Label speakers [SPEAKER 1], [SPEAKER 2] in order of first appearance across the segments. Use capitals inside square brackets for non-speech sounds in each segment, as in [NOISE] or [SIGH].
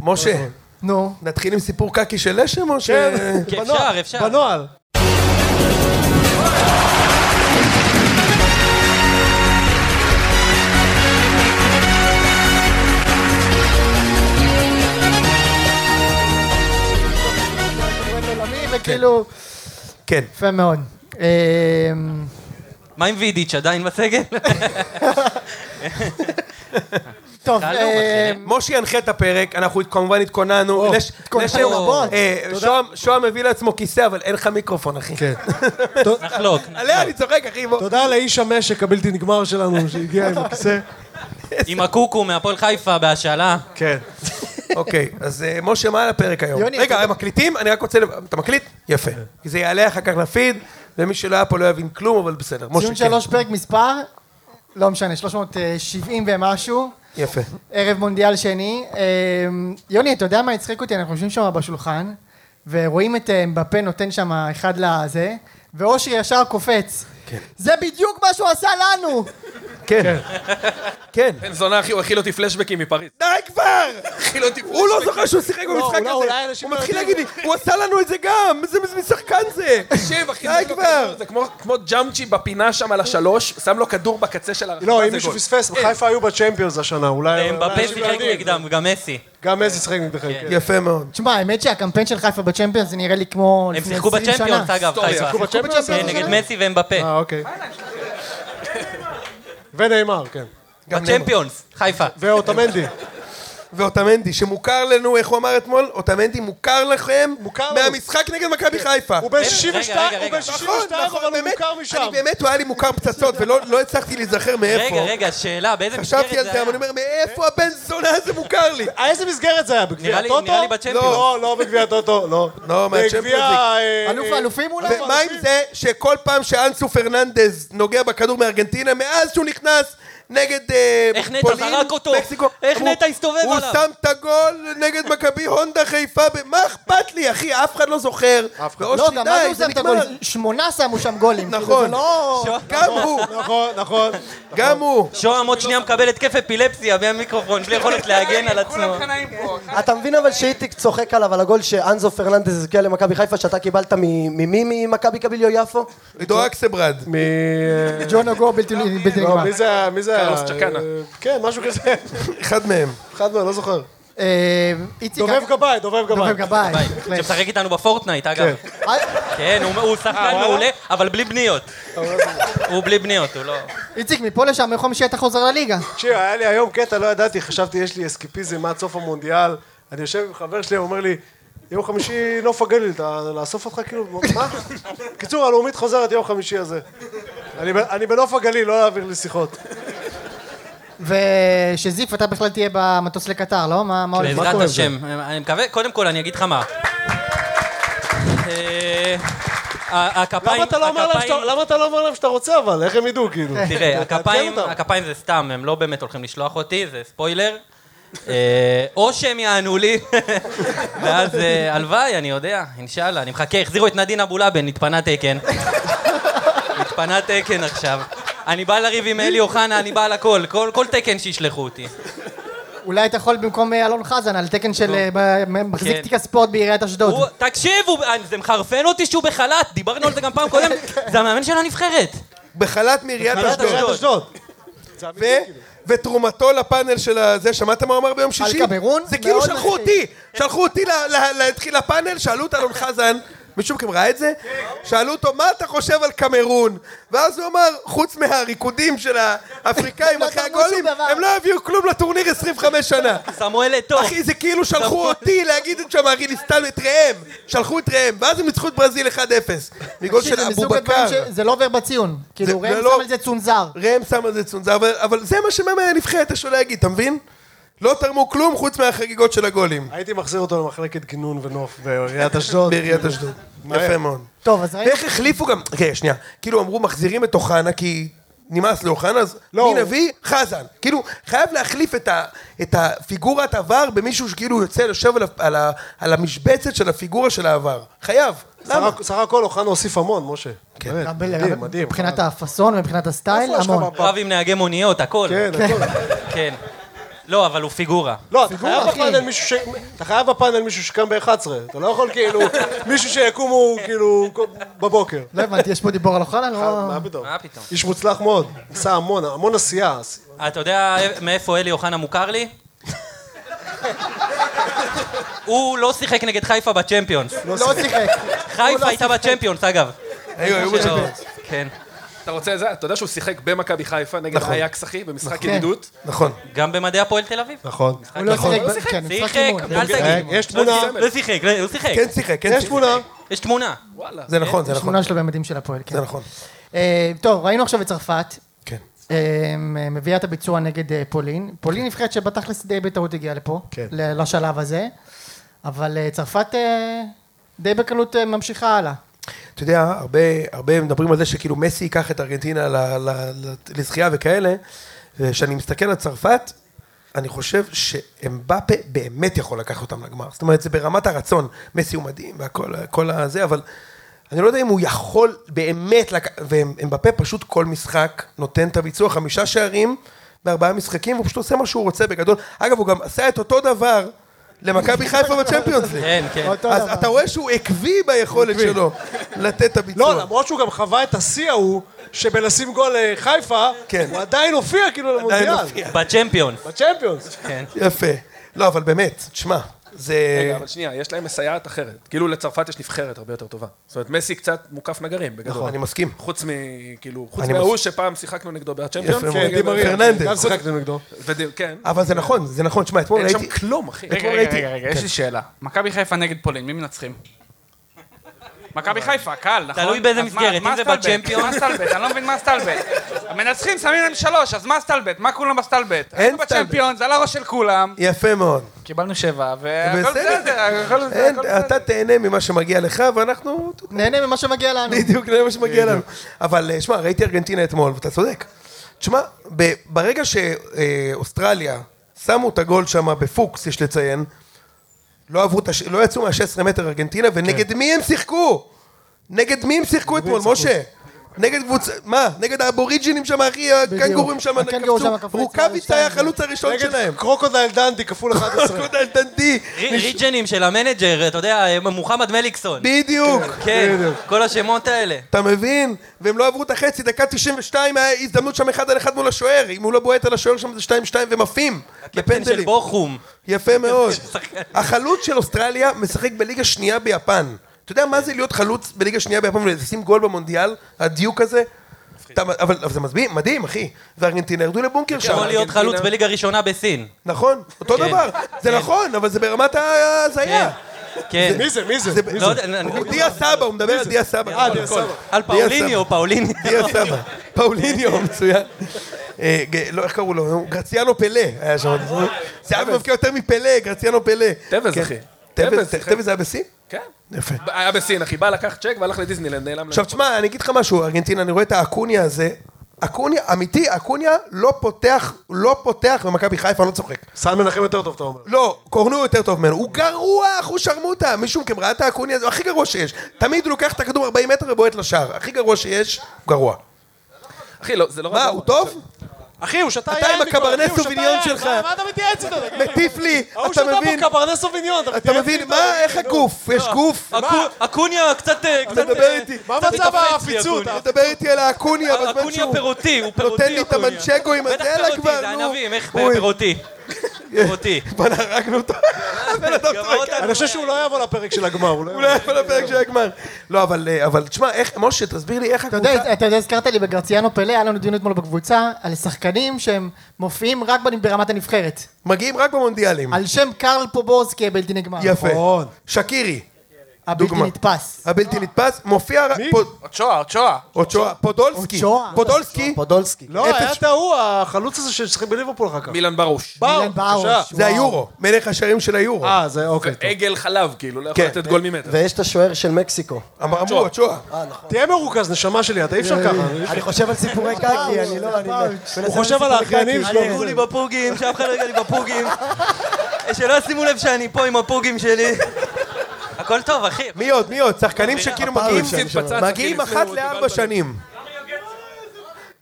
[SPEAKER 1] משה,
[SPEAKER 2] נו.
[SPEAKER 1] נתחיל עם סיפור קקי של לשם או ש...
[SPEAKER 2] נכון. כן,
[SPEAKER 3] כן,
[SPEAKER 2] בנוהל,
[SPEAKER 3] אפשר, אפשר.
[SPEAKER 2] בנוהל. וכאילו,
[SPEAKER 1] כן.
[SPEAKER 2] יפה מאוד. אמ,
[SPEAKER 3] מה עם וידיץ', עדיין בסגל?
[SPEAKER 2] טוב,
[SPEAKER 3] קל, הוא מתחיל.
[SPEAKER 2] אמ,
[SPEAKER 1] משה ינחה את הפרק, אנחנו כמובן התכוננו.
[SPEAKER 2] או,
[SPEAKER 1] לש-
[SPEAKER 2] התכוננו
[SPEAKER 1] לשם-
[SPEAKER 2] רבות.
[SPEAKER 1] אה,
[SPEAKER 2] תודה.
[SPEAKER 1] שוהם- שוהם הביא לעצמו כיסא, אבל אין לך מיקרופון, אחי.
[SPEAKER 4] כן.
[SPEAKER 3] נחלוק.
[SPEAKER 2] אה.
[SPEAKER 1] עליה אני צוחק, אחי. בוא.
[SPEAKER 4] תודה לאיש המשק הבלתי נגמר שלנו שהגיע עם הכיסא.
[SPEAKER 3] עם הקוקו מהפועל חיפה בהשאלה.
[SPEAKER 4] כן.
[SPEAKER 1] אוקיי, אז אה, משה, מה על הפרק היום?
[SPEAKER 2] יוני,
[SPEAKER 1] רגע,
[SPEAKER 2] אתה- אה.
[SPEAKER 1] הם מקליטים? אני רק רוצה... לב- אתה מקליט? יפה. כי זה יעלה אחר כך לפיד, ומי שלא היה פה לא יבין כלום, אבל בסדר. משה,
[SPEAKER 2] ציון
[SPEAKER 1] כן.
[SPEAKER 2] שלוש פרק מספר, לא משנה, 370 ומשהו,
[SPEAKER 1] כן. יפה.
[SPEAKER 2] ערב מונדיאל שני. אמ, יוני, אתה יודע מה הצחיק אותי? אנחנו יושבים שם בשולחן, ורואים את אה, מבפה נותן שם אחד לזה, ואושרי ישר קופץ. זה בדיוק מה שהוא עשה לנו! [LAUGHS]
[SPEAKER 1] כן. כן.
[SPEAKER 5] בן זונה, אחי, הוא הכיל אותי פלשבקים מפריז.
[SPEAKER 1] די כבר! הוא לא זוכר שהוא שיחק במשחק
[SPEAKER 4] אולי- אולי
[SPEAKER 1] הזה.
[SPEAKER 4] אנשים
[SPEAKER 1] הוא
[SPEAKER 4] לא
[SPEAKER 1] מתחיל
[SPEAKER 4] יודעים.
[SPEAKER 1] להגיד לי, הוא עשה לנו את זה גם! איזה מ- מי שחקן זה?
[SPEAKER 5] תקשיב, אחי,
[SPEAKER 1] די
[SPEAKER 5] זה לא
[SPEAKER 1] כבר.
[SPEAKER 5] כדור, זה כמו- כמו ג'אמצ'י בפינה שם על השלוש, שם לו כדור בקצה של הרחבה,
[SPEAKER 4] לא,
[SPEAKER 5] זה
[SPEAKER 4] אם מישהו
[SPEAKER 5] גול. כן.
[SPEAKER 4] פספס, חיפה היו בצ'מפיונס השנה, אולי...
[SPEAKER 3] הם בפה
[SPEAKER 4] אולי אנשים לא
[SPEAKER 3] אה, שיחק
[SPEAKER 4] יודעים.
[SPEAKER 3] נגדם, גם מסי.
[SPEAKER 4] גם איזה שיחק נגדכם, כן.
[SPEAKER 1] יפה מאוד.
[SPEAKER 2] תשמע, האמת שהקמפיין של חיפה בצ'מפיונס זה נראה לי כמו
[SPEAKER 3] הם
[SPEAKER 2] לפני
[SPEAKER 3] שיחקו
[SPEAKER 2] 20 שנה.
[SPEAKER 3] בצ'מפיונס, אגב,
[SPEAKER 5] היסטוריה.
[SPEAKER 3] חיפה.
[SPEAKER 5] שיחקו
[SPEAKER 2] בצ'מפיונס
[SPEAKER 3] כן,
[SPEAKER 2] השנה?
[SPEAKER 3] נגד מסי והם בפה.
[SPEAKER 4] אה, אוקיי. ונאמר, כן.
[SPEAKER 3] בצ'מפיונס, חיפה.
[SPEAKER 4] ואוטמנדי.
[SPEAKER 1] ואוטמנדי, שמוכר לנו, איך הוא אמר אתמול? אוטמנדי מוכר לכם
[SPEAKER 4] מוכר לנו.
[SPEAKER 1] מהמשחק נגד מכבי
[SPEAKER 5] כן.
[SPEAKER 1] חיפה. נכון,
[SPEAKER 4] הוא בן
[SPEAKER 3] רגע,
[SPEAKER 4] 62,
[SPEAKER 3] רגע,
[SPEAKER 4] הוא
[SPEAKER 3] רגע.
[SPEAKER 4] בן 62, אבל הוא
[SPEAKER 1] באמת,
[SPEAKER 4] מוכר משם.
[SPEAKER 1] אני באמת, הוא היה לי מוכר פצצות, ולא לא הצלחתי להיזכר מאיפה.
[SPEAKER 3] רגע, רגע, שאלה, באיזה מסגרת
[SPEAKER 1] חשבתי על
[SPEAKER 3] זה
[SPEAKER 1] זה,
[SPEAKER 3] היה?
[SPEAKER 1] אבל אני אומר, מאיפה הבן זונה הזה מוכר לי?
[SPEAKER 4] אה, איזה מסגרת זה היה? בגביע
[SPEAKER 3] נראה לי-
[SPEAKER 4] הטוטו?
[SPEAKER 3] נראה לי בצ'מפיונס.
[SPEAKER 4] לא, לא בגביע הטוטו, לא.
[SPEAKER 1] לא, מהצ'מפיונס
[SPEAKER 4] בגביע,
[SPEAKER 1] ליג.
[SPEAKER 4] אה,
[SPEAKER 2] אלוף
[SPEAKER 4] אה,
[SPEAKER 2] האלופים
[SPEAKER 3] לא
[SPEAKER 2] לא אולי?
[SPEAKER 1] ומה עם זה שכל פעם שאנסו פרננדז נוגע בכדור מארגנטינה, מאז שהוא נכנס נגד אה,
[SPEAKER 3] איך נטע
[SPEAKER 1] פולין,
[SPEAKER 3] זרק אותו?
[SPEAKER 1] מקסיקו,
[SPEAKER 3] איך
[SPEAKER 1] הוא-
[SPEAKER 3] נטע הסתובב עליו?
[SPEAKER 1] הוא שם את הגול נגד מכבי הונדה חיפה, ב- מה אכפת לי, אחי? אף אחד לא זוכר.
[SPEAKER 4] אף אחד.
[SPEAKER 1] ואושרי,
[SPEAKER 2] לא, גם אז
[SPEAKER 1] די,
[SPEAKER 2] הוא
[SPEAKER 1] זה
[SPEAKER 2] שם את
[SPEAKER 1] נגמר.
[SPEAKER 2] הגול, שמונה שמו שם גולים. כאילו,
[SPEAKER 1] נכון.
[SPEAKER 2] זה לא...
[SPEAKER 1] גם הוא,
[SPEAKER 4] נכון, נכון.
[SPEAKER 1] גם
[SPEAKER 2] [LAUGHS]
[SPEAKER 1] הוא.
[SPEAKER 3] שוהם עוד שנייה מקבל התקף אפילפסיה מהמיקרופון, יש לי יכולת להגן על עצמו.
[SPEAKER 6] אתה מבין אבל שאיציק צוחק עליו על הגול שאנזו פרננדז הזכיר למכבי חיפה שאתה קיבלת מ- ממי ממכבי קביליו יפו?
[SPEAKER 1] עידו אקסברד.
[SPEAKER 4] מ... אה,
[SPEAKER 2] ג'ון אוגו בלתי
[SPEAKER 1] נכון.
[SPEAKER 2] בלתי
[SPEAKER 4] לא,
[SPEAKER 2] נגמר.
[SPEAKER 4] מי זה היה? מי זה היה?
[SPEAKER 5] קרלוס צ'קנה.
[SPEAKER 4] אה, כן, משהו כזה.
[SPEAKER 1] אחד מהם.
[SPEAKER 4] אחד מהם, לא זוכר.
[SPEAKER 2] אה, איציק...
[SPEAKER 4] דובב גבאי, דובב גבאי.
[SPEAKER 2] דובב גבאי, בהחלט.
[SPEAKER 3] שמשחק איתנו בפורטנייט, אגב.
[SPEAKER 2] אה,
[SPEAKER 3] כן, הוא- הוא שחקן מעולה, אבל בלי בניות. הוא בלי בניות, הוא לא...
[SPEAKER 2] איציק, מפה לשם, איך חמישי אתה חוזר לליגה?
[SPEAKER 4] תקשיב, היה לי היום קטע, לא ידעתי, חשבתי, יש לי אסקיפיזם עד סוף המונדיאל. אני יושב עם חבר שלי, הוא אומר לי, יום חמישי נוף הגליל, אתה- לאסוף אותך כאילו, מה? קיצור, הלאומית חוזרת יום חמישי הזה. אני ב- אני בנוף הגליל, לא להעביר לי שיחות.
[SPEAKER 2] ושזיף, אתה בכלל תהיה במטוס לקטר, לא? מה
[SPEAKER 4] אה,
[SPEAKER 2] מה הולך?
[SPEAKER 3] בעזרת השם. אני מקווה, קודם כל אני אגיד לך מה. אה, ה- הכפיים...
[SPEAKER 4] למה אתה לא אומר להם שאתה-
[SPEAKER 3] הכפיים-
[SPEAKER 4] למה אתה לא אומר להם שאתה רוצה, אבל? איך הם ידעו, כאילו?
[SPEAKER 3] [LAUGHS] תראה,
[SPEAKER 4] תעדכן
[SPEAKER 3] הכפיים,
[SPEAKER 4] אותם.
[SPEAKER 3] הכפיים זה סתם, הם לא באמת הולכים לשלוח אותי, זה ספוילר. אה, או שהם יענו לי, [LAUGHS] ואז אה, הלוואי, אני יודע, אינשאללה, אני מחכה, החזירו את נדין אבולאבן, התפנה תקן. [LAUGHS] התפנה תקן עכשיו. אני בא לריב עם אלי אוחנה, אני בא על הכל, כל, כל תקן שישלחו אותי.
[SPEAKER 2] אולי אתה יכול במקום אה, אלון חזן, על תקן של אה, ב- מחזיק
[SPEAKER 3] כן.
[SPEAKER 2] תיק הספורט בעיריית אשדוד.
[SPEAKER 3] הוא, תקשיבו, אה, זה מחרפן אותי שהוא בחל"ת, דיברנו על זה גם פעם קודמת,
[SPEAKER 1] [LAUGHS]
[SPEAKER 3] זה המאמן של הנבחרת.
[SPEAKER 1] בחל"ת מעיריית
[SPEAKER 3] בחל"ת
[SPEAKER 1] אשדוד.
[SPEAKER 3] אשדוד.
[SPEAKER 4] אשדוד.
[SPEAKER 1] ו- ותרומתו לפאנל של הזה, שמעת מה הוא אמר ביום שישי?
[SPEAKER 2] קמרון?
[SPEAKER 1] זה כאילו
[SPEAKER 2] מאוד
[SPEAKER 1] שלחו
[SPEAKER 2] מצחיק.
[SPEAKER 1] אותי, שלחו אותי ל- ל- להתחיל לפאנל, שאלו את אלון חזן, מישהו מכם ראה את זה? שאלו אותו, מה אתה חושב על קמרון? ואז הוא אמר, חוץ מהריקודים של האפריקאים
[SPEAKER 2] לא
[SPEAKER 1] אחרי
[SPEAKER 2] תרמו שום
[SPEAKER 1] הגולים,
[SPEAKER 2] דבר."
[SPEAKER 1] הם לא הביאו כלום לטורניר 25 שנה.
[SPEAKER 3] סמואל אטו.
[SPEAKER 1] אחי, זה כאילו שלחו אותי להגיד את שם הריליסטן, את ראם. שלחו את ראם, ואז הם ניצחו את ברזיל 1-0. מגול
[SPEAKER 2] תקשיב,
[SPEAKER 1] של
[SPEAKER 2] זה
[SPEAKER 1] אבו
[SPEAKER 2] מסוג הדברים
[SPEAKER 1] בקר.
[SPEAKER 2] ש- זה לא עובר בציון. כאילו,
[SPEAKER 1] זה
[SPEAKER 2] ראם
[SPEAKER 1] לא-
[SPEAKER 2] שם על זה צונזר.
[SPEAKER 1] ראם שם על זה צונזר, אבל, אבל זה מה שמאמן הנבחרת יש לו להגיד, אתה מבין? לא תרמו כלום חוץ מהחגיגות של הגולים.
[SPEAKER 4] הייתי מחזיר אותו למחלקת גינון ונוף בעיריית אשדוד.
[SPEAKER 1] בעיריית אשדוד. יפה
[SPEAKER 4] היה?
[SPEAKER 1] מאוד.
[SPEAKER 2] טוב, אז ראם...
[SPEAKER 1] ואיך החליפו גם, כן, שנייה. כאילו אמרו מחזירים את אוחנה כי נמאס לאוחנה, אז
[SPEAKER 4] לא.
[SPEAKER 1] מי נביא? חזן. כאילו, חייב להחליף את, ה, את הפיגורת עבר במישהו שכאילו יוצא, יושב על, ה, על, ה, על המשבצת של הפיגורה של העבר. חייב. למה?
[SPEAKER 4] סך- סך הכל אוחנה הוסיף המון, משה. באמת,
[SPEAKER 2] גם אה, ב-
[SPEAKER 4] מדהים, מדהים.
[SPEAKER 2] מבחינת הפאסון ומבחינת הסטייל,
[SPEAKER 4] איפה יש לך כן,
[SPEAKER 2] המון.
[SPEAKER 4] מפה?
[SPEAKER 3] רב עם נהגי מוניות, הכל.
[SPEAKER 4] כן, הכל.
[SPEAKER 3] כן. לא, אבל הוא פיגורה.
[SPEAKER 4] לא, אתה חייב
[SPEAKER 2] פיגור,
[SPEAKER 4] בפאנל
[SPEAKER 2] אחי.
[SPEAKER 4] מישהו ש... אתה חייב בפאנל מישהו שקם ב-11. אתה לא יכול כאילו... מישהו שיקומו כאילו בבוקר.
[SPEAKER 2] לא הבנתי, יש פה דיבור על אוחנה?
[SPEAKER 1] אה.
[SPEAKER 2] לא...
[SPEAKER 1] נכון.
[SPEAKER 4] מה פתאום?
[SPEAKER 3] מה פתאום?
[SPEAKER 4] איש מוצלח מאוד. עשה המון, המון עשייה.
[SPEAKER 3] אתה יודע מאיפה אלי אוחנה
[SPEAKER 1] [LAUGHS]
[SPEAKER 3] מוכר לי? הוא לא שיחק נגד חיפה בצ'מפיונס.
[SPEAKER 2] לא שיחק.
[SPEAKER 3] חיפה הייתה בצ'מפיונס, אגב.
[SPEAKER 1] היו, היו
[SPEAKER 3] שלא-
[SPEAKER 1] בצ'מפיונס.
[SPEAKER 3] כן.
[SPEAKER 5] אתה רוצה זה? אתה יודע שהוא שיחק במכבי חיפה נגד אייקס, אחי, במשחק
[SPEAKER 2] נכון.
[SPEAKER 5] ידידות?
[SPEAKER 1] נכון.
[SPEAKER 3] גם במדעי הפועל תל אביב.
[SPEAKER 4] נכון.
[SPEAKER 2] הוא לא
[SPEAKER 1] נכון.
[SPEAKER 2] שיחק,
[SPEAKER 1] לא
[SPEAKER 2] ב- כן, הוא משחק
[SPEAKER 3] שיחק,
[SPEAKER 2] אימון.
[SPEAKER 3] אל תגיד.
[SPEAKER 4] יש תמונה,
[SPEAKER 3] לא שיחק, לא, הוא שיחק.
[SPEAKER 1] אה, כן שיחק, כן
[SPEAKER 4] יש
[SPEAKER 1] שיחק.
[SPEAKER 4] תמונה.
[SPEAKER 3] יש תמונה.
[SPEAKER 5] אה,
[SPEAKER 1] זה נכון, זה נכון.
[SPEAKER 2] תמונה שלו במדים של הפועל, כן.
[SPEAKER 1] זה נכון.
[SPEAKER 2] אה, טוב, ראינו עכשיו את צרפת.
[SPEAKER 1] כן.
[SPEAKER 2] אה, מביאה את הביצוע נגד אה, פולין. פולין נבחרת שבתכלס די בטעות הגיעה לפה,
[SPEAKER 4] כן.
[SPEAKER 2] ל- לשלב הזה. אבל אה, צרפת אה, די בקלות אה, ממשיכה הלאה.
[SPEAKER 1] אתה יודע, הרבה, הרבה מדברים על זה שכאילו מסי ייקח את ארגנטינה ל- ל- ל- לזכייה וכאלה, וכשאני מסתכל על צרפת, אני חושב שאמבפה באמת יכול לקחת אותם לגמר. זאת אומרת, זה ברמת הרצון. מסי הוא מדהים והכל כל הזה, אבל אני לא יודע אם הוא יכול באמת לקחת... ואמבפה פשוט כל משחק נותן את הביצוע, חמישה שערים בארבעה משחקים, והוא פשוט עושה מה שהוא רוצה בגדול. אגב, הוא גם עשה את אותו דבר למכבי חיפה בצ'מפיונס ליג.
[SPEAKER 3] כן, כן.
[SPEAKER 2] אותו
[SPEAKER 1] אז
[SPEAKER 2] דבר.
[SPEAKER 1] אתה רואה שהוא עקבי ביכולת שלו לתת את הביצוע.
[SPEAKER 4] לא, למרות שהוא גם חווה את השיא ההוא, שבלשים גול לחיפה,
[SPEAKER 1] כן.
[SPEAKER 4] הוא עדיין הופיע כאילו
[SPEAKER 1] עדיין
[SPEAKER 4] למונדיאל.
[SPEAKER 1] הופיע.
[SPEAKER 3] בצ'מפיונס.
[SPEAKER 4] בצ'מפיונס.
[SPEAKER 1] יפה. לא, אבל באמת, תשמע, זה... נכון.
[SPEAKER 5] רגע, אבל שנייה, יש להם מסייעת אחרת. כאילו לצרפת יש נבחרת הרבה יותר טובה. זאת אומרת, מסי קצת מוקף נגרים, בגדול.
[SPEAKER 1] נכון, אני מסכים.
[SPEAKER 5] חוץ מ... כאילו, חוץ
[SPEAKER 1] אני
[SPEAKER 5] מההוא
[SPEAKER 1] מס-
[SPEAKER 5] שפעם שיחקנו נגדו בצ'מפיונס.
[SPEAKER 1] יפה
[SPEAKER 4] כן,
[SPEAKER 1] מאוד.
[SPEAKER 4] די מריה.
[SPEAKER 1] פרננדס.
[SPEAKER 4] גם שיחקנו נגדו.
[SPEAKER 5] ודי- כן.
[SPEAKER 1] אבל זה נכון, זה נכון, תשמע, אתמול
[SPEAKER 5] אין
[SPEAKER 1] ראיתי...
[SPEAKER 5] שם כלום, אחי. כן.
[SPEAKER 7] רגע, רגע, רגע, רגע, יש לי שאלה. אה, מכבי חיפה נגד פולין, מי מנצחים? מכבי חיפה, קל, נכון?
[SPEAKER 3] תלוי באיזה
[SPEAKER 7] אז מה-
[SPEAKER 3] מסגרת,
[SPEAKER 7] מה
[SPEAKER 3] אם זה
[SPEAKER 7] הסטלבט?
[SPEAKER 3] בצ'מפיונס-
[SPEAKER 7] מה הסטלבט? אני לא מבין מה הסטלבט. המנצחים שמים להם שלוש, אז מה הסטלבט? מה כולם בסטלבט?
[SPEAKER 1] אין
[SPEAKER 7] אנחנו
[SPEAKER 1] סטלבט.
[SPEAKER 7] בצ'מפיונס, על הראש של כולם,
[SPEAKER 1] יפה מאוד.
[SPEAKER 7] קיבלנו שבע, והכל
[SPEAKER 1] בסדר.
[SPEAKER 7] בסדר, הכל הכל
[SPEAKER 1] אין,
[SPEAKER 7] בסדר.
[SPEAKER 1] אתה תהנה ממה שמגיע לך, ואנחנו...
[SPEAKER 2] נהנה ממה שמגיע לנו.
[SPEAKER 1] בדיוק, זה מה שמגיע לנו. אבל אה, שמע, ראיתי ארגנטינה אתמול, ואתה צודק. תשמע, ב- ברגע שאוסטרליה שמו את הגול שם בפוקס, יש לציין, לא עברו את הש... לא יצאו מה-16 מטר ארגנטינה, ונגד מי הם שיחקו? כן. נגד מי הם שיחקו אתמול, משה? נגד קבוצה, מה? נגד האבוריג'ינים שם, אחי, הקנגורים שם
[SPEAKER 2] הקנגורו שם
[SPEAKER 1] קפצו.
[SPEAKER 2] קפץ,
[SPEAKER 1] רוקאביץ
[SPEAKER 2] שתיים,
[SPEAKER 1] היה החלוץ הראשון שלהם.
[SPEAKER 4] נגד קרוקודייל דנדי
[SPEAKER 1] [LAUGHS]
[SPEAKER 4] כפול 11.
[SPEAKER 1] קודם דנדי.
[SPEAKER 3] ר- ריג'נים של המנג'ר, אתה יודע, מוחמד מליקסון.
[SPEAKER 1] בדיוק.
[SPEAKER 3] כן, כל השמות האלה.
[SPEAKER 1] אתה מבין? והם לא עברו את החצי, דקה 92 היה הזדמנות שם אחד על אחד מול השוער. אם הוא לא בועט על השוער שם זה 2-2 והם עפים.
[SPEAKER 3] קפטן כן, של
[SPEAKER 1] בפנדלים.
[SPEAKER 3] בוכום.
[SPEAKER 1] יפה מאוד. החלוץ של אוסטרליה משחק בליגה שנייה ביפן. אתה יודע מה זה להיות חלוץ בליגה שנייה ביפן ולשים גול במונדיאל? הדיוק הזה? אתה- אבל אבל זה מסביר, מדהים, אחי. וארגנטינה ירדו לבונקר שם.
[SPEAKER 3] יכול להיות חלוץ
[SPEAKER 5] ארגנטינה.
[SPEAKER 3] בליגה ראשונה בסין.
[SPEAKER 1] נכון, אותו
[SPEAKER 3] כן.
[SPEAKER 1] דבר. זה נכון, אבל זה ברמת ההזיה.
[SPEAKER 3] כן. כן.
[SPEAKER 4] מי זה? מי זה? מי
[SPEAKER 3] לא
[SPEAKER 4] זה?
[SPEAKER 3] יודע, אני-
[SPEAKER 1] הוא דיה סבא, הוא מדבר על דיה סבא.
[SPEAKER 4] אה, דיה סבא.
[SPEAKER 3] על
[SPEAKER 1] דיה
[SPEAKER 3] פאוליניו, פאוליניו.
[SPEAKER 1] דיה סבא, פאוליניו, מצוין. אה, ג- לא, איך קראו לו? נו, גרציאנו פלא היה שם. זהבי מבקיע יותר מפלא, גרציאנו פלא.
[SPEAKER 5] טבעס,
[SPEAKER 1] כן.
[SPEAKER 5] אחי.
[SPEAKER 1] טבעס,
[SPEAKER 5] טבעס,
[SPEAKER 1] ט-
[SPEAKER 5] שיחק.
[SPEAKER 1] טבעס היה בסין?
[SPEAKER 5] כן.
[SPEAKER 1] יפה.
[SPEAKER 5] היה בסין, אחי. בא, לקח צ'ק והלך לדיסנילנד, נעלם.
[SPEAKER 1] עכשיו
[SPEAKER 5] להם.
[SPEAKER 1] תשמע, אני אגיד לך משהו, ארגנטינה, אני רואה את האקוניה הזה. אקוניה, אמיתי, אקוניה לא פותח, לא פותח במכבי חיפה, אני לא צוחק.
[SPEAKER 4] סן מנחם יותר טוב, אתה אומר.
[SPEAKER 1] לא, קורנו יותר טוב ממנו. הוא גרוע, אחו שרמוטה. מישהו מכם ראה את האקוני הזה? הוא הכי גרוע שיש. תמיד הוא לוקח את הכדור 40 מטר ובועט לשער. הכי גרוע שיש, הוא גרוע.
[SPEAKER 5] אחי, לא, זה לא...
[SPEAKER 1] מה,
[SPEAKER 5] רגוע.
[SPEAKER 1] הוא טוב?
[SPEAKER 4] אחי, הוא שתה
[SPEAKER 1] אתה עם
[SPEAKER 4] יין כבר,
[SPEAKER 1] הקברנס
[SPEAKER 4] אחי, הוא שתה
[SPEAKER 1] סוביניון
[SPEAKER 4] יין.
[SPEAKER 1] שלך.
[SPEAKER 4] מה מה אתה מתייעץ איתו? תגיד?
[SPEAKER 1] מטיף לי,
[SPEAKER 4] ההוא
[SPEAKER 1] אתה
[SPEAKER 4] שתה
[SPEAKER 1] מבין?
[SPEAKER 4] פה קברנס סוביניון.
[SPEAKER 1] אתה
[SPEAKER 4] מתייעץ
[SPEAKER 1] מבין?
[SPEAKER 4] איתו?
[SPEAKER 1] מה, איך
[SPEAKER 4] לא.
[SPEAKER 1] הגוף? יש גוף?
[SPEAKER 3] אקו- אקוניה קצת... אה, קצת,
[SPEAKER 1] מדבר
[SPEAKER 3] אה,
[SPEAKER 1] איתי.
[SPEAKER 4] מה
[SPEAKER 3] קצת
[SPEAKER 4] מצב
[SPEAKER 3] מתאפץ לי,
[SPEAKER 4] העפיצות?
[SPEAKER 3] אקוניה.
[SPEAKER 1] אתה מדבר איתי על האקוניה בזמן
[SPEAKER 3] אקוניה
[SPEAKER 1] אה, שהוא... [LAUGHS]
[SPEAKER 3] פירותי, הוא פירותי.
[SPEAKER 1] נותן לי את
[SPEAKER 3] אקוניה.
[SPEAKER 1] המנצ'גו עם
[SPEAKER 3] בטח
[SPEAKER 1] הדלק
[SPEAKER 3] פירותי,
[SPEAKER 1] כבר,
[SPEAKER 3] זה
[SPEAKER 1] נו.
[SPEAKER 3] ענבים, איך
[SPEAKER 1] אוי. [LAUGHS] כן.
[SPEAKER 3] פירותי. פירותי.
[SPEAKER 1] בואנה, הרגנו אותו. הבן אדם צועק.
[SPEAKER 4] אני חושב
[SPEAKER 3] אה,
[SPEAKER 4] שהוא לא יבוא לפרק של הגמר. הוא לא יבוא.
[SPEAKER 1] אולי היה לפרק של הגמר. לא, אבל, אה, אבל תשמע, איך, משה, תסביר לי איך
[SPEAKER 2] אתה
[SPEAKER 1] הקבוצה...
[SPEAKER 2] יודע, אתה יודע, הזכרת לי בגרציאנו פלא, היה לנו דיון אתמול בקבוצה, על שחקנים שהם מופיעים רק בנ- ברמת הנבחרת.
[SPEAKER 1] מגיעים רק במונדיאלים.
[SPEAKER 2] על שם קרל פובורסקי הבלתי נגמר.
[SPEAKER 1] יפה.
[SPEAKER 4] נכון.
[SPEAKER 1] שקירי,
[SPEAKER 2] הבלתי
[SPEAKER 1] דוגמה.
[SPEAKER 2] נתפס.
[SPEAKER 1] הבלתי נתפס, מופיע... רק- פו-
[SPEAKER 7] צ'ואה, צ'ואה.
[SPEAKER 1] אוצ'ואה, פודולסקי.
[SPEAKER 2] אוצ'ואה.
[SPEAKER 1] פודולסקי,
[SPEAKER 6] פודולסקי.
[SPEAKER 4] לא, היה את ההוא, החלוץ הזה ששיחק בליברפול אחר כך.
[SPEAKER 5] מילן ברוש.
[SPEAKER 2] אילן בארוש.
[SPEAKER 1] זה היורו, מלך השערים של היורו.
[SPEAKER 4] אה, זה אוקיי. טוב.
[SPEAKER 5] עגל חלב, כאילו, לא יכול
[SPEAKER 1] כן.
[SPEAKER 5] לתת גול ממטר.
[SPEAKER 6] ויש את השוער של מקסיקו.
[SPEAKER 1] אמרו, אוצ'ואה.
[SPEAKER 4] תהיה מרוכז, נשמה שלי, אתה אי אפשר ככה.
[SPEAKER 6] אני חושב על סיפורי קקי, אני לא... אני-
[SPEAKER 4] הוא חושב על האחיינים
[SPEAKER 3] אל
[SPEAKER 4] שלו.
[SPEAKER 3] תיגעו לי בפוגים, שאף אחד לא יגע לי בפוגים. אה, שלא ישימו לב שאני פה עם הפוגים שלי. הכל טוב, אחי.
[SPEAKER 1] מי עוד? מי עוד? שחקנים שכאילו מגיעים,
[SPEAKER 5] שהתפצץ,
[SPEAKER 1] מגיעים
[SPEAKER 5] אחי,
[SPEAKER 1] אחת
[SPEAKER 5] לפני הוא
[SPEAKER 1] לארבע
[SPEAKER 5] קיבל
[SPEAKER 1] שנים.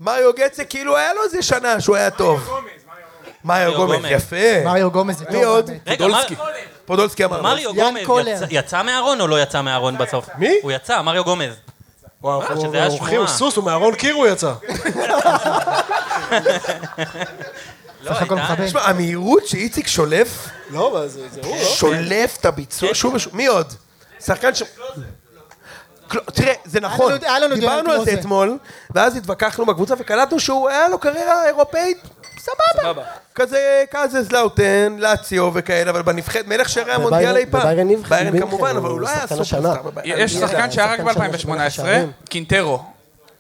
[SPEAKER 1] מריו גצה כאילו היה לו איזה שנה שהוא היה טוב. מאיו גומז, יפה.
[SPEAKER 2] מריו גומז זה טוב.
[SPEAKER 1] מי עוד?
[SPEAKER 2] באמת.
[SPEAKER 3] רגע, מר-
[SPEAKER 1] פודולסקי אמר.
[SPEAKER 3] מריו
[SPEAKER 2] יאן
[SPEAKER 3] גומז
[SPEAKER 2] קולר.
[SPEAKER 3] יצא- יצא מהארון או לא יצא מהארון בסוף?
[SPEAKER 4] מי?
[SPEAKER 3] הוא יצא, מריו גומז.
[SPEAKER 4] וואו,
[SPEAKER 3] אה,
[SPEAKER 4] אנחנו
[SPEAKER 3] שזה היה
[SPEAKER 4] עורכים,
[SPEAKER 3] שמועה.
[SPEAKER 4] סוס, הוא מארון קיר הוא יצא.
[SPEAKER 2] סך הכל
[SPEAKER 3] לא, עידן.
[SPEAKER 2] מכבד.
[SPEAKER 1] אה, תשמע, המהירות שאיציק שולף,
[SPEAKER 4] לא, מה זה, זה הוא, לא?
[SPEAKER 1] שולף את הביצוע שוב ושוב. מי עוד? שחקן ש... קל- תראה, זה נכון,
[SPEAKER 2] לנו- היה לנו
[SPEAKER 1] דיברנו
[SPEAKER 2] דיון
[SPEAKER 1] על זה
[SPEAKER 2] כמו זה.
[SPEAKER 1] אתמול, ואז התווכחנו בקבוצה וקלטנו שהוא, היה לו קריירה אירופאית סבבה.
[SPEAKER 5] סבבה.
[SPEAKER 1] כזה קאזס לאוטן, לאציו וכאלה, אבל בנבחרת, מלך שערי המונדיאל אי פעם.
[SPEAKER 6] בביירן נבחר.
[SPEAKER 1] ביירן
[SPEAKER 6] מינכן,
[SPEAKER 1] כמובן,
[SPEAKER 6] הוא
[SPEAKER 1] אבל הוא לא היה
[SPEAKER 6] שחקן
[SPEAKER 1] סופרסטאר.
[SPEAKER 6] השנה.
[SPEAKER 1] בביירן.
[SPEAKER 7] יש שחקן שהיה רק
[SPEAKER 6] שחקן שהיה
[SPEAKER 7] ב-2018,
[SPEAKER 6] שערים.
[SPEAKER 7] קינטרו.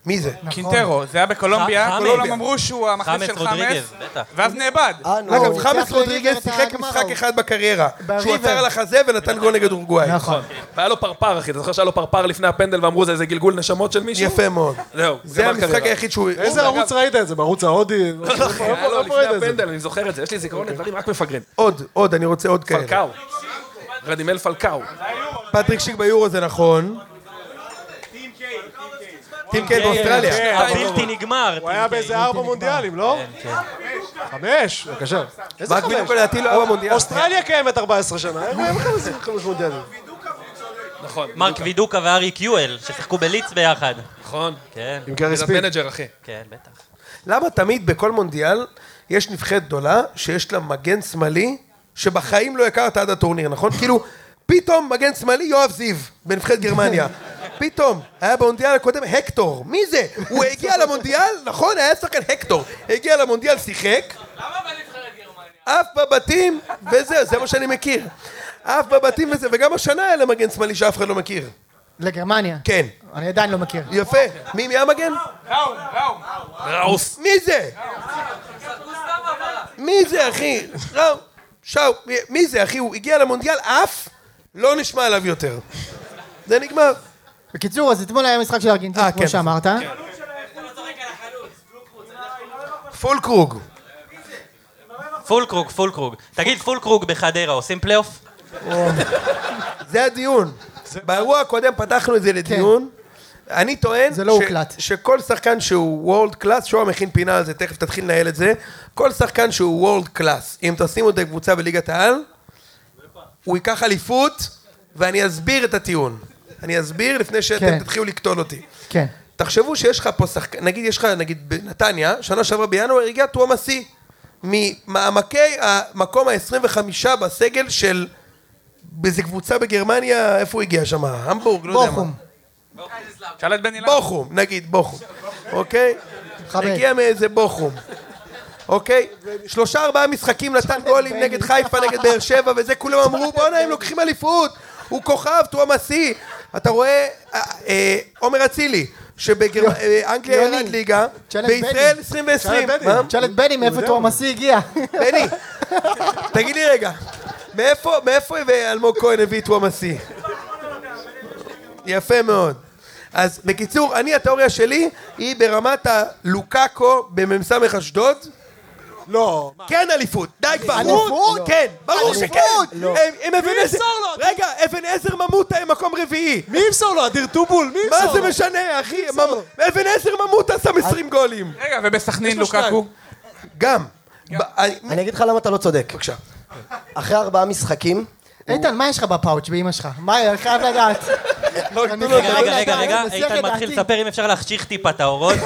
[SPEAKER 1] מי זה?
[SPEAKER 2] כן.
[SPEAKER 7] קינטרו, זה היה
[SPEAKER 3] ח-
[SPEAKER 7] בקולומביה, כולם
[SPEAKER 1] חמד.
[SPEAKER 7] אמרו שהוא המחליף
[SPEAKER 3] חמאס
[SPEAKER 7] של
[SPEAKER 3] רודריגז,
[SPEAKER 7] חמאס,
[SPEAKER 3] בטח.
[SPEAKER 7] ואז נאבד.
[SPEAKER 6] אה, נו.
[SPEAKER 1] אגב, חמאס
[SPEAKER 2] ניצח את
[SPEAKER 1] רודריגז
[SPEAKER 2] ליגר
[SPEAKER 1] שיחק
[SPEAKER 2] את הגמר
[SPEAKER 1] משחק
[SPEAKER 2] ההוא.
[SPEAKER 1] אחד בקריירה, שהוא
[SPEAKER 2] בריבר.
[SPEAKER 1] עצר על החזה ונתן גול נגד אורוגוואי.
[SPEAKER 2] נכון.
[SPEAKER 5] והיה לו פרפר, אחי, אתה זוכר שהיה לו פרפר לפני הפנדל ואמרו זה איזה גלגול נשמות של מישהו?
[SPEAKER 1] יפה מאוד.
[SPEAKER 5] זהו,
[SPEAKER 1] זה
[SPEAKER 5] בר
[SPEAKER 1] המשחק
[SPEAKER 5] קריירה.
[SPEAKER 1] היחיד שהוא...
[SPEAKER 4] איזה ערוץ ראית את זה? בערוץ ההודי? לא
[SPEAKER 5] לא, אוקיי, היה
[SPEAKER 4] איפה
[SPEAKER 5] לו
[SPEAKER 4] איפה
[SPEAKER 5] לפני
[SPEAKER 4] ראית את זה?
[SPEAKER 5] הפנדל, אני זוכר את זה, יש לי זיכרון לדברים רק מפגרים.
[SPEAKER 1] עוד, עוד, אני רוצה עוד כאלה.
[SPEAKER 5] פלקאו. רדימל פלקאו.
[SPEAKER 1] פטריק שיק ביורו זה נכון. טים קיי באוסטרליה.
[SPEAKER 4] כן,
[SPEAKER 3] הבלתי נגמר.
[SPEAKER 4] הוא היה באיזה ארבע מונדיאלים, לא? חמש, בבקשה. איזה
[SPEAKER 1] רק
[SPEAKER 4] חמש?
[SPEAKER 1] בדיוק לדעתי לא היה במונדיאל.
[SPEAKER 4] אוסטרליה קיימת 14 שנה, אה, איך הם חמש- חמש מונדיאלים?
[SPEAKER 5] נכון,
[SPEAKER 3] מרק וידוקה וארי קיואל, ששיחקו בליץ ביחד.
[SPEAKER 5] נכון.
[SPEAKER 3] כן,
[SPEAKER 4] עם גארי
[SPEAKER 5] זה
[SPEAKER 4] ספיד.
[SPEAKER 5] מנג'ר, אחי.
[SPEAKER 3] כן, בטח.
[SPEAKER 1] למה תמיד בכל מונדיאל יש נבחרת גדולה שיש לה מגן שמאלי שבחיים לא הכרת עד הטורניר, נכון? כאילו, פתאום מגן שמאלי יואב זיו בנבחרת גרמניה. פתאום, היה במונדיאל הקודם הקטור, מי זה? הוא הגיע למונדיאל, נכון? היה שחקן הקטור. הגיע למונדיאל, שיחק. עף בבתים, וזהו, זה מה שאני מכיר. עף בבתים וזה, וגם השנה היה למגן שמאלי שאף אחד לא מכיר.
[SPEAKER 2] לגרמניה.
[SPEAKER 1] כן.
[SPEAKER 2] אני עדיין לא מכיר.
[SPEAKER 1] יפה. מי, מי המגן?
[SPEAKER 5] ראוס.
[SPEAKER 1] מי זה? מי זה, אחי? ראו, שאו, מי- מי זה, אחי? הוא הגיע למונדיאל, עף, לא נשמע עליו יותר. זה נגמר.
[SPEAKER 2] בקיצור, אז אתמול היה משחק של ארגנטינה,
[SPEAKER 1] אה, כן.
[SPEAKER 2] כמו שאמרת.
[SPEAKER 1] פול קרוג.
[SPEAKER 3] פולקרוג, פולקרוג. תגיד, פולקרוג בחדרה עושים פלייאוף?
[SPEAKER 1] זה הדיון. באירוע הקודם פתחנו את זה לדיון. אני טוען
[SPEAKER 2] כן. זה לא
[SPEAKER 1] ש-
[SPEAKER 2] הוקלט.
[SPEAKER 1] שכל שחקן שהוא וורלד קלאס, שואה מכין פינה על זה, תכף תתחיל לנהל את זה, כל שחקן שהוא וורלד קלאס, אם תשימו את הקבוצה בליגת העל, הוא ייקח אליפות, ואני אסביר את הטיעון. אני אסביר לפני שאתם
[SPEAKER 2] כן.
[SPEAKER 1] תתחילו לקטול אותי.
[SPEAKER 2] כן.
[SPEAKER 1] לא תחשבו שיש לך פה שחקן, נגיד יש לך, נגיד בנתניה, שנה שעברה בינואר הגיע תואם השיא, ממעמקי המקום ה-25 בסגל של באיזה קבוצה בגרמניה, איפה הוא הגיע שם? המבורג, לא יודע מה.
[SPEAKER 2] בוכום.
[SPEAKER 7] שאל את בני לאו.
[SPEAKER 1] בוכום, נגיד בוכום, אוקיי?
[SPEAKER 2] מכבד.
[SPEAKER 1] הגיע מאיזה בוכום, אוקיי? שלושה ארבעה משחקים נתן גולים נגד חיפה, נגד באר שבע וזה, כולם אמרו בואנה הם לוקחים אליפות, הוא כוכב, תואם השיא. אתה רואה, אה, אה, עומר אצילי, שבאנגליה
[SPEAKER 2] יוני.
[SPEAKER 1] ירד ליגה,
[SPEAKER 2] תשאל את
[SPEAKER 1] בישראל 20 ו-20.
[SPEAKER 4] בני.
[SPEAKER 2] תשאל את בני מאיפה תור המסי הגיע.
[SPEAKER 1] בני, תגיד לי רגע, מאיפה, מאיפה אלמוג כהן הביא את וואם השיא? יפה מאוד. אז בקיצור, אני, התיאוריה שלי היא ברמת הלוקאקו במ"ס אשדוד.
[SPEAKER 4] לא.
[SPEAKER 1] כן אליפות, די כבר.
[SPEAKER 2] אליפות?
[SPEAKER 1] כן, ברור שכן.
[SPEAKER 2] לא.
[SPEAKER 1] הם- הם אבן עזר...
[SPEAKER 4] ימסור לו?
[SPEAKER 1] רגע, אבן עזר ממוטה הם מקום רביעי.
[SPEAKER 4] מי ימסור לו? אדיר טובול? מי ימסור
[SPEAKER 1] מה
[SPEAKER 4] לו?
[SPEAKER 1] זה משנה, אחי?
[SPEAKER 4] ימסור לו?
[SPEAKER 1] ממ- אבן עזר ממוטה שם 20 גולים.
[SPEAKER 7] רגע, ובסכנין לוקקו.
[SPEAKER 1] גם. ב- אני-
[SPEAKER 6] אני אגיד לך למה אתה לא צודק.
[SPEAKER 1] בבקשה.
[SPEAKER 6] אחרי ארבעה משחקים,
[SPEAKER 2] איתן, מה יש לך בפאוץ' באמא שלך? מה, אני חייב לדעת.
[SPEAKER 1] לא,
[SPEAKER 2] אני
[SPEAKER 3] רגע,
[SPEAKER 2] חייב
[SPEAKER 3] רגע, רגע,
[SPEAKER 2] לדעת,
[SPEAKER 3] רגע,
[SPEAKER 2] אני מסיח
[SPEAKER 3] איתן
[SPEAKER 2] את
[SPEAKER 3] מתחיל
[SPEAKER 2] דעתי.
[SPEAKER 3] לספר אם אפשר להחשיך טיפה את האורות,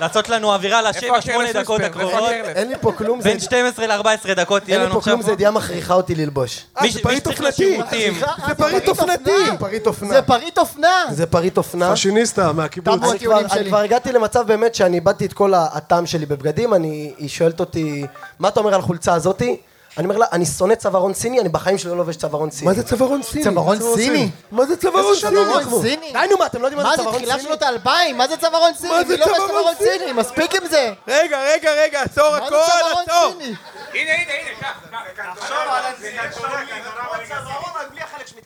[SPEAKER 3] לעשות לנו אווירה
[SPEAKER 7] איפה
[SPEAKER 3] לשבע, שמונה
[SPEAKER 7] הקרלס
[SPEAKER 3] דקות
[SPEAKER 7] ווספר? איפה
[SPEAKER 3] הקרובות,
[SPEAKER 7] הקרלס?
[SPEAKER 6] אין לי פה כלום, זה-
[SPEAKER 3] בין 12 ל-14 דקות תהיה
[SPEAKER 6] אין לי
[SPEAKER 3] לנו
[SPEAKER 6] פה
[SPEAKER 3] עכשיו.
[SPEAKER 6] כלום, זה ידיעה מכריחה אותי ללבוש.
[SPEAKER 1] אה,
[SPEAKER 3] מי-
[SPEAKER 1] זה
[SPEAKER 3] מי
[SPEAKER 1] פריט
[SPEAKER 3] שצריך
[SPEAKER 1] אופנתי.
[SPEAKER 3] לשירותים?
[SPEAKER 2] סליחה, אה,
[SPEAKER 1] זה פריט אופנתי.
[SPEAKER 6] פריט אופנה.
[SPEAKER 2] זה פריט אופנה.
[SPEAKER 6] זה פריט אופנה.
[SPEAKER 4] פאשיניסטה מהקיבוץ.
[SPEAKER 2] תעבור.
[SPEAKER 6] אני כבר,
[SPEAKER 2] הטיעונים
[SPEAKER 6] אני
[SPEAKER 2] שלי.
[SPEAKER 6] כבר הגעתי למצב באמת שאני איבדתי את כל הטעם שלי בבגדים, אני, היא שואלת אותי, מה אתה אומר על החולצה הזאתי? אני אומר לה, אני שונא צווארון סיני, אני בחיים שלי לא לובש צווארון סיני.
[SPEAKER 1] מה זה צווארון סיני?
[SPEAKER 2] צווארון סיני?
[SPEAKER 1] מה זה צווארון סיני?
[SPEAKER 2] צווארון סיני?
[SPEAKER 6] די נו מה, אתם לא יודעים מה
[SPEAKER 2] מה זה
[SPEAKER 6] זה צווארון סיני?
[SPEAKER 2] תחילה שנות האלפיים? מה זה צווארון סיני?
[SPEAKER 1] מה זה
[SPEAKER 2] מי לא
[SPEAKER 1] צווארון
[SPEAKER 2] צווארון
[SPEAKER 1] סיני?
[SPEAKER 2] סיני? מספיק עם זה.
[SPEAKER 1] רגע, רגע, רגע, עצור
[SPEAKER 2] מה
[SPEAKER 1] הכל,
[SPEAKER 2] זה צווארון
[SPEAKER 1] עצור.
[SPEAKER 2] סיני?
[SPEAKER 7] הנה, הנה, הנה, קח.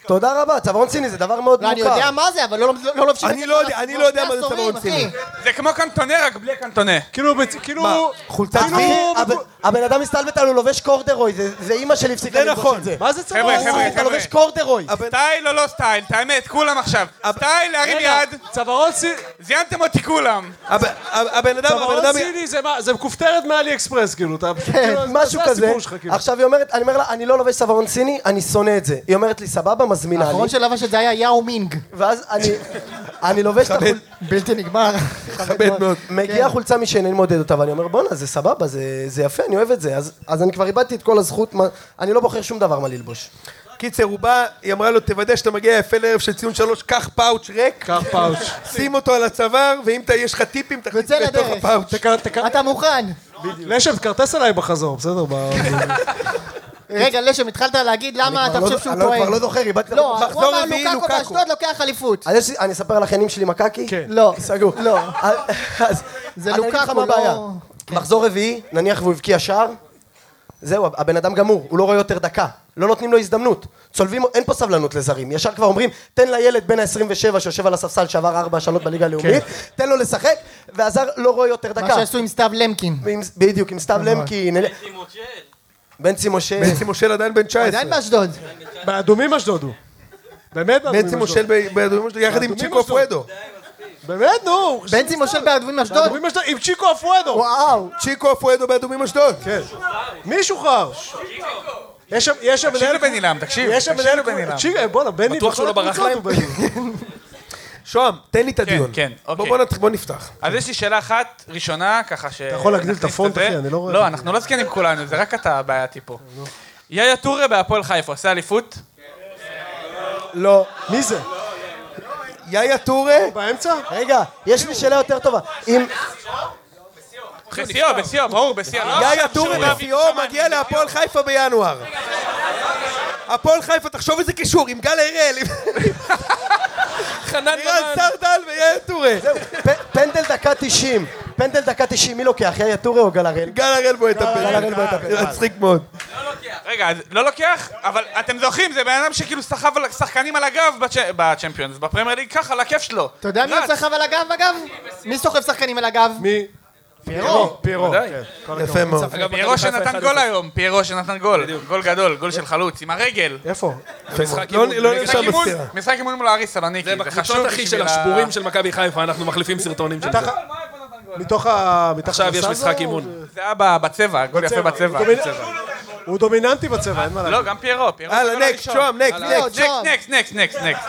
[SPEAKER 6] תודה רבה, צווארון סיני זה דבר מאוד
[SPEAKER 2] לא, אני
[SPEAKER 6] מוכר.
[SPEAKER 2] יודע מה זה, אבל לא לא- לא לובשים את
[SPEAKER 1] אני
[SPEAKER 2] זה
[SPEAKER 1] לא יודע-
[SPEAKER 2] כבר
[SPEAKER 1] אני לא יודע
[SPEAKER 2] שני
[SPEAKER 1] מה זה צווארון
[SPEAKER 2] עשורים, אחי.
[SPEAKER 1] סיני.
[SPEAKER 7] זה כמו קנטונה, רק בלי קנטונה.
[SPEAKER 4] כאילו, בצ- כאילו...
[SPEAKER 1] מה, חולצת
[SPEAKER 6] אחי,
[SPEAKER 1] סיני?
[SPEAKER 6] הבן- הבן אדם מסתלבט עליו, הוא לובש קורדרוי, זה זה אימא שלי הפסיקה
[SPEAKER 1] זה
[SPEAKER 6] לבדוק
[SPEAKER 1] נכון.
[SPEAKER 6] את זה.
[SPEAKER 1] מה זה צווארון?
[SPEAKER 7] חבר'ה,
[SPEAKER 6] אחי,
[SPEAKER 7] חבר'ה,
[SPEAKER 6] אתה
[SPEAKER 7] חבר'ה.
[SPEAKER 6] לובש קורדרוי.
[SPEAKER 7] סטייל או לא סטייל? את האמת, כולם עכשיו. סטייל, להרים יד.
[SPEAKER 4] צווארון סיני...
[SPEAKER 7] זיינתם אותי כולם.
[SPEAKER 1] הב- הב- הבן אדם, הבן
[SPEAKER 4] צווארון
[SPEAKER 1] אדם...
[SPEAKER 4] סיני זה מה? זה מכופתרת מאלי אקספרס, כאילו, אתה פשוט... כאילו, זה-
[SPEAKER 6] כן, משהו
[SPEAKER 4] זה
[SPEAKER 6] כזה.
[SPEAKER 4] הסיפור שלך, כאילו.
[SPEAKER 6] עכשיו היא אומרת, אני אומר לה, אני לא לובש צווארון סיני, אני שונא את זה. היא אומרת לי, סבבה, מזמינה לי.
[SPEAKER 2] האחרון נכון שלבש את זה היה יאו מינג.
[SPEAKER 6] ואז אני, אני לובש את החולצה,
[SPEAKER 2] בלתי נגמר.
[SPEAKER 1] מכבד מאוד.
[SPEAKER 2] כן.
[SPEAKER 6] מגיעה חולצה משאינני מודד אותה, ואני אומר, בואנה, זה סבבה, זה, זה יפה, אני אוהב את זה. אז, אז אני כבר איבדתי את כל הזכות, מה, אני לא בוחר שום דבר מה ללבוש.
[SPEAKER 1] קיצר, הוא בא, היא אמרה לו, תוודא שאתה מגיע יפה לערב של ציון שלוש, קח פאוץ' ריק,
[SPEAKER 4] קח פאוץ'.
[SPEAKER 1] [LAUGHS] שים אותו על הצוואר, ואם אתה- יש לך טיפים, תכניס
[SPEAKER 2] וצא
[SPEAKER 1] בתוך
[SPEAKER 2] לדרך.
[SPEAKER 1] הפאוץ'.
[SPEAKER 4] תק- תק-
[SPEAKER 2] אתה מוכן.
[SPEAKER 4] לשם, תקרטס עליי בחזור, בסדר? ב-
[SPEAKER 2] רגע, לשם, התחלת להגיד למה אתה
[SPEAKER 6] כבר
[SPEAKER 2] חושב
[SPEAKER 6] לא-
[SPEAKER 2] שהוא
[SPEAKER 6] אני לא-
[SPEAKER 2] טועה.
[SPEAKER 6] כבר לא זוכר, איבדתי...
[SPEAKER 2] לא, הוא
[SPEAKER 1] מחזור
[SPEAKER 2] אמר
[SPEAKER 1] רביעי,
[SPEAKER 2] לוקאקו
[SPEAKER 1] לוקאקו.
[SPEAKER 2] באשדוד לוקח אליפות.
[SPEAKER 6] אז יש, אני אספר לך עניינים שלי מקקי?
[SPEAKER 4] כן.
[SPEAKER 2] לא.
[SPEAKER 6] סגור.
[SPEAKER 2] לא.
[SPEAKER 6] אז,
[SPEAKER 2] זה
[SPEAKER 6] אני אגיד לך
[SPEAKER 2] לוקאקו,
[SPEAKER 6] מה הבעיה. כן.
[SPEAKER 2] לא-
[SPEAKER 6] מחזור רביעי, נניח והוא הבקיע שער, זהו, הבן אדם גמור, הוא לא רואה יותר דקה. לא נותנים לו הזדמנות. צולבים, אין פה סבלנות לזרים. ישר כבר אומרים, תן לילד בן ה-27 שיושב על הספסל שעבר ארבע השאלות בליגה הלאומית, תן לו לשחק, והזר לא רואה יותר
[SPEAKER 2] מה
[SPEAKER 6] דקה.
[SPEAKER 2] שעשו עם סתיו למקין.
[SPEAKER 6] ועם- בדיוק, עם סתיו למקין, אל- בנצי משה.
[SPEAKER 1] בנצי מושל עדיין בן 19.
[SPEAKER 2] עדיין לא- באשדוד.
[SPEAKER 4] באדומים אשדוד הוא. באמת באדומים
[SPEAKER 1] בנצי
[SPEAKER 4] אשדוד.
[SPEAKER 1] מושל ב- באדומים שלו, יחד עם
[SPEAKER 4] לא- באדומים
[SPEAKER 1] צ'יקו
[SPEAKER 4] אשדוד.
[SPEAKER 1] פואדו.
[SPEAKER 4] באמת, נו. הוא-
[SPEAKER 2] בנצי מושל באדומים אשדוד.
[SPEAKER 4] באדומים אשדוד, עם צ'יקו אפואדו.
[SPEAKER 2] וואו.
[SPEAKER 1] צ'יקו פואדו באדומים אשדוד.
[SPEAKER 4] כן. מי שוחרר? יש שם, יש שם
[SPEAKER 7] תקשיב
[SPEAKER 4] מנהל...
[SPEAKER 7] לבן עילם, תקשיב.
[SPEAKER 4] יש שם
[SPEAKER 7] תקשיב
[SPEAKER 4] מנהל...
[SPEAKER 7] לבן עילם.
[SPEAKER 4] צ'יקו, בואנה, בני...
[SPEAKER 5] בטוח
[SPEAKER 4] בכל
[SPEAKER 5] שהוא לא ברח
[SPEAKER 4] הקבוצות
[SPEAKER 5] להם?
[SPEAKER 4] הוא בני.
[SPEAKER 1] שוהם, תן לי את הדיון.
[SPEAKER 7] כן,
[SPEAKER 1] בוא-
[SPEAKER 7] אוקיי.
[SPEAKER 1] בוא נתחיל, בוא נפתח.
[SPEAKER 7] אז יש לי שאלה אחת ראשונה, ככה ש... אתה
[SPEAKER 4] יכול להגדיל את הפונט, אחי? אני לא רואה. לא.
[SPEAKER 7] לא, אנחנו לא זקנים כולנו, זה רק אתה הבעייתי פה. יאיה טורה בהפועל חיפה, עושה אליפות?
[SPEAKER 6] לא.
[SPEAKER 4] מי זה?
[SPEAKER 1] יאיה טורה,
[SPEAKER 4] באמצע?
[SPEAKER 6] רגע, יש לי שאלה יותר טובה. אם...
[SPEAKER 7] בשיאו, בשיאו, ברור, בשיאו. לא
[SPEAKER 1] יאיה
[SPEAKER 4] אה,
[SPEAKER 7] עכשיו, שהוא
[SPEAKER 1] טורה
[SPEAKER 7] יביא-
[SPEAKER 1] בשיאו מגיע להפועל חיפה בינואר. הפועל חיפה, תחשוב איזה קישור, עם גל
[SPEAKER 4] [LAUGHS]
[SPEAKER 1] הראל, עם
[SPEAKER 5] חנן
[SPEAKER 1] לירן סרדל ויאיה טורה.
[SPEAKER 6] פ- פנדל דקה 90. פנדל דקה 90, מי לוקח? יאיה טורי או גל הראל?
[SPEAKER 1] גל הראל בועט את
[SPEAKER 6] גל הראל בועט את
[SPEAKER 1] הפרק.
[SPEAKER 6] הפרק.
[SPEAKER 1] מצחיק מאוד.
[SPEAKER 7] רגע, אז לא לוקח, אבל אתם זוכרים, זה בן אדם שכאילו סחב על- שחקנים על הגב בצ'- בצ'מפיונס, בפרמייר ליג ככה, לכיף שלו. לא,
[SPEAKER 2] אתה יודע מי
[SPEAKER 7] רץ.
[SPEAKER 2] עוד סחב על הגב אגב? מי סוחב שחקנים על הגב?
[SPEAKER 4] מי?
[SPEAKER 2] פיירו.
[SPEAKER 4] פיירו.
[SPEAKER 5] ודאי.
[SPEAKER 4] כן.
[SPEAKER 1] יפה מאוד.
[SPEAKER 7] אגב, פיירו שנתן גול היום, פיירו שנתן גול. גול גדול, גול של חלוץ, עם הרגל.
[SPEAKER 4] איפה?
[SPEAKER 5] משחק
[SPEAKER 1] לא-
[SPEAKER 5] אימון.
[SPEAKER 1] לא
[SPEAKER 5] זה
[SPEAKER 1] נרשם
[SPEAKER 7] משחק אימון-
[SPEAKER 1] בסטירה.
[SPEAKER 7] משחק אימון מול הארי סלוניקי,
[SPEAKER 5] זה
[SPEAKER 7] זה חשוב
[SPEAKER 5] בקבוצות אחי של
[SPEAKER 7] בשביל ה-
[SPEAKER 5] השבורים של מכבי חיפה, אנחנו מחליפים סרטונים של זה.
[SPEAKER 4] מתוך ה... מתחת
[SPEAKER 5] עכשיו יש
[SPEAKER 4] לסל
[SPEAKER 5] משחק
[SPEAKER 4] זה?
[SPEAKER 5] אימון.
[SPEAKER 7] זה היה ב- בצבע, גול יפה
[SPEAKER 4] בצבע.
[SPEAKER 7] בצבע.
[SPEAKER 4] הוא דומינ-
[SPEAKER 7] בצבע.
[SPEAKER 4] הוא דומיננטי בצבע, אין מה להגיד.
[SPEAKER 7] לא, גם פיירו, פיירו.
[SPEAKER 1] הלאה, נקסט, שוהם, נקסט, נקסט.
[SPEAKER 7] נקסט, נקסט, נקסט, נקסט, נקסט.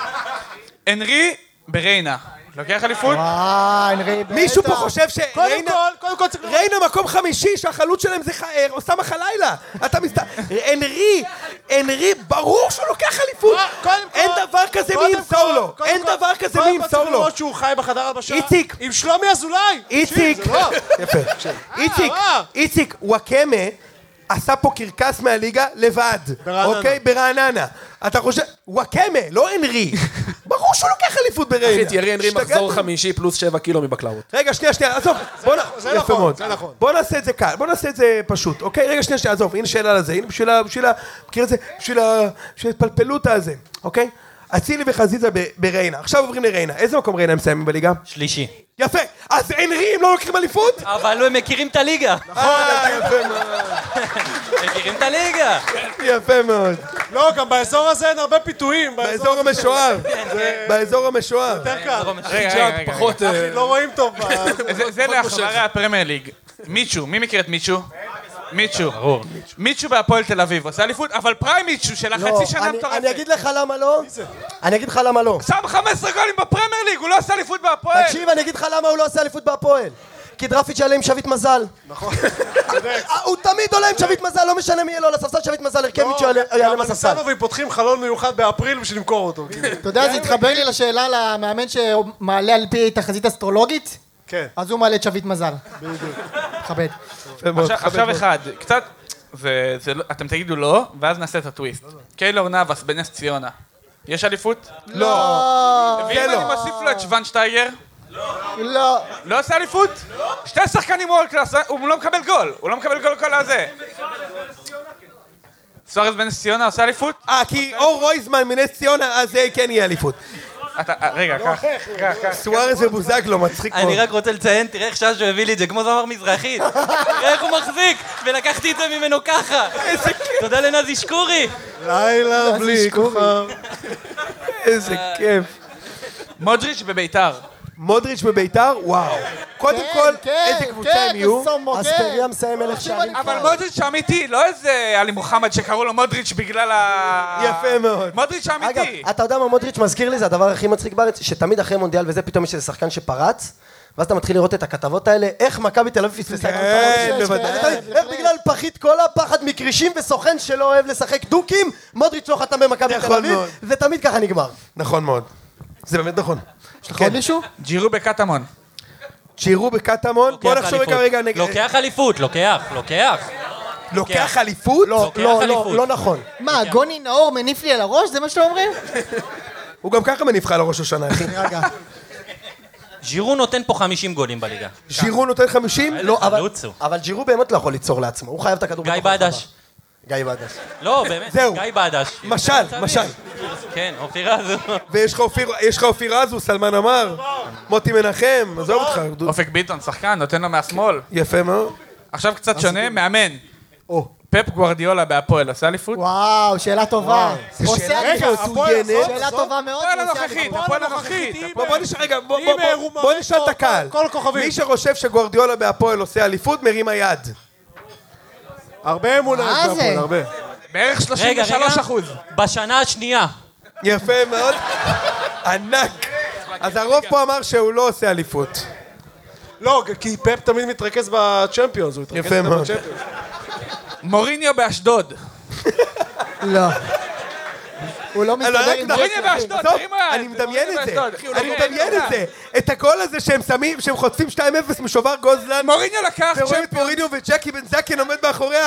[SPEAKER 7] הנרי בריינה. לוקח אליפות?
[SPEAKER 2] אה, הנרי בטח.
[SPEAKER 1] מישהו פה חושב ש...
[SPEAKER 4] קודם
[SPEAKER 1] ריינה-
[SPEAKER 4] כל, קודם כל צריך...
[SPEAKER 1] ריינה מקום חמישי שהחלוץ שלהם זה ח- אה, אוסאמה חלילה. אתה מסת... הנרי, הנרי, ברור שהוא לוקח אליפות.
[SPEAKER 4] קודם כל-
[SPEAKER 1] אין דבר כזה מי
[SPEAKER 4] קודם
[SPEAKER 1] ימסור
[SPEAKER 4] כל-
[SPEAKER 1] לו.
[SPEAKER 4] קודם
[SPEAKER 1] אין
[SPEAKER 4] כל-
[SPEAKER 1] דבר כזה מי
[SPEAKER 4] קודם כל
[SPEAKER 1] ימסור
[SPEAKER 4] צריך
[SPEAKER 1] לו.
[SPEAKER 4] לראות שהוא חי בחדר הלבשה.
[SPEAKER 1] איציק.
[SPEAKER 4] עם שלומי אזולאי.
[SPEAKER 1] איציק,
[SPEAKER 4] תקשיב, זה לא-
[SPEAKER 1] יפה. איציק,
[SPEAKER 4] אה.
[SPEAKER 1] איציק, וואקמה עשה פה קרקס מהליגה לבד.
[SPEAKER 4] ברעננה.
[SPEAKER 1] אוקיי? ברעננה. אתה חושב... וואקמה, לא
[SPEAKER 4] [LAUGHS]
[SPEAKER 1] הנרי. ברור שהוא לוקח אליפות בריינה.
[SPEAKER 5] אחי, את ירי הנרי
[SPEAKER 1] השתגעתם?
[SPEAKER 5] מחזור חמישי פלוס שבע קילו מבקלאות.
[SPEAKER 1] רגע, שנייה, שנייה, עזוב. בוא נ...
[SPEAKER 4] זה
[SPEAKER 1] יפה
[SPEAKER 4] נכון,
[SPEAKER 1] מאוד.
[SPEAKER 4] זה נכון.
[SPEAKER 1] בוא נעשה את זה קל, בוא נעשה את זה פשוט. אוקיי, רגע, שנייה, שנייה, עזוב. הנה שאלה לזה, הנה בשביל ה... בשביל ה... מכיר את זה? בשביל ה... בשביל ההתפלפלות הזה, אוקיי? אצילי וחזיזה ב- בריינה. עכשיו עוברים לריינה. איזה מקום ריינה הם מסיימים בליגה?
[SPEAKER 3] שלישי.
[SPEAKER 1] יפה. אז הנרי, הם לא לוקחים אליפות?
[SPEAKER 3] אבל הם מכירים את הליגה.
[SPEAKER 1] אה, יפה מאוד.
[SPEAKER 3] מכירים את הליגה.
[SPEAKER 1] יפה מאוד.
[SPEAKER 4] לא, גם באזור הזה אין הרבה פיתויים. באזור
[SPEAKER 1] באזור המשוער. באזור המשוער.
[SPEAKER 4] יותר קל.
[SPEAKER 7] רגע, רגע, רגע.
[SPEAKER 5] פחות... אה,
[SPEAKER 4] לא רואים טוב. ב-
[SPEAKER 7] זה- זה לאחרי הפרמייר ליג. מיצ'ו, מי מכיר את מיצ'ו? מיצ'ו. ברור. מיצ'ו בהפועל תל אביב, עושה אליפות, אבל פריים מיצ'ו של
[SPEAKER 6] לא,
[SPEAKER 7] החצי שנה
[SPEAKER 6] אני- אני
[SPEAKER 7] המטורפת.
[SPEAKER 6] אגיד לך למה לא. אני אגיד לך למה לא.
[SPEAKER 7] שם 15 גולים בפרמייר ליג, הוא לא עשה אליפות
[SPEAKER 1] אה.
[SPEAKER 7] בהפועל.
[SPEAKER 6] תקשיב, אני אגיד לך למה הוא לא עושה אליפות בהפועל. כי דרפיץ' יעלה עם שביט מזל. [LAUGHS] נכון. הוא תמיד עולה עם שביט מזל, לא משנה מי יהיה לו, לספסל שביט מזל,
[SPEAKER 4] לא,
[SPEAKER 6] הרכביץ' יעלה יעלה מהספסל.
[SPEAKER 4] סנובי פותחים חלון מיוחד באפריל בשביל למכור אותו. כאילו.
[SPEAKER 2] אתה יודע,
[SPEAKER 6] כן,
[SPEAKER 2] זה התחבר לי לשאלה למאמן שמעלה על פי תחזית אסטרולוגית?
[SPEAKER 4] כן.
[SPEAKER 2] אז הוא מעלה את שביט מזל. בדיוק. מכבד.
[SPEAKER 7] עכשיו- עכשיו אחד, קצת, זה- זה לא- אתם תגידו לא, ואז נעשה את הטוויסט. קיילור נאבס בנס ציונה. יש אליפות?
[SPEAKER 1] לא.
[SPEAKER 7] ואם אני מוסיף לו את שוונשטייגר?
[SPEAKER 2] לא.
[SPEAKER 7] לא עושה אליפות? שתי שחקנים וורלד קלאס, הוא לא מקבל גול, הוא לא מקבל גול כל הזה. סוארז בנס ציונה עושה אליפות?
[SPEAKER 1] אה, כי אור רויזמן מנס ציונה, אז אה, כן יהיה אליפות.
[SPEAKER 7] אתה, אה, רגע, קח, קח, קח.
[SPEAKER 1] סוארז ובוזגלו, מצחיק מאוד.
[SPEAKER 3] אני רק רוצה לציין, תראה איך ששו הביא לי את זה, כמו זמר מזרחי. תראה איך הוא מחזיק, ולקחתי את זה ממנו ככה. תודה לנזי שקורי.
[SPEAKER 4] לילה בלי כוכב.
[SPEAKER 1] איזה כיף.
[SPEAKER 7] מודריץ' בביתר.
[SPEAKER 1] מודריץ' בביתר, וואו.
[SPEAKER 3] כן,
[SPEAKER 1] קודם כל, איזה קבוצה הם יהיו?
[SPEAKER 6] אספריה מסיים אלף שערים.
[SPEAKER 7] אבל מודריץ' האמיתי, לא איזה עלי מוחמד שקראו לו מודריץ' בגלל ה...
[SPEAKER 1] יפה מאוד.
[SPEAKER 7] מודריץ'
[SPEAKER 6] אגב,
[SPEAKER 7] האמיתי.
[SPEAKER 6] אתה יודע מה מודריץ' מזכיר לי? זה הדבר הכי מצחיק בארץ, שתמיד אחרי מונדיאל וזה, פתאום יש איזה שחקן שפרץ, ואז אתה מתחיל לראות את הכתבות האלה, איך מכבי תל אביב פספסה את
[SPEAKER 1] כן,
[SPEAKER 6] המונדיאל.
[SPEAKER 1] בוודאי.
[SPEAKER 6] אתה יודע, איך בגלל פחית קולה, פחד מקרישים וסוכן שלא אוהב לשחק דוקים, מודריץ' לא חתם במכבי תל
[SPEAKER 1] נכון
[SPEAKER 6] אביב,
[SPEAKER 1] מאוד.
[SPEAKER 6] זה תמיד ככה נגמר.
[SPEAKER 1] נכון מאוד. זה באמת נכון.
[SPEAKER 2] יש לך עוד מישהו?
[SPEAKER 7] ג'ירו בקטמון.
[SPEAKER 1] צ'ירו בקטמון, בוא
[SPEAKER 3] לוקח
[SPEAKER 1] נחשוב
[SPEAKER 3] אליפות.
[SPEAKER 1] רגע רגע נגד...
[SPEAKER 3] לוקח אליפות, לוקח, לוקח.
[SPEAKER 1] לוקח אליפות?
[SPEAKER 6] לא,
[SPEAKER 3] לוקח
[SPEAKER 6] לא,
[SPEAKER 3] אליפות.
[SPEAKER 6] לא, לא נכון.
[SPEAKER 2] מה, גוני נאור מניף לי על הראש? זה מה שאתם אומרים?
[SPEAKER 1] הוא גם ככה מניף לך על הראש השנה, אחי.
[SPEAKER 2] רגע.
[SPEAKER 3] ז'ירו נותן פה 50 גולים בליגה.
[SPEAKER 1] ז'ירו נותן 50?
[SPEAKER 6] לא, אבל,
[SPEAKER 3] חלוץ הוא.
[SPEAKER 6] אבל ג'ירו באמת לא יכול ליצור לעצמו, הוא חייב את הכדור.
[SPEAKER 3] גיא
[SPEAKER 6] בתוך הרחבה.
[SPEAKER 3] בדש.
[SPEAKER 6] גיא בדש.
[SPEAKER 3] לא, באמת,
[SPEAKER 1] זהו.
[SPEAKER 3] גיא בדש.
[SPEAKER 1] משל, משל.
[SPEAKER 3] כן, אופיר רז.
[SPEAKER 1] ויש לך אופיר- יש לך אופיר אזו, סלמן עמאר, מוטי מנחם, עזוב אותך. דוד.
[SPEAKER 7] אופק ביטון, שחקן, נותן לו מהשמאל.
[SPEAKER 1] יפה מאוד.
[SPEAKER 7] עכשיו קצת שונה, מאמן. פפ גוורדיולה בהפועל עושה אליפות?
[SPEAKER 2] וואו, שאלה טובה. עושה
[SPEAKER 1] רגע,
[SPEAKER 2] אליפות.
[SPEAKER 1] הפועל הזאת?
[SPEAKER 2] שאלה טובה מאוד.
[SPEAKER 7] הפועל
[SPEAKER 2] הוא עושה
[SPEAKER 7] הנוכחית,
[SPEAKER 2] אליפות.
[SPEAKER 7] הפועל הנוכחית.
[SPEAKER 1] בוא בוא נשאל, רגע, בוא-
[SPEAKER 4] אם
[SPEAKER 1] בוא- בוא-
[SPEAKER 4] הוא
[SPEAKER 1] בוא
[SPEAKER 4] מראה
[SPEAKER 1] נשאל
[SPEAKER 4] כל-
[SPEAKER 1] את הקהל.
[SPEAKER 4] כל הכוכבים.
[SPEAKER 1] מי שחושב שגוורדיולה בהפועל עושה אליפות, מרים היד.
[SPEAKER 4] הרבה אמונה
[SPEAKER 2] מה
[SPEAKER 4] יש
[SPEAKER 2] זה?
[SPEAKER 4] בהפועל, הרבה.
[SPEAKER 7] בערך 33 אחוז.
[SPEAKER 3] בשנה השנייה.
[SPEAKER 1] יפה מאוד. ענק. אז הרוב פה אמר שהוא לא עושה אליפות.
[SPEAKER 4] לא, כי פפ תמיד מתרכז בצ'מפיונס, הוא התרכז
[SPEAKER 1] יפה
[SPEAKER 4] איתם
[SPEAKER 1] מאוד.
[SPEAKER 4] בצ'מפיונס.
[SPEAKER 7] מוריניו באשדוד.
[SPEAKER 3] נכון.
[SPEAKER 2] לא. הוא לא
[SPEAKER 1] לא,
[SPEAKER 2] מסתדר
[SPEAKER 1] רק
[SPEAKER 2] עם
[SPEAKER 1] נכון.
[SPEAKER 2] זה.
[SPEAKER 7] מוריניו באשדוד,
[SPEAKER 1] עזוב,
[SPEAKER 7] תרים היד.
[SPEAKER 1] אני מדמיין את
[SPEAKER 7] מוריניו באשדוד, אחי,
[SPEAKER 1] זה,
[SPEAKER 7] הוא לא
[SPEAKER 1] אני
[SPEAKER 7] מראה,
[SPEAKER 1] מדמיין
[SPEAKER 7] לא
[SPEAKER 1] את זה, את הגול הזה שהם שמים, שהם חוטפים 2-0 משובר גוזלן,
[SPEAKER 7] מוריניו לקח
[SPEAKER 1] ורואים את
[SPEAKER 7] צ'מפיון.
[SPEAKER 1] מוריניו וג'קי בן זקן עומד מאחורי ה-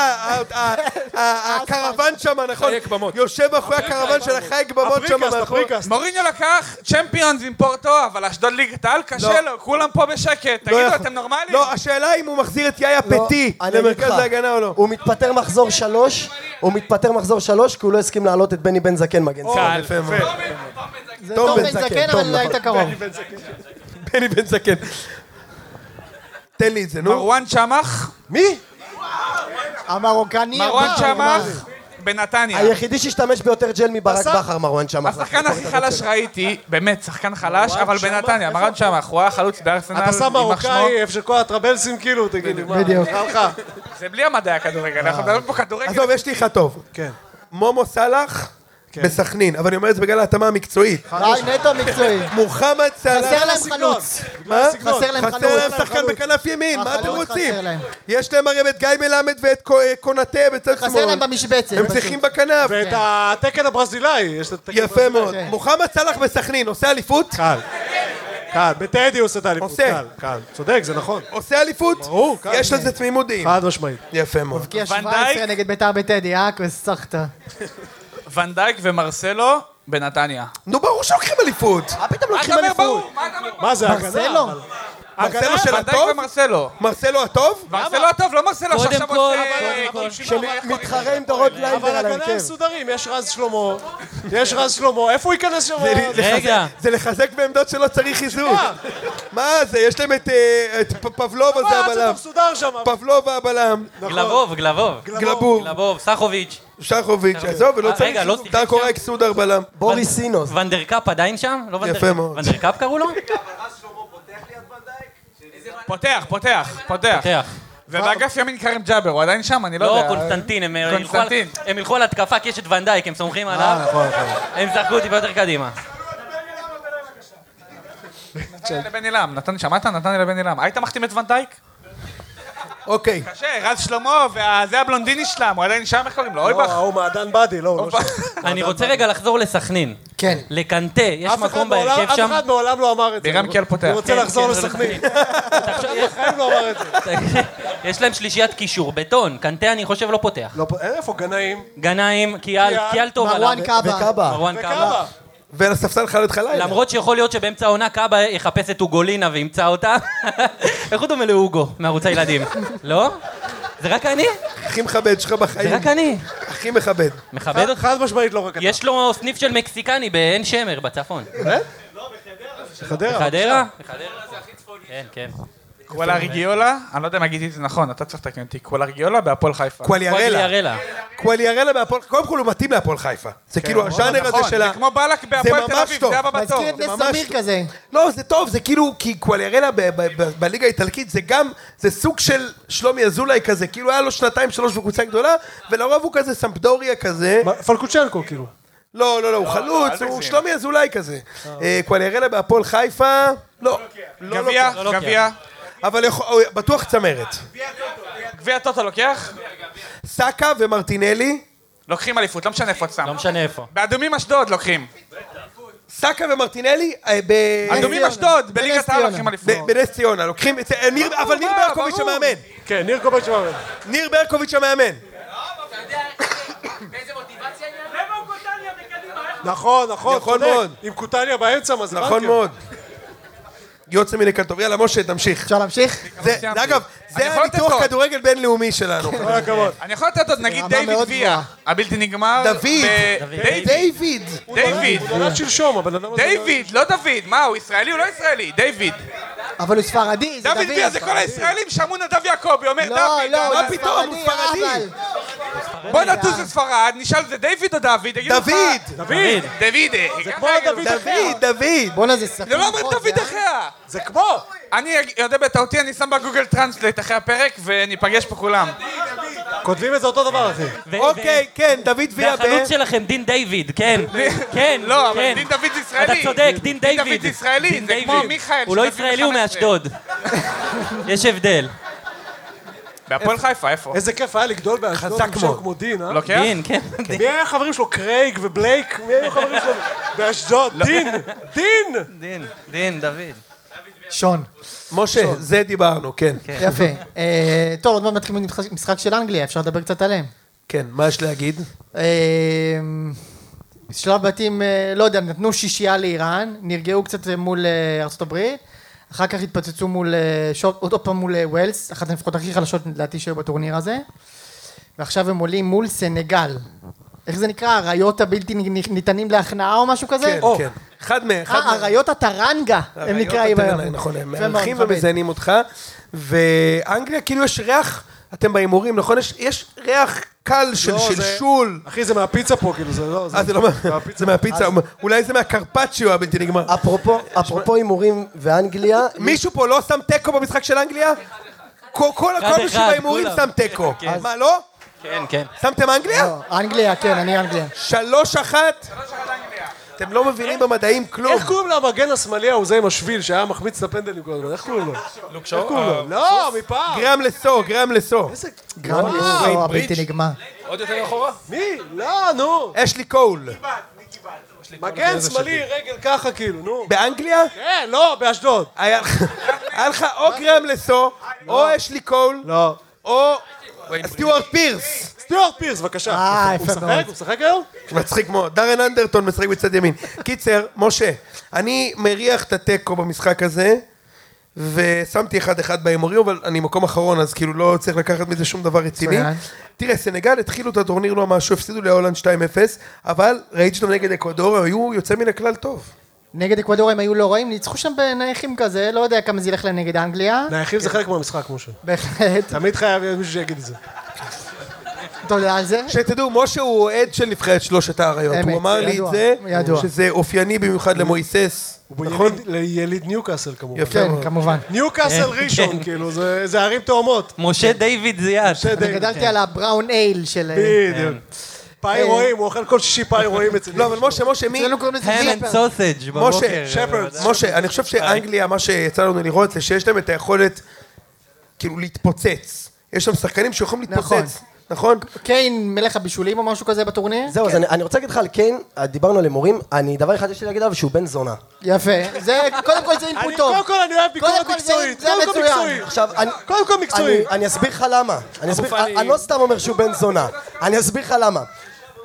[SPEAKER 1] ה- ה- ה- הקרוון שם, נכון?
[SPEAKER 5] חיי גבמות.
[SPEAKER 1] יושב מאחורי הקרוון של החי גבמות שם
[SPEAKER 4] הפריקסט,
[SPEAKER 1] מאחורי.
[SPEAKER 4] הפריקסט.
[SPEAKER 7] מוריניו לקח צ'מפיונס עם פורטו, אבל אשדוד ליגת העל קשה לו, כולם פה בשקט.
[SPEAKER 1] לא
[SPEAKER 7] תגידו,
[SPEAKER 1] יכול.
[SPEAKER 7] אתם נורמלים?
[SPEAKER 1] לא, השאלה אם הוא מחזיר את יאיה
[SPEAKER 6] לא,
[SPEAKER 1] פטי
[SPEAKER 6] אני אגיד
[SPEAKER 1] למרכז
[SPEAKER 6] לך,
[SPEAKER 1] ההגנה או לא.
[SPEAKER 6] הוא מתפטר מחזור שלוש, הוא מתפטר מחזור שלוש, כי הוא לא הסכים להעלות את בני בן זקן מגן.
[SPEAKER 4] אוקיי.
[SPEAKER 3] קל.
[SPEAKER 1] יפה מאוד.
[SPEAKER 2] זה טוב בן זקן, אבל
[SPEAKER 6] טוב,
[SPEAKER 2] לא
[SPEAKER 6] נכון.
[SPEAKER 2] היית קרוב.
[SPEAKER 1] בני בן זקן. תן לי את זה, נו.
[SPEAKER 7] מרואן צ'מח,
[SPEAKER 1] מי?
[SPEAKER 2] המרוקני.
[SPEAKER 7] מרואן
[SPEAKER 2] אמר, אמר.
[SPEAKER 7] צ'מח בנתניה.
[SPEAKER 6] היחידי שהשתמש ביותר ג'ל מברק בכר מרואן צ'מאח.
[SPEAKER 7] השחקן הכי חלש ראיתי, באמת, שחקן חלש, אבל בנתניה, מרואן צ'מח, הוא היה חלוץ בארסנל,
[SPEAKER 4] אתה שם
[SPEAKER 7] יימח שמו.
[SPEAKER 4] מרוקאי, איפה שכל הטרבלסים כאילו, תגיד לי, מה?
[SPEAKER 2] בדיוק.
[SPEAKER 4] נראה לך?
[SPEAKER 7] זה בלי המדעי הכדורגל, אנחנו מדברים פה כדורגל.
[SPEAKER 1] עזוב, יש לי אחד טוב.
[SPEAKER 4] כן.
[SPEAKER 1] מומו סאלח
[SPEAKER 7] כן.
[SPEAKER 1] בסכנין, אבל אני אומר את זה בגלל ההתאמה המקצועית.
[SPEAKER 2] רק נטו מקצועי.
[SPEAKER 1] מוחמד
[SPEAKER 2] חסר
[SPEAKER 1] סאלח,
[SPEAKER 2] להם חלוץ.
[SPEAKER 1] מה?
[SPEAKER 2] חסר להם
[SPEAKER 1] חסר להם
[SPEAKER 2] חלוץ.
[SPEAKER 1] שחקן בכנף ימין, מה אתם
[SPEAKER 2] החלוץ
[SPEAKER 1] רוצים?
[SPEAKER 2] חסר להם.
[SPEAKER 1] יש להם הרי את גיא מלמד ואת קו- אה, קונטה בצד שמאל.
[SPEAKER 2] חסר להם במשבצת.
[SPEAKER 1] הם
[SPEAKER 2] פשוט.
[SPEAKER 1] צריכים בכנף.
[SPEAKER 4] ואת התקן הברזילאי, יש את התקן
[SPEAKER 1] יפה מאוד.
[SPEAKER 2] כן.
[SPEAKER 1] מוחמד סאלח בסכנין, עושה אליפות?
[SPEAKER 4] קל. קל. בטדי הוא עושה את האליפות.
[SPEAKER 1] עושה.
[SPEAKER 4] קל, קל. צודק, זה נכון.
[SPEAKER 1] עושה אליפות?
[SPEAKER 4] ברור, כן.
[SPEAKER 1] יש לזה תמימות דעים.
[SPEAKER 7] אה.
[SPEAKER 4] חד משמעית.
[SPEAKER 1] יפה מאוד.
[SPEAKER 2] כי יש
[SPEAKER 7] ונדייק?
[SPEAKER 2] 17 נגד ביתר בטדי, אה? סחטה.
[SPEAKER 7] ונדייק ומרסלו בנתניה.
[SPEAKER 1] נו, ברור שלוקחים אליפות.
[SPEAKER 6] מה פתאום
[SPEAKER 7] מה אתה
[SPEAKER 6] לוקחים
[SPEAKER 7] אומר
[SPEAKER 6] אליפות?
[SPEAKER 7] ברור? מה אתה אומר ברור?
[SPEAKER 4] מה זה, הגנה?
[SPEAKER 2] ברסלו? לא
[SPEAKER 4] אבל-
[SPEAKER 1] מרסלו של
[SPEAKER 7] ונדייק
[SPEAKER 1] הטוב?
[SPEAKER 7] ומרסלו.
[SPEAKER 1] מרסלו הטוב?
[SPEAKER 7] מרסלו הטוב, לא מרסלו
[SPEAKER 3] קודם
[SPEAKER 7] שעכשיו
[SPEAKER 3] כל,
[SPEAKER 7] עושה...
[SPEAKER 3] קודם כל.
[SPEAKER 6] שמתחרה עם דורון
[SPEAKER 4] לא אבל
[SPEAKER 6] קליינדר על
[SPEAKER 4] הגנה
[SPEAKER 6] ההרכב.
[SPEAKER 4] הם מסודרים, יש רז שלמה, יש רז שלמה, איפה הוא ייכנס שם?
[SPEAKER 1] זה לחזק-
[SPEAKER 3] רגע.
[SPEAKER 1] זה לחזק בעמדות שלא צריך חיזוק. מה זה? יש להם את אה, את פ- פבלוב הזה
[SPEAKER 4] מה, זה
[SPEAKER 1] הבלם.
[SPEAKER 4] מסודר שם?
[SPEAKER 1] פבלוב הבלם.
[SPEAKER 3] גלבוב, גלבוב.
[SPEAKER 1] גלבור.
[SPEAKER 3] גלבוב, סחוביץ'.
[SPEAKER 1] שחוביץ', עזוב, ולא
[SPEAKER 3] אה,
[SPEAKER 1] צריך
[SPEAKER 3] רגע, לא
[SPEAKER 1] חיזוק.
[SPEAKER 3] שיחק
[SPEAKER 1] דרקו
[SPEAKER 3] שם?
[SPEAKER 1] רייק סודר בלם.
[SPEAKER 6] בוריס סינוס.
[SPEAKER 3] ונדרקאפ עדיין שם? לא ונדרקאפ.
[SPEAKER 1] יפה מאוד.
[SPEAKER 3] ונדרקאפ קראו לו?
[SPEAKER 7] פותח, פותח, פותח.
[SPEAKER 3] פותח.
[SPEAKER 7] ובאגף ימין כרם ג'אבר, הוא עדיין שם, אני לא
[SPEAKER 3] לא,
[SPEAKER 7] יודע.
[SPEAKER 3] קונסטנטין, הם, אה, ילכו על-
[SPEAKER 7] קונסטנטין.
[SPEAKER 3] הם ילכו על התקפה כי יש את ונדייק, הם סומכים עליו, הם זרקו טיפה יותר קדימה.
[SPEAKER 7] נתן לבן עילם, נתן, שמעת? נתן לבן עילם. היית מחתים את ונדייק?
[SPEAKER 1] אוקיי.
[SPEAKER 7] קשה, רז שלמה, וזה הבלונדיני שלהם, הוא עדיין שם, איך קוראים לו?
[SPEAKER 4] לא,
[SPEAKER 7] אויבך?
[SPEAKER 4] ההוא מעדן באדי, לא, הוא לא שם.
[SPEAKER 3] אני רוצה רגע לחזור לסכנין.
[SPEAKER 2] כן.
[SPEAKER 3] לקנטה, יש
[SPEAKER 4] אף אחד
[SPEAKER 3] מקום
[SPEAKER 4] בעולם-
[SPEAKER 3] בהרכב שם?
[SPEAKER 4] אף אחד מעולם לא אמר את זה.
[SPEAKER 7] בירם קיאל פותח.
[SPEAKER 4] הוא רוצה
[SPEAKER 3] כן,
[SPEAKER 4] לחזור
[SPEAKER 3] כן,
[SPEAKER 4] לסכנין.
[SPEAKER 3] תחשוב,
[SPEAKER 4] בחיים לא אמר את זה.
[SPEAKER 3] [LAUGHS] יש להם שלישיית קישור, בטון. קנטה, אני חושב, לא פותח.
[SPEAKER 4] לא, פה- איפה גנאים?
[SPEAKER 3] גנאים, קיאל,
[SPEAKER 4] קיאל,
[SPEAKER 3] קיאל טוב עליו.
[SPEAKER 2] מרואן קאבה.
[SPEAKER 6] וקאבה.
[SPEAKER 3] מרואן קאבה.
[SPEAKER 4] וכמה?
[SPEAKER 1] ועל הספסל חלד חלילה.
[SPEAKER 3] למרות שיכול להיות שבאמצע העונה קאבה יחפש את אוגולינה וימצא אותה. איך הוא דומה לאוגו מערוץ הילדים? לא? זה רק אני?
[SPEAKER 1] הכי מכבד שלך בחיים.
[SPEAKER 3] זה רק אני.
[SPEAKER 1] הכי מכבד.
[SPEAKER 3] מכבד אותך?
[SPEAKER 4] חד משמעית לא רק אתה.
[SPEAKER 3] יש לו סניף של מקסיקני בעין שמר, בצפון.
[SPEAKER 4] חדרה.
[SPEAKER 3] בחדרה? בחדרה זה הכי צפוני. כן, כן.
[SPEAKER 7] קואלרגיולה, אני לא יודע אם הגיתי את זה נכון, אתה צריך לתקן אותי, קואלרגיולה בהפועל חיפה.
[SPEAKER 1] כאילו, קואליארלה.
[SPEAKER 3] קואליארלה.
[SPEAKER 1] קואליארלה בהפועל, קודם כל הוא מתאים להפועל חיפה. זה כאילו הז'אנר הזה
[SPEAKER 7] נכון,
[SPEAKER 1] של ה...
[SPEAKER 7] זה כמו בלק בהפועל תל
[SPEAKER 1] ממש
[SPEAKER 7] אביב,
[SPEAKER 1] טוב.
[SPEAKER 7] זה הבא בתור.
[SPEAKER 2] מזכיר את נס
[SPEAKER 1] ממש
[SPEAKER 2] אמיר
[SPEAKER 1] טוב.
[SPEAKER 2] כזה.
[SPEAKER 1] לא, זה טוב, זה כאילו, כי קואליארלה ב- ב- ב- בליגה האיטלקית זה גם, זה סוג של שלומי אזולאי כזה, כאילו היה לו שנתיים שלוש בקבוצה גדולה, ולרוב הוא כזה סמפדוריה כזה.
[SPEAKER 4] מה, פלקוצ'נקו, כאילו.
[SPEAKER 1] לא, לא, לא, הוא חלוץ, הוא שלומי אזולאי כזה. אה, קואליארלה בהפועל חיפה, לא. לא
[SPEAKER 7] גביע,
[SPEAKER 1] לוקח.
[SPEAKER 7] גביע,
[SPEAKER 1] אבל יכול- הוא בטוח צמרת.
[SPEAKER 7] גביע טוטו לוקח,
[SPEAKER 1] סאקה ומרטינלי,
[SPEAKER 7] לוקחים אליפות, לא משנה איפה את שם.
[SPEAKER 3] לא משנה איפה.
[SPEAKER 7] באדומים אשדוד לוקחים.
[SPEAKER 1] סאקה ומרטינלי, אה, ב-
[SPEAKER 7] אדומים אשדוד, בליגת העל לוקחים אליפות.
[SPEAKER 1] ב- בנס ציונה, לוקחים את... אה, ניר- אבל ניר
[SPEAKER 7] ברור.
[SPEAKER 1] ברקוביץ' המאמן.
[SPEAKER 4] כן, ניר קובץ' מאמן.
[SPEAKER 1] ניר ברקוביץ' המאמן.
[SPEAKER 4] נכון, נכון,
[SPEAKER 1] נכון
[SPEAKER 4] צודק.
[SPEAKER 1] מאוד.
[SPEAKER 4] עם קוטניה באמצע, מה זה
[SPEAKER 1] נכון
[SPEAKER 4] בנקר.
[SPEAKER 1] מאוד. יוצא מן הכתוב. יאללה, משה, תמשיך.
[SPEAKER 2] אפשר להמשיך?
[SPEAKER 1] זה- זה,
[SPEAKER 7] סיימתי.
[SPEAKER 1] אגב,
[SPEAKER 7] אני
[SPEAKER 1] זה
[SPEAKER 7] יכול לתת
[SPEAKER 1] הניתוח
[SPEAKER 7] עוד.
[SPEAKER 1] כדורגל בינלאומי שלנו.
[SPEAKER 4] כל הכבוד.
[SPEAKER 7] אני יכול לתת עוד, נגיד
[SPEAKER 2] רמה
[SPEAKER 7] דיוויד
[SPEAKER 2] מאוד
[SPEAKER 7] ויה,
[SPEAKER 2] גבוהה.
[SPEAKER 7] הבלתי נגמר.
[SPEAKER 1] דוד.
[SPEAKER 7] ב-
[SPEAKER 3] דוד.
[SPEAKER 1] [LAUGHS]
[SPEAKER 7] דיוויד,
[SPEAKER 1] דיוויד.
[SPEAKER 7] דיוויד,
[SPEAKER 4] הוא לא נולד שלשום, הבן אדם הזה.
[SPEAKER 7] דיוויד, לא דוד, מה, הוא ישראלי? הוא לא ישראלי, דיוויד.
[SPEAKER 2] אבל הוא ספרדי, זה
[SPEAKER 7] דוד ויה זה
[SPEAKER 2] דוד.
[SPEAKER 7] כל הישראלים שאמרו נדב יעקבי, אומר
[SPEAKER 2] לא,
[SPEAKER 7] דוד,
[SPEAKER 2] לא,
[SPEAKER 7] מה
[SPEAKER 2] הוא
[SPEAKER 7] פתאום?
[SPEAKER 1] פתאום, הוא
[SPEAKER 2] ספרדי,
[SPEAKER 1] ספרדי.
[SPEAKER 2] אבל.
[SPEAKER 7] בוא נטוס לספרד, נשאל זה דיוויד או דוד, יגידו לך...
[SPEAKER 1] דוד.
[SPEAKER 7] דוד! אה, דוד! זה כמו
[SPEAKER 4] דוד
[SPEAKER 1] דוד, דוד.
[SPEAKER 2] בואנה, נכון, זה ספרדי.
[SPEAKER 7] זה לא אומר דוד אחיה!
[SPEAKER 4] זה כמו.
[SPEAKER 7] אני יודע בטעותי, אני שם בגוגל טרנסלייט אחרי הפרק וניפגש פה כולם.
[SPEAKER 4] כותבים את זה אותו דבר, אחי.
[SPEAKER 3] ו- ו-
[SPEAKER 1] אוקיי, כן, דוד
[SPEAKER 3] זה
[SPEAKER 1] ויה ב...
[SPEAKER 3] החלוץ שלכם, דין דיוויד, כן. כן,
[SPEAKER 7] לא, אבל
[SPEAKER 3] כן.
[SPEAKER 7] דין דוד זה ישראלי.
[SPEAKER 3] אתה צודק, דין דיוויד.
[SPEAKER 7] דוד זה ישראלי,
[SPEAKER 3] דין
[SPEAKER 7] זה
[SPEAKER 3] דיוויד.
[SPEAKER 7] כמו מיכאל
[SPEAKER 3] הוא לא
[SPEAKER 7] של 2015.
[SPEAKER 3] ישראלי, הוא מאשדוד. [LAUGHS] יש הבדל.
[SPEAKER 7] בהפועל חיפה, איפה? אוקיי?
[SPEAKER 4] איזה כיף היה לגדול באשדוד עם שם
[SPEAKER 1] מאוד.
[SPEAKER 4] כמו דין, אה?
[SPEAKER 7] לוקח?
[SPEAKER 3] דין, כן. [LAUGHS] דין.
[SPEAKER 4] מי היה החברים שלו? קרייג ובלייק? מי היו החברים שלו?
[SPEAKER 3] לא.
[SPEAKER 4] באשדוד. דין! דין!
[SPEAKER 3] דין, דין, דוד.
[SPEAKER 2] שון.
[SPEAKER 1] משה, זה דיברנו, כן.
[SPEAKER 2] יפה. אה, טוב, עוד מעט מתחיל משחק- משחק של אנגליה, אפשר לדבר קצת עליהם.
[SPEAKER 1] כן, מה יש להגיד?
[SPEAKER 2] אה, שלב בתים, אה, לא יודע, נתנו שישייה לאיראן, נרגעו קצת אה, מול אה, ארצות הברית, אחר כך התפוצצו מול, אה, שוב- עוד פעם מול אה, ווילס, אחת הנבחרות הכי חלשות לדעתי שהיו בטורניר הזה, ועכשיו הם עולים מול סנגל. איך זה נקרא? האריות הבלתי נ- נ- ניתנים להכנעה או משהו כזה?
[SPEAKER 1] כן,
[SPEAKER 2] או,
[SPEAKER 1] כן. אחד מהם, אחד
[SPEAKER 2] אה,
[SPEAKER 1] מהם.
[SPEAKER 2] אריות הטרנגה, הם
[SPEAKER 1] הרעיות
[SPEAKER 2] נקראים
[SPEAKER 1] הטרנאי,
[SPEAKER 2] היום.
[SPEAKER 1] נכון, הם
[SPEAKER 2] יפה מאוד,
[SPEAKER 1] מארחים
[SPEAKER 2] מכבד.
[SPEAKER 1] ומזיינים אותך. ואנגליה, כאילו יש ריח, אתם בהימורים, נכון? יש- יש ריח קל של
[SPEAKER 4] לא, זה-
[SPEAKER 1] שלשול.
[SPEAKER 4] אחי, זה מהפיצה פה, כאילו, זה לא...
[SPEAKER 1] אה, זה לא... מה- זה מהפיצה, אולי זה מהקרפצ'יו הבלתי נגמר.
[SPEAKER 6] אפרופו, אפרופו הימורים ואנגליה,
[SPEAKER 1] מישהו פה לא שם תיקו במשחק של אנגליה? כל כל
[SPEAKER 3] אחד,
[SPEAKER 1] מי שבהימורים
[SPEAKER 3] כולם.
[SPEAKER 1] שם תיקו. מה, לא?
[SPEAKER 3] כן, כן.
[SPEAKER 1] שמתם אנגליה?
[SPEAKER 2] לא, אנגליה, כן, אני אנגליה.
[SPEAKER 1] שלוש אחת? אתם לא מבינים במדעים כלום.
[SPEAKER 4] איך קוראים למגן השמאלי ההוא זה עם השביל שהיה מחמיץ את הפנדלים כל הזמן? איך קוראים לו? איך קוראים לו? לא, מפעם.
[SPEAKER 1] גרם לסו, גרם לסו.
[SPEAKER 4] איזה-
[SPEAKER 2] גרם לי סוהר לא, הבלתי נגמר.
[SPEAKER 5] עוד יותר אחורה?
[SPEAKER 4] מי? לא, נו.
[SPEAKER 1] אשלי קול.
[SPEAKER 4] מגן שמאלי, רגל ככה, כאילו, נו.
[SPEAKER 1] באנגליה?
[SPEAKER 4] כן, לא, באשדוד.
[SPEAKER 1] היה היה לך או גרם לסו, או אשלי קול,
[SPEAKER 4] לא.
[SPEAKER 1] או סטיוארט פירס.
[SPEAKER 4] סטיוארט פירס, בבקשה.
[SPEAKER 2] אה,
[SPEAKER 4] הוא
[SPEAKER 2] יפה מאוד.
[SPEAKER 4] משחק? הוא משחק היום?
[SPEAKER 1] מצחיק מאוד. דארן אנדרטון משחק בצד ימין. קיצר, משה, אני מריח את התיקו במשחק הזה, ושמתי אחד אחד בהימורים, אבל אני מקום אחרון, אז כאילו לא צריך לקחת מזה שום דבר רציני.
[SPEAKER 2] מצוין.
[SPEAKER 1] תראה, סנגל התחילו את הטורניר לא משהו, הפסידו להולנד 2-0, אבל ראיתי שאתם נגד אקוודור, היו יוצא מן הכלל טוב.
[SPEAKER 2] נגד אקוודור הם היו לא רעים, ניצחו שם בנייחים כזה, לא יודע כמה זה ילך להם נגד אנגליה.
[SPEAKER 4] נייחים זה חלק מהמשחק, משה.
[SPEAKER 2] בהחלט.
[SPEAKER 4] תמיד חייב להיות מישהו שיגיד את זה.
[SPEAKER 2] תודה על זה.
[SPEAKER 1] שתדעו, משה הוא אוהד של נבחרת שלושת האריות.
[SPEAKER 2] אמת,
[SPEAKER 1] הוא אמר לי את
[SPEAKER 2] ידוע,
[SPEAKER 1] זה,
[SPEAKER 2] ידוע.
[SPEAKER 1] שזה אופייני במיוחד
[SPEAKER 3] כן.
[SPEAKER 1] למויסס.
[SPEAKER 4] הוא
[SPEAKER 1] נכון?
[SPEAKER 4] יליד- יליד ניוקאסל, כמובן.
[SPEAKER 1] יפה
[SPEAKER 2] כן,
[SPEAKER 1] מאוד.
[SPEAKER 2] כמובן.
[SPEAKER 4] ניוקאסל ראשון, כאילו, זה זה ערים תאומות.
[SPEAKER 3] משה דיוויד זיאת.
[SPEAKER 2] אני גדלתי על הבראון אייל של... אה,
[SPEAKER 4] בדיוק. פאי רואים, הוא אוכל כל שישי פאי רואים אצל...
[SPEAKER 1] לא, אבל משה, משה, מי...
[SPEAKER 2] אצלנו קוראים לזה
[SPEAKER 3] האם אנד
[SPEAKER 2] שפרד.
[SPEAKER 3] סוסג' בבוקר. אה,
[SPEAKER 1] משה, משה, אני חושב שאנגליה, מה שיצא לנו לראות זה שיש להם את היכולת כאילו להתפוצץ. יש שם שחקנים שיכולים
[SPEAKER 2] נכון.
[SPEAKER 1] להתפוצץ, נכון?
[SPEAKER 2] קיין מלך הבישולים או משהו כזה בטורניר?
[SPEAKER 6] זהו, אז אני- אני רוצה להגיד לך על קיין, דיברנו על הימורים, אני, דבר אחד יש לי להגיד עליו שהוא בן זונה.
[SPEAKER 2] יפה. זה, קודם כל זה אינפוט
[SPEAKER 4] אני-
[SPEAKER 2] טוב.
[SPEAKER 4] קודם כל אני אוהב
[SPEAKER 2] קודם
[SPEAKER 4] ביקורת
[SPEAKER 2] כל זה-
[SPEAKER 4] מקצועית.
[SPEAKER 2] זה
[SPEAKER 4] קודם כל
[SPEAKER 2] מצוין.
[SPEAKER 4] מקצועית.
[SPEAKER 6] עכשיו, אני...
[SPEAKER 4] קודם כל מקצועי.
[SPEAKER 6] אני, אני אסביר לך למה. אני, אסביר, אני, אני לא סתם אומר שהוא בן זונה. אני אסביר לך למה.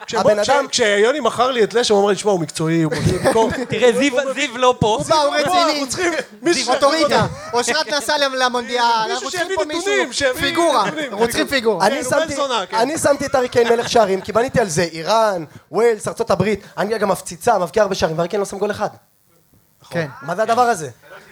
[SPEAKER 4] כשבוא-
[SPEAKER 6] הבן
[SPEAKER 4] כש-
[SPEAKER 6] אדם-
[SPEAKER 4] כשיוני מכר לי את לשם, הוא אמר לי, תשמע, הוא מקצועי, הוא מוציא ביקורת.
[SPEAKER 2] [LAUGHS]
[SPEAKER 3] תראה, זיו- זיו לא פה.
[SPEAKER 2] הוא בא, הוא רציני.
[SPEAKER 4] אנחנו צריכים מישהו
[SPEAKER 2] זיו, תורידה. אושרת נסע למונדיאל.
[SPEAKER 4] מישהו
[SPEAKER 2] אנחנו צריכים
[SPEAKER 4] שיביא
[SPEAKER 2] פה מישהו.
[SPEAKER 4] נתונים, שיביא
[SPEAKER 2] פיגורה.
[SPEAKER 4] נתונים.
[SPEAKER 2] רוצים פיגורה.
[SPEAKER 6] אני
[SPEAKER 4] הוא בן
[SPEAKER 6] שמתי-
[SPEAKER 4] זונה, כן.
[SPEAKER 6] אני שמתי את אריקיין מלך שערים, כי בניתי על זה איראן, ווילס, ארצות הברית, אנגליה גם מפציצה, מבקיעה הרבה שערים, ואריקיין לא שם גול אחד.
[SPEAKER 2] כן.
[SPEAKER 6] מה זה הדבר הזה?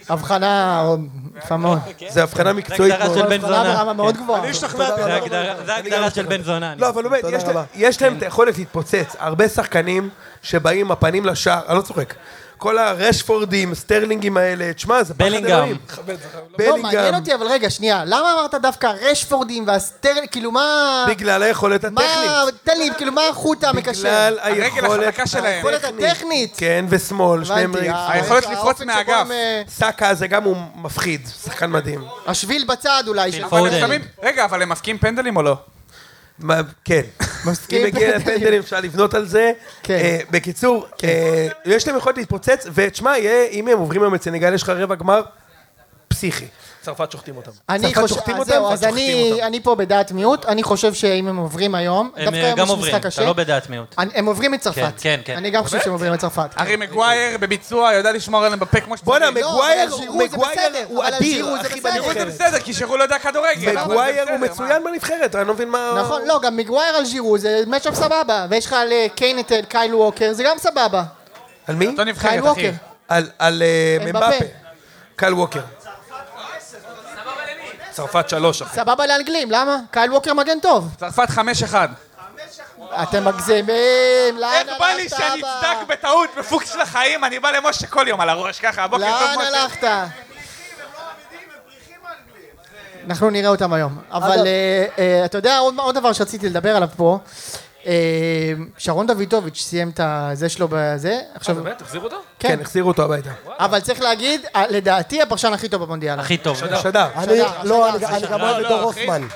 [SPEAKER 2] הבחנה או- יפה מאוד.
[SPEAKER 1] זה הבחנה מקצועית
[SPEAKER 3] כן. הגדרה
[SPEAKER 1] מאוד.
[SPEAKER 3] של בן
[SPEAKER 2] הבחנה
[SPEAKER 3] זונה.
[SPEAKER 2] ברמה
[SPEAKER 1] כן.
[SPEAKER 2] מאוד גבוהה.
[SPEAKER 4] אני השתכנעתי.
[SPEAKER 3] זה הגדרה- זה הגדרה של בן זונה. אני-
[SPEAKER 1] לא, אבל באמת,
[SPEAKER 6] תודה
[SPEAKER 1] יש, לה-
[SPEAKER 6] רבה.
[SPEAKER 1] יש
[SPEAKER 3] כן.
[SPEAKER 1] להם את היכולת להתפוצץ. הרבה שחקנים שבאים עם הפנים לשער, אני לא צוחק. כל הרשפורדים, סטרלינגים האלה, תשמע, זה פחד
[SPEAKER 3] בלינגהאם.
[SPEAKER 1] אלוהים.
[SPEAKER 2] לא, מעניין
[SPEAKER 1] בלינגהם,
[SPEAKER 2] אותי, אבל רגע, שנייה. למה אמרת דווקא רשפורדים והסטרן, כאילו מה...
[SPEAKER 1] בגלל היכולת הטכנית.
[SPEAKER 2] מה, תן לי, כאילו מה החוט המקשר?
[SPEAKER 1] בגלל היכולת
[SPEAKER 7] החזקה שלהם.
[SPEAKER 2] היכולת הטכנית.
[SPEAKER 1] כן, ושמאל, שניהם
[SPEAKER 2] הבנתי, אה.
[SPEAKER 1] ריק.
[SPEAKER 7] היכולת
[SPEAKER 2] האופן
[SPEAKER 7] לפרוץ
[SPEAKER 2] שבו
[SPEAKER 7] מהאגף.
[SPEAKER 2] הם, אה,
[SPEAKER 1] סאקה זה גם הוא מפחיד, שחקן מדהים.
[SPEAKER 2] השביל בצד אולי. של-
[SPEAKER 3] אבל
[SPEAKER 7] אבל הם
[SPEAKER 3] פודן.
[SPEAKER 7] שמים- רגע, אבל הם מפקיעים פנדלים או לא?
[SPEAKER 1] מה-
[SPEAKER 2] [LAUGHS]
[SPEAKER 1] כן.
[SPEAKER 2] מסכים.
[SPEAKER 1] אם מגיע לפנדלים אפשר לבנות על זה.
[SPEAKER 2] כן.
[SPEAKER 1] אה, בקיצור, אה, יש להם יכולת להתפוצץ, ותשמע, יהיה- אם הם עוברים היום את סנגל, יש לך רבע גמר פסיכי.
[SPEAKER 5] צרפת שוחטים אותם.
[SPEAKER 2] אני
[SPEAKER 1] צרפת
[SPEAKER 2] חושב,
[SPEAKER 1] שוחטים
[SPEAKER 2] אז
[SPEAKER 1] אותם,
[SPEAKER 2] זהו,
[SPEAKER 1] צרפת
[SPEAKER 2] אז אני,
[SPEAKER 1] שוחטים
[SPEAKER 2] אני פה בדעת מיעוט, אני חושב שאם הם עוברים היום, דווקא
[SPEAKER 3] הם
[SPEAKER 2] היום
[SPEAKER 3] גם
[SPEAKER 2] יש
[SPEAKER 3] עוברים,
[SPEAKER 2] משחק
[SPEAKER 3] אתה
[SPEAKER 2] קשה,
[SPEAKER 3] לא בדעת מיעוט.
[SPEAKER 2] אני- הם עוברים את
[SPEAKER 3] כן,
[SPEAKER 2] צרפת,
[SPEAKER 3] כן, כן.
[SPEAKER 2] אני גם חושב שהם עוברים את צרפת,
[SPEAKER 7] ארי מגווייר בביצוע יודע לשמור עליהם בפה כמו שצריך.
[SPEAKER 1] בואנה,
[SPEAKER 2] לא,
[SPEAKER 1] מגווייר
[SPEAKER 2] אבל על
[SPEAKER 1] הוא-
[SPEAKER 2] ז'ירו זה
[SPEAKER 1] מגווייר
[SPEAKER 2] בסדר,
[SPEAKER 1] הוא
[SPEAKER 2] אבל על
[SPEAKER 1] אדיר,
[SPEAKER 2] ז'ירו זה
[SPEAKER 1] אחי,
[SPEAKER 2] בסדר.
[SPEAKER 7] תראו את זה
[SPEAKER 1] בנבחרת.
[SPEAKER 7] בסדר, כי שירו לא יודע כדורגל. אבל זה
[SPEAKER 1] מגווייר
[SPEAKER 7] בסדר,
[SPEAKER 1] הוא
[SPEAKER 7] מה?
[SPEAKER 1] מצוין בנבחרת, אני לא מבין מה...
[SPEAKER 2] נכון, לא, גם מגווייר על ז'ירו זה מצ'אפ סבבה, ויש לך על אה, קיין את אה, קייל ווקר, זה גם סבבה,
[SPEAKER 1] על מי?
[SPEAKER 7] אותו לא נבחרת,
[SPEAKER 2] קייל
[SPEAKER 7] אחי.
[SPEAKER 2] ווקר,
[SPEAKER 1] על- על אה,
[SPEAKER 2] נכון. אמבפה.
[SPEAKER 1] מבפה. קל ווקר.
[SPEAKER 5] צרפת שלוש, אחי.
[SPEAKER 2] סבבה לאנגלים, למה? קייל ווקר מגן טוב,
[SPEAKER 7] צרפת 5-1.
[SPEAKER 2] אתם מגזימים, לאן
[SPEAKER 7] איך בא לי
[SPEAKER 2] הלכת,
[SPEAKER 7] שאני
[SPEAKER 2] אבא?
[SPEAKER 7] אצדק בטעות בפוקס של החיים? אני בא למשה כל יום על הראש, ככה, הבוקר
[SPEAKER 2] לאן
[SPEAKER 7] טוב משה.
[SPEAKER 2] הלכת? אנחנו נראה אותם היום. אבל
[SPEAKER 6] אגב-
[SPEAKER 2] אה, אה, אתה יודע, עוד עוד דבר שרציתי לדבר עליו פה, אה, שרון דוידוביץ' סיים את הזה שלו בזה, עכשיו,
[SPEAKER 5] אה, באמת, החזירו אותו?
[SPEAKER 2] כן,
[SPEAKER 1] כן, החזירו אותו הביתה.
[SPEAKER 2] אבל צריך להגיד, אה, לדעתי הפרשן הכי טוב במונדיאל.
[SPEAKER 3] הכי טוב.
[SPEAKER 1] שדר.
[SPEAKER 6] אני,
[SPEAKER 2] שדר,
[SPEAKER 6] לא,
[SPEAKER 2] שדר,
[SPEAKER 6] אני- אני
[SPEAKER 2] שדר.
[SPEAKER 6] גם אוהב
[SPEAKER 7] לא,
[SPEAKER 6] את דור
[SPEAKER 7] לא, אחי.
[SPEAKER 6] הופמן.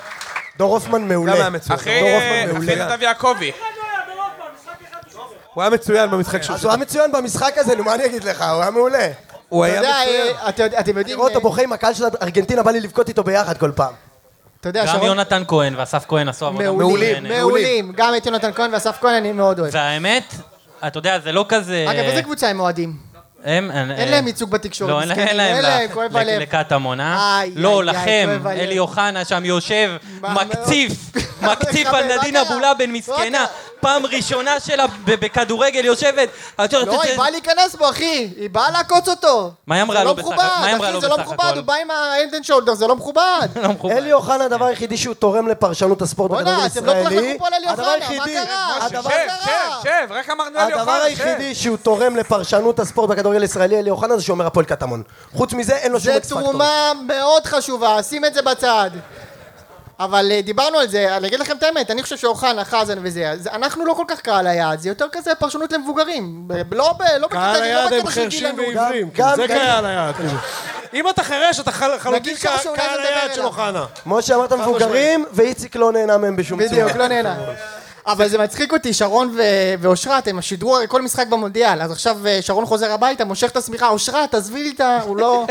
[SPEAKER 6] דור הופמן מעולה.
[SPEAKER 1] גם היה מצוין.
[SPEAKER 7] אחרי
[SPEAKER 1] דור
[SPEAKER 7] אה,
[SPEAKER 1] הופמן
[SPEAKER 7] אחרי
[SPEAKER 1] מעולה.
[SPEAKER 7] נדב יעקבי.
[SPEAKER 1] הוא היה מצוין במשחק שהוא
[SPEAKER 6] אז הוא היה מצוין במשחק הזה, נו, מה אני אגיד לך? הוא היה מעולה.
[SPEAKER 1] הוא
[SPEAKER 2] אתה
[SPEAKER 1] היה
[SPEAKER 2] יודע,
[SPEAKER 1] מצוין.
[SPEAKER 2] אה, אתה יודע, אתם יודעים,
[SPEAKER 6] תראו אותו
[SPEAKER 2] אה,
[SPEAKER 6] בוכה עם הקהל של ארגנטינה, בא לי לבכות איתו ביחד כל פעם.
[SPEAKER 2] אתה יודע,
[SPEAKER 3] גם
[SPEAKER 2] שרון,
[SPEAKER 3] יונתן כהן ואסף כהן עשו עבודה
[SPEAKER 2] מעולים,
[SPEAKER 3] מצוינת.
[SPEAKER 2] מעולים, גם את יונתן כהן ואסף כהן אני מאוד אוהב.
[SPEAKER 3] והאמת, אתה יודע, זה לא כזה...
[SPEAKER 2] אגב, איזה קבוצה הם אוהדים?
[SPEAKER 3] הם- אה,
[SPEAKER 2] אין להם ייצוג בתקשורת,
[SPEAKER 3] לא, אין להם,
[SPEAKER 2] מסכנים.
[SPEAKER 3] אין להם,
[SPEAKER 2] אין להם,
[SPEAKER 3] לך.
[SPEAKER 2] כואב
[SPEAKER 3] לק-
[SPEAKER 2] הלב.
[SPEAKER 3] לקטמון, אה?
[SPEAKER 2] איי,
[SPEAKER 3] לא,
[SPEAKER 2] איי, איי,
[SPEAKER 3] לכם,
[SPEAKER 2] כואב הלב.
[SPEAKER 3] אלי אוחנה שם יושב,
[SPEAKER 2] מה,
[SPEAKER 3] מקציף,
[SPEAKER 2] [LAUGHS] מה,
[SPEAKER 3] מקציף
[SPEAKER 2] מה
[SPEAKER 3] על
[SPEAKER 2] קרה?
[SPEAKER 3] נדינה בולאבן מסכנה,
[SPEAKER 2] מה
[SPEAKER 3] פעם ראשונה שלה ב- בכדורגל יושבת. את יודעת,
[SPEAKER 2] לא, היא באה להיכנס בו, אחי. היא באה לעקוץ אותו.
[SPEAKER 3] מה היא אמרה
[SPEAKER 2] זה
[SPEAKER 3] לו
[SPEAKER 2] לא
[SPEAKER 3] בסך-
[SPEAKER 2] מכובד,
[SPEAKER 3] מה היא אמרה
[SPEAKER 2] אחי,
[SPEAKER 3] לו
[SPEAKER 2] זה לא
[SPEAKER 3] בסך
[SPEAKER 2] מכובד,
[SPEAKER 3] הכל?
[SPEAKER 2] הוא בא עם ה-end and shoulder, זה לא מכובד.
[SPEAKER 3] [LAUGHS] לא מכובד.
[SPEAKER 6] אלי אוחנה, הדבר היחידי שהוא תורם לפרשנות הספורט
[SPEAKER 2] בואנה,
[SPEAKER 6] בכדורגל
[SPEAKER 2] אתם לא
[SPEAKER 6] הישראלי,
[SPEAKER 2] תלכלכו פה על אלי
[SPEAKER 6] הדבר
[SPEAKER 2] אוחנה, מה
[SPEAKER 6] היחידי- כן,
[SPEAKER 2] קרה?
[SPEAKER 6] הדבר-
[SPEAKER 2] מה
[SPEAKER 7] שב,
[SPEAKER 2] קרה?
[SPEAKER 7] שב, שב, רק אמרנו אלי
[SPEAKER 6] הדבר
[SPEAKER 7] אוחנה, שב.
[SPEAKER 1] כן.
[SPEAKER 6] היחידי שהוא תורם לפרשנות הספורט בכדורגל הישראלי, אלי אוחנה, זה שאומר הפועל קטמון. חוץ מזה, אין לו
[SPEAKER 4] לא
[SPEAKER 6] שום
[SPEAKER 2] זה
[SPEAKER 6] אקס פקטור.
[SPEAKER 2] תרומה מאוד חשובה, שים את זה בצד. אבל אה, דיברנו על זה, אני אגיד לכם את האמת, אני חושב שאוחנה, חזן וזה, אז אנחנו לא כל כך קהל היעד, זה יותר כזה פרשנות למבוגרים. ב- לא ב- לא
[SPEAKER 4] קהל
[SPEAKER 2] בקטע- לא
[SPEAKER 4] היעד הם
[SPEAKER 2] בקטע של
[SPEAKER 4] חרשים
[SPEAKER 2] גילנות.
[SPEAKER 4] ועיוורים, כן,
[SPEAKER 6] גם-
[SPEAKER 4] זה
[SPEAKER 6] גם-
[SPEAKER 4] קהל היעד. אם אתה חירש, אתה חל- חלוטין
[SPEAKER 2] נגיד שאולי
[SPEAKER 4] קה-
[SPEAKER 2] זה
[SPEAKER 4] קהל
[SPEAKER 2] מדבר
[SPEAKER 4] היעד
[SPEAKER 2] אליו.
[SPEAKER 4] של אוחנה.
[SPEAKER 6] כמו שאמרת, מבוגרים, ואיציק לא נהנה מהם בשום צורה.
[SPEAKER 2] בדיוק, לא נהנה. אבל זה מצחיק אותי, שרון ו- ואושרת, הם שידרו הרי כל משחק במונדיאל, אז עכשיו אה, שרון חוזר הביתה, מושך את השמיכה, אושרת, תעזבי לי את ה... הוא לא...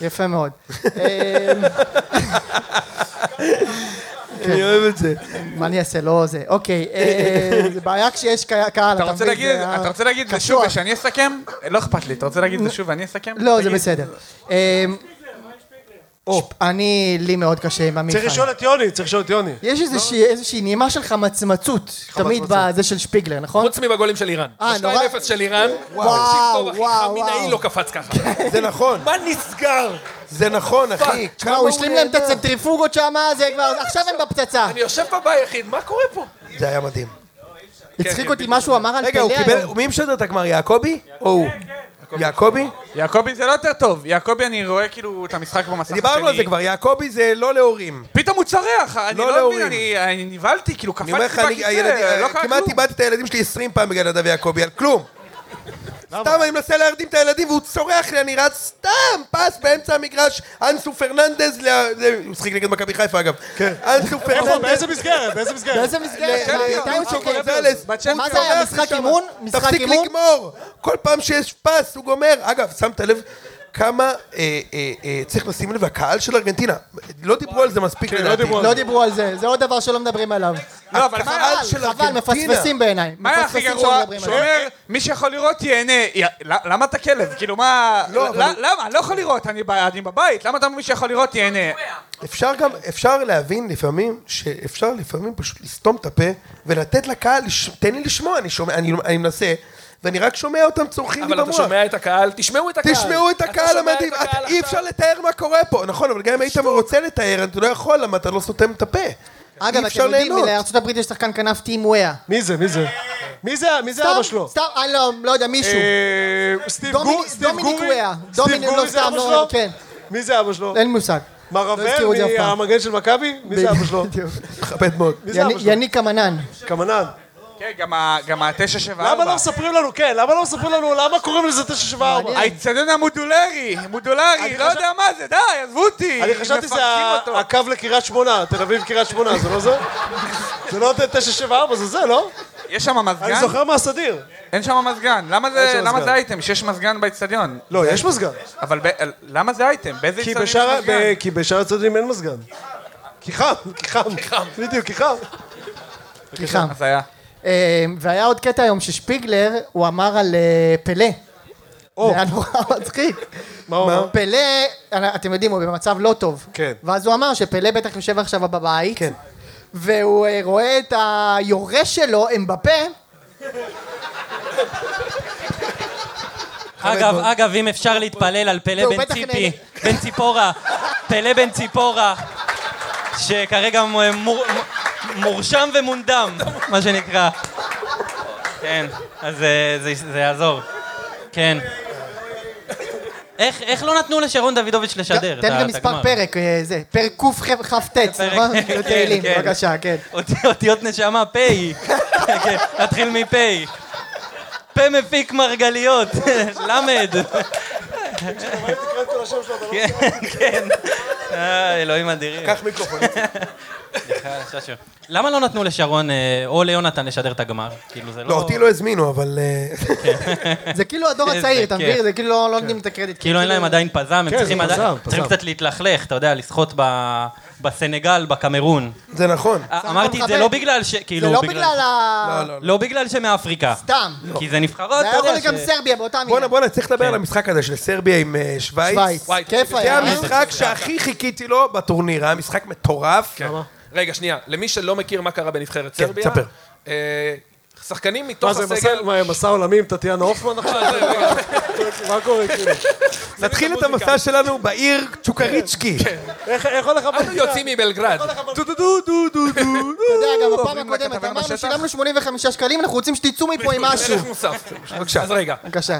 [SPEAKER 2] יפה מאוד. אה,
[SPEAKER 1] אני אוהב את זה.
[SPEAKER 2] כן. מה אני אעשה, לא זה. אוקיי, אה, זה בעיה כשיש קה- קהל,
[SPEAKER 7] אתה רוצה
[SPEAKER 2] מבין,
[SPEAKER 7] להגיד את
[SPEAKER 2] זה
[SPEAKER 7] זה-
[SPEAKER 2] ה-
[SPEAKER 7] אתה רוצה להגיד את זה
[SPEAKER 2] קשוח.
[SPEAKER 7] שוב ושאני אסכם? לא אכפת לי, אתה רוצה להגיד את זה שוב ואני אסכם?
[SPEAKER 2] לא, זה
[SPEAKER 7] תגיד.
[SPEAKER 2] בסדר. אה, שפ- אני, לי מאוד קשה עם
[SPEAKER 4] צריך
[SPEAKER 2] עמיחי.
[SPEAKER 4] לשאול את יוני, צריך לשאול את יוני.
[SPEAKER 2] יש איזושהי- איזושהי נימה של חמצמצות, תמיד בזה של שפיגלר, נכון?
[SPEAKER 5] חוץ מבגולים של איראן.
[SPEAKER 2] אה, נורא.
[SPEAKER 5] ב-2-0 של איראן.
[SPEAKER 2] וואו,
[SPEAKER 5] וואו,
[SPEAKER 2] וואו,
[SPEAKER 5] וואו. חמינאי
[SPEAKER 2] וואו.
[SPEAKER 5] לא קפץ ככה.
[SPEAKER 1] זה נכון,
[SPEAKER 5] מה נסגר?
[SPEAKER 1] זה נכון, אחי.
[SPEAKER 2] תשמע, הוא השלים להם את הצנטריפוגות שם, זה כבר, עכשיו הם בפצצה.
[SPEAKER 5] אני יושב פה ביחיד, מה קורה פה?
[SPEAKER 1] זה היה מדהים.
[SPEAKER 4] כן,
[SPEAKER 2] הצחיק אותי מה שהוא אמר על
[SPEAKER 1] רגע, הוא
[SPEAKER 2] פלא
[SPEAKER 1] קיבל...
[SPEAKER 2] היום.
[SPEAKER 1] מי משדר את הגמר, יעקבי? או הוא? יעקבי?
[SPEAKER 7] יעקבי זה לא יותר טוב, יעקבי אני רואה כאילו את המשחק במסך השני.
[SPEAKER 1] דיברנו על זה כבר, יעקבי זה לא להורים.
[SPEAKER 7] פתאום הוא צרח, אני
[SPEAKER 1] לא
[SPEAKER 7] לא
[SPEAKER 1] להורים.
[SPEAKER 7] מבין, אני- אני נבהלתי, כאילו
[SPEAKER 1] אני אומר לך,
[SPEAKER 7] קפצתי
[SPEAKER 1] אני-
[SPEAKER 7] בכיסא,
[SPEAKER 1] הילדים- אה,
[SPEAKER 7] לא קרה
[SPEAKER 1] כמעט
[SPEAKER 7] כלום.
[SPEAKER 1] איבדתי את הילדים שלי 20 פעם בגלל נדב יעקבי, על כלום. סתם אני מנסה להרדים את הילדים והוא צורח לי, אני רץ סתם, פס באמצע המגרש, אנסו פרננדז, ל- זה- הוא משחק נגד מכבי חיפה אגב, אנסו
[SPEAKER 4] כן. איפה,
[SPEAKER 1] פרננדז,
[SPEAKER 4] באיזה מסגרת? באיזה מסגרת?
[SPEAKER 2] באיזה מסגרת? מה, אתה
[SPEAKER 1] הוא
[SPEAKER 2] משחק?
[SPEAKER 1] גונזלס,
[SPEAKER 2] מה
[SPEAKER 1] הוא
[SPEAKER 2] זה היה,
[SPEAKER 1] צורח
[SPEAKER 2] משחק
[SPEAKER 1] לי שם,
[SPEAKER 2] אימון? משחק
[SPEAKER 1] תפסיק
[SPEAKER 2] אימון?
[SPEAKER 1] לגמור, כל פעם שיש פס הוא גומר, אגב, שמת לב, כמה אה, אה, אה, צריך לשים לב, הקהל של ארגנטינה, לא דיברו על זה מספיק
[SPEAKER 4] לא
[SPEAKER 1] לדעתי.
[SPEAKER 4] דיברו על
[SPEAKER 2] לא דיברו על זה, זה עוד דבר שלא מדברים עליו.
[SPEAKER 7] לא, אבל מה-
[SPEAKER 1] הקהל של
[SPEAKER 2] חבל, חבל,
[SPEAKER 1] ארגנטינה.
[SPEAKER 2] מפספסים בעיניי.
[SPEAKER 7] מה היה הכי
[SPEAKER 2] מפספסים
[SPEAKER 7] גרוע?
[SPEAKER 2] שלא מדברים
[SPEAKER 7] שהוא
[SPEAKER 2] עליו.
[SPEAKER 7] אומר, מי שיכול לראות ייהנה. יא, ל- למה אתה כלב? כאילו מה...
[SPEAKER 1] לא,
[SPEAKER 7] ל-
[SPEAKER 1] אבל-
[SPEAKER 7] למה? אני לא יכול לראות, אני ב- אני בבית. למה אתה אומר מי שיכול לראות ייהנה?
[SPEAKER 1] אפשר גם, אפשר להבין לפעמים, שאפשר לפעמים פשוט לסתום את הפה ולתת לקהל, לש- תן לי לשמוע, אני שומע, אני, אני מנסה, ואני רק שומע אותם צורכים לי
[SPEAKER 5] אבל אתה
[SPEAKER 1] במוח.
[SPEAKER 5] שומע את הקהל, תשמעו את הקהל.
[SPEAKER 1] תשמעו את
[SPEAKER 5] אתה
[SPEAKER 1] הקהל
[SPEAKER 5] שומע את
[SPEAKER 1] המדהים,
[SPEAKER 5] הקהל
[SPEAKER 1] אתה- אי
[SPEAKER 5] עכשיו.
[SPEAKER 1] אפשר לתאר מה קורה פה, נכון, אבל גם אם היית רוצה לתאר, אתה לא יכול, למה אתה לא סותם את הפה.
[SPEAKER 2] אגב,
[SPEAKER 1] אי אפשר
[SPEAKER 2] אתם יודעים,
[SPEAKER 1] ליהנות.
[SPEAKER 2] לארה"ב יש שחקן כנף טים וויה.
[SPEAKER 4] מי זה? מי זה? מי זה? מי זה אבא שלו?
[SPEAKER 2] סתם, אני לא- לא יודע, מישהו.
[SPEAKER 4] אה, סטיב
[SPEAKER 2] דומיניק-
[SPEAKER 4] גורי? סטיב
[SPEAKER 2] דומיניק
[SPEAKER 4] גורי?
[SPEAKER 2] וואה.
[SPEAKER 4] סטיב
[SPEAKER 2] דומיניק-
[SPEAKER 4] גורי
[SPEAKER 2] לא,
[SPEAKER 4] זה
[SPEAKER 2] סתם,
[SPEAKER 4] אבא
[SPEAKER 2] לא,
[SPEAKER 4] שלו?
[SPEAKER 2] כן.
[SPEAKER 4] מי זה אבא שלו?
[SPEAKER 2] אין מושג.
[SPEAKER 4] מרבר
[SPEAKER 2] הזכירו את זה אף פעם.
[SPEAKER 4] מהמגן של מכבי? מי זה אבא שלו?
[SPEAKER 2] בדיוק.
[SPEAKER 1] מכבד מאוד.
[SPEAKER 4] מי זה אבא
[SPEAKER 2] יני-
[SPEAKER 4] שלו?
[SPEAKER 2] יניק אמנן.
[SPEAKER 4] קמנן.
[SPEAKER 7] כן, גם ה- גם התשע שבע
[SPEAKER 4] למה
[SPEAKER 7] ארבע.
[SPEAKER 4] לא מספרים לנו? כן, למה לא מספרים לנו? למה קוראים לזה 974?
[SPEAKER 7] האיצטדיון המודולרי, מודולרי, לא יודע מה זה, די, עזבו אותי.
[SPEAKER 4] אני חשבתי שזה
[SPEAKER 7] מפרקים
[SPEAKER 4] ה-
[SPEAKER 7] אותו.
[SPEAKER 4] הקו לקריית שמונה, תל אביב קריית שמונה, זה לא זה? זה לא 974, זה זה, לא?
[SPEAKER 7] יש שם
[SPEAKER 4] אני
[SPEAKER 7] מזגן?
[SPEAKER 4] זוכר מהסדיר.
[SPEAKER 7] אין שם מזגן. למה זה-
[SPEAKER 4] אין שם
[SPEAKER 7] למה
[SPEAKER 4] מזגן.
[SPEAKER 7] זה אייטם? שיש מזגן באיצטדיון.
[SPEAKER 4] לא, יש מזגן.
[SPEAKER 7] אבל ב- למה זה אייטם? באיזה
[SPEAKER 4] כי
[SPEAKER 7] איצטדיון יש
[SPEAKER 4] בשאר ה-
[SPEAKER 7] מזגן?
[SPEAKER 4] ב-
[SPEAKER 7] כן.
[SPEAKER 4] כי בשאר הצדדים אין מזגן. כי חם, כי חם. בדיוק, כי חם.
[SPEAKER 2] סליחה.
[SPEAKER 1] [LAUGHS]
[SPEAKER 7] אז היה.
[SPEAKER 2] אה, והיה עוד קטע היום ששפיגלר, הוא אמר על אה, פלא. זה היה נורא מצחיק.
[SPEAKER 4] מה הוא אמר?
[SPEAKER 2] פלא, אתם יודעים, הוא במצב לא טוב.
[SPEAKER 4] כן.
[SPEAKER 2] ואז הוא אמר שפלא בטח יושב עכשיו בבית. כן. והוא אה, רואה את היורה שלו, אמבפה,
[SPEAKER 3] אגב, אגב, אם אפשר להתפלל על פלא
[SPEAKER 2] והוא
[SPEAKER 3] בן
[SPEAKER 2] בטח
[SPEAKER 3] ציפי, בן ציפורה, פלא בן ציפורה, שכרגע מ- מור- מ- מורשם ומונדם, מה שנקרא. כן, אז אה, זה- זה יעזור. כן. איך איך לא נתנו לשרון דוידוביץ' לשדר את
[SPEAKER 2] תן
[SPEAKER 3] ה-
[SPEAKER 2] גם
[SPEAKER 3] את
[SPEAKER 2] מספר
[SPEAKER 3] הגמר?
[SPEAKER 2] פרק, אה, זה, פרק קכ"ט,
[SPEAKER 3] פרק-
[SPEAKER 2] נכון?
[SPEAKER 3] כן,
[SPEAKER 2] תהילים,
[SPEAKER 3] כן.
[SPEAKER 2] בבקשה, כן.
[SPEAKER 3] אותי- אותיות נשמה, פ', כן, נתחיל מפ'. פה מפיק מרגליות, [LAUGHS] למד. כן, כן. אה, אלוהים אדירים.
[SPEAKER 1] קח מיקרופון.
[SPEAKER 5] לא.
[SPEAKER 3] למה לא נתנו לשרון אה, או ליונתן לשדר את הגמר? כאילו זה
[SPEAKER 1] לא,
[SPEAKER 3] לא...
[SPEAKER 1] אותי לא הזמינו, אבל... אה, [LAUGHS]
[SPEAKER 2] זה כאילו
[SPEAKER 3] [LAUGHS]
[SPEAKER 2] הדור הצעיר, אתה
[SPEAKER 3] כן.
[SPEAKER 2] מבין? זה כאילו לא- לא נותנים את הקרדיט.
[SPEAKER 3] כאילו אין להם עדיין פזם,
[SPEAKER 2] כן,
[SPEAKER 3] הם צריכים
[SPEAKER 4] זה
[SPEAKER 3] עדיין-
[SPEAKER 4] פזם,
[SPEAKER 3] צריכים
[SPEAKER 4] פזם.
[SPEAKER 3] קצת להתלכלך, אתה יודע, לשחות ב- בסנגל, בקמרון.
[SPEAKER 1] זה נכון.
[SPEAKER 2] הכל
[SPEAKER 3] אמרתי את זה
[SPEAKER 2] מכבד.
[SPEAKER 3] לא בגלל ש...
[SPEAKER 2] זה
[SPEAKER 3] כאילו,
[SPEAKER 2] לא בגלל ה...
[SPEAKER 3] לא בגלל שמאפריקה.
[SPEAKER 2] סתם.
[SPEAKER 3] כי זה נבחרות,
[SPEAKER 2] זה היה
[SPEAKER 3] אתה
[SPEAKER 2] יכול
[SPEAKER 3] יודע
[SPEAKER 2] להיות גם
[SPEAKER 3] ש-
[SPEAKER 2] סרביה באותה מידה.
[SPEAKER 1] בואנה, בואנה, צריך
[SPEAKER 5] כן.
[SPEAKER 1] לדבר על המשחק הזה של סרביה עם אה, שווייץ.
[SPEAKER 2] שווייץ. כיף
[SPEAKER 1] זה
[SPEAKER 2] היה. אה?
[SPEAKER 1] המשחק שהכי חיכיתי לו בטורניר, היה משחק
[SPEAKER 5] כן.
[SPEAKER 1] מטורף.
[SPEAKER 5] רגע, שנייה. למי שלא מכיר מה קרה בנבחרת
[SPEAKER 1] כן,
[SPEAKER 5] סרביה,
[SPEAKER 1] תספר.
[SPEAKER 5] אה, שחקנים
[SPEAKER 4] מה
[SPEAKER 5] מתוך
[SPEAKER 4] זה,
[SPEAKER 5] הסגל... נכון,
[SPEAKER 4] מסע-
[SPEAKER 5] [LAUGHS]
[SPEAKER 4] מה, מסע עולמים, טטיאנה הופמן עכשיו? מה קורה, כאילו?
[SPEAKER 1] נתחיל את המסע שלנו בעיר
[SPEAKER 3] כן.
[SPEAKER 1] צ'וקריצ'קי.
[SPEAKER 4] איך איך הולך
[SPEAKER 5] אנו
[SPEAKER 4] הבנקה?
[SPEAKER 5] יוצאים מבלגרד.
[SPEAKER 4] דו דו דו דו דו דו.
[SPEAKER 2] אתה יודע, גם
[SPEAKER 7] עוברים
[SPEAKER 2] בפעם הקודמת
[SPEAKER 7] לכתבה
[SPEAKER 2] אמרנו,
[SPEAKER 7] בשטח?
[SPEAKER 2] שילמנו 85 שקלים, אנחנו רוצים שתצאו מפה
[SPEAKER 1] [LAUGHS]
[SPEAKER 2] עם משהו.
[SPEAKER 5] מלך מוסף. בבקשה. אז רגע,
[SPEAKER 2] בבקשה.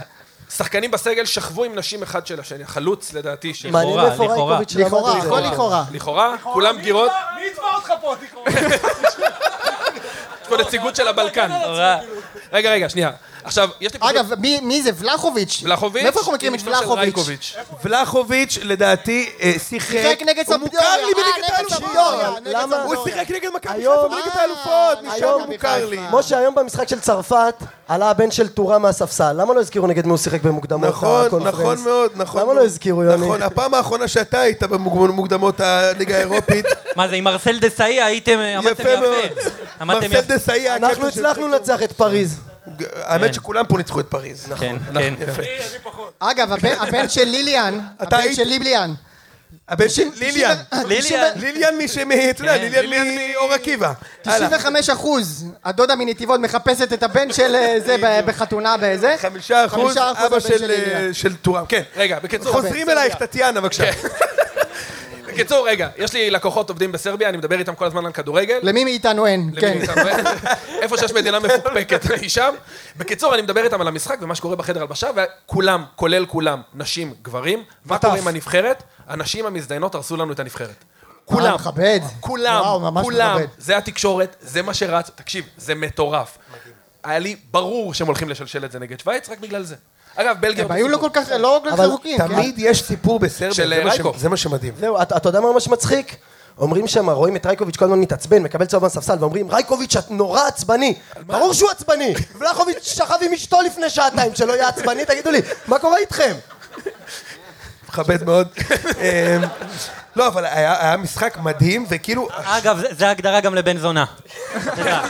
[SPEAKER 5] שחקנים בסגל שכבו עם נשים אחד של השני, חלוץ לדעתי, ש-
[SPEAKER 6] מעניין
[SPEAKER 3] לכאורה,
[SPEAKER 6] איפה
[SPEAKER 3] לכאורה.
[SPEAKER 6] רייקוביץ' למד
[SPEAKER 2] לכאורה,
[SPEAKER 6] את זה.
[SPEAKER 2] הכל לכאורה.
[SPEAKER 5] לכאורה, כולם גירות.
[SPEAKER 4] מי יתבע אותך פה, תקרא?
[SPEAKER 5] יש פה נציגות של הבלקן. רגע, רגע, שנייה. עכשיו, יש לי פשוט...
[SPEAKER 2] אגב, מי- מי זה? ולחוביץ'.
[SPEAKER 5] ולחוביץ',
[SPEAKER 2] מאיפה אנחנו מכירים את
[SPEAKER 5] אשתו של
[SPEAKER 2] ולחוביץ'?
[SPEAKER 5] רייקוביץ'.
[SPEAKER 1] ולחוביץ' לדעתי אה,
[SPEAKER 2] שיחק
[SPEAKER 1] שיחק
[SPEAKER 2] נגד
[SPEAKER 1] הוא מוכר
[SPEAKER 2] סמפדוריה.
[SPEAKER 1] לי בליגת
[SPEAKER 2] אה, נגד
[SPEAKER 1] האלופות.
[SPEAKER 2] סמפדוריה, נגד
[SPEAKER 6] למה?
[SPEAKER 2] סמפדוריה.
[SPEAKER 1] הוא שיחק נגד מכבי
[SPEAKER 6] היום-
[SPEAKER 1] חיפה בליגת האלופות,
[SPEAKER 2] אה,
[SPEAKER 1] משם
[SPEAKER 2] היום
[SPEAKER 1] הוא מוכר לי.
[SPEAKER 2] מכבי
[SPEAKER 6] משה, היום במשחק של צרפת עלה הבן של טורה מהספסל. למה לא הזכירו נגד מי הוא שיחק במוקדמות
[SPEAKER 1] נכון,
[SPEAKER 6] הקונפרנס?
[SPEAKER 1] נכון מאוד, נכון.
[SPEAKER 6] למה לא
[SPEAKER 1] מאוד.
[SPEAKER 6] הזכירו, יוני?
[SPEAKER 1] נכון, הפעם האחרונה שאתה היית במוקדמות הליגה
[SPEAKER 3] [LAUGHS]
[SPEAKER 1] האירופית,
[SPEAKER 3] מה זה, עם מרסל דסאי הייתם, עמדתם
[SPEAKER 1] יפה מאוד.
[SPEAKER 3] יפה. עמדתם
[SPEAKER 1] מרסל
[SPEAKER 3] יפה.
[SPEAKER 1] דסאי היה
[SPEAKER 6] אנחנו
[SPEAKER 1] הקפטן של-
[SPEAKER 6] הצלחנו לנצח את פריז.
[SPEAKER 1] האמת שכולם פה ניצחו את פריז. נכון,
[SPEAKER 3] כן, כן.
[SPEAKER 2] אגב, הבן-
[SPEAKER 1] [LAUGHS]
[SPEAKER 2] הבן של ליליאן,
[SPEAKER 1] אתה
[SPEAKER 2] הבן
[SPEAKER 1] היית-
[SPEAKER 2] של ליליאן.
[SPEAKER 1] הבן של ליליאן.
[SPEAKER 3] ליליאן.
[SPEAKER 1] ליליאן אה, מי שמ... אתה יודע,
[SPEAKER 3] כן.
[SPEAKER 1] ליליאן מאור עקיבא. הלאה.
[SPEAKER 2] 95 אחוז, הדודה מנתיבות מחפשת את הבן של אה, זה ב- בחתונה בזה.
[SPEAKER 1] חמישה אחוז,
[SPEAKER 2] חמישה אחוז
[SPEAKER 1] אבא
[SPEAKER 2] הבן של
[SPEAKER 1] של
[SPEAKER 2] ליליאן.
[SPEAKER 1] אה, של טורם. כן.
[SPEAKER 5] רגע, בקיצור,
[SPEAKER 1] חוזרים אלייך, טטיאנה, בבקשה.
[SPEAKER 5] בקיצור, רגע, יש לי לקוחות עובדים בסרביה, אני מדבר איתם כל הזמן על כדורגל.
[SPEAKER 2] למי מאיתנו אין,
[SPEAKER 5] למי
[SPEAKER 2] כן.
[SPEAKER 5] מאיתנו? איפה שיש מדינה מפוקפקת, היא שם. בקיצור, אני מדבר איתם על המשחק ומה שקורה בחדר הלבשה, וכולם, כולל כולם, נשים, גברים, מה קורה עם הנבחרת? הנשים המזדיינות הרסו לנו את הנבחרת.
[SPEAKER 2] אה,
[SPEAKER 5] כולם,
[SPEAKER 2] מכבד.
[SPEAKER 5] כולם,
[SPEAKER 2] וואו, ממש
[SPEAKER 5] כולם,
[SPEAKER 2] מכבד.
[SPEAKER 5] זה התקשורת, זה מה שרץ, תקשיב, זה מטורף. היה לי ברור שהם הולכים לשלשל את זה נגד שווייץ, רק בגלל זה. אגב, בלגיה...
[SPEAKER 4] כן,
[SPEAKER 2] הם היו לא כל כך, לא כל כך רחוקים. כן.
[SPEAKER 1] תמיד יש סיפור בסרביה,
[SPEAKER 5] של
[SPEAKER 1] זה מה ש-
[SPEAKER 5] רייקוב.
[SPEAKER 1] זה מה שמדהים.
[SPEAKER 6] זהו, אתה אתה יודע מה ממש מצחיק? אומרים שם, רואים את רייקוביץ' כל הזמן מתעצבן, מקבל צהוב מהספסל, ואומרים, רייקוביץ', את נורא עצבני. ברור שהוא עצבני. [LAUGHS] ולחוביץ' שכב עם אשתו לפני שעתיים, שלא יהיה עצבני, תגידו לי, מה קורה איתכם?
[SPEAKER 1] מכבד מאוד. אמ, לא, אבל היה היה משחק מדהים, וכאילו...
[SPEAKER 3] אגב, זה- זה הגדרה גם לבן זונה. תדע.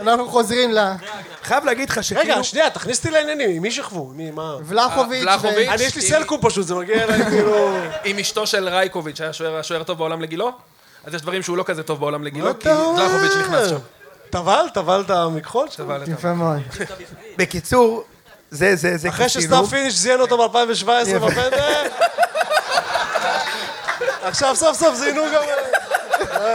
[SPEAKER 2] אנחנו חוזרים ל...
[SPEAKER 4] אה,
[SPEAKER 1] חייב להגיד לך שכאילו...
[SPEAKER 6] כאילו-
[SPEAKER 4] רגע, שנייה, תכניס אותי לעניינים, עם מי שכבו? מי, מה?
[SPEAKER 2] ולחוביץ'
[SPEAKER 5] ולחוביץ'.
[SPEAKER 4] אני, יש לי סלקום פשוט, זה מגיע אליי כאילו...
[SPEAKER 5] [LAUGHS] עם אשתו של רייקוביץ', היה שוער- השוער טוב בעולם לגילו? אז יש דברים שהוא לא כזה טוב בעולם
[SPEAKER 4] מה
[SPEAKER 5] לגילו, כי
[SPEAKER 4] אתה אומר?
[SPEAKER 5] דלחוביץ' נכנס שם. [LAUGHS]
[SPEAKER 4] טבל, טבל את המכחול שם.
[SPEAKER 5] אבל-
[SPEAKER 2] יפה מאוד.
[SPEAKER 1] בקיצור, זה, זה, זה כאילו,
[SPEAKER 4] אחרי שסטאר פיניש זיין אותו ב-2017 בפנדל. עכשיו סוף סוף זיינו גם...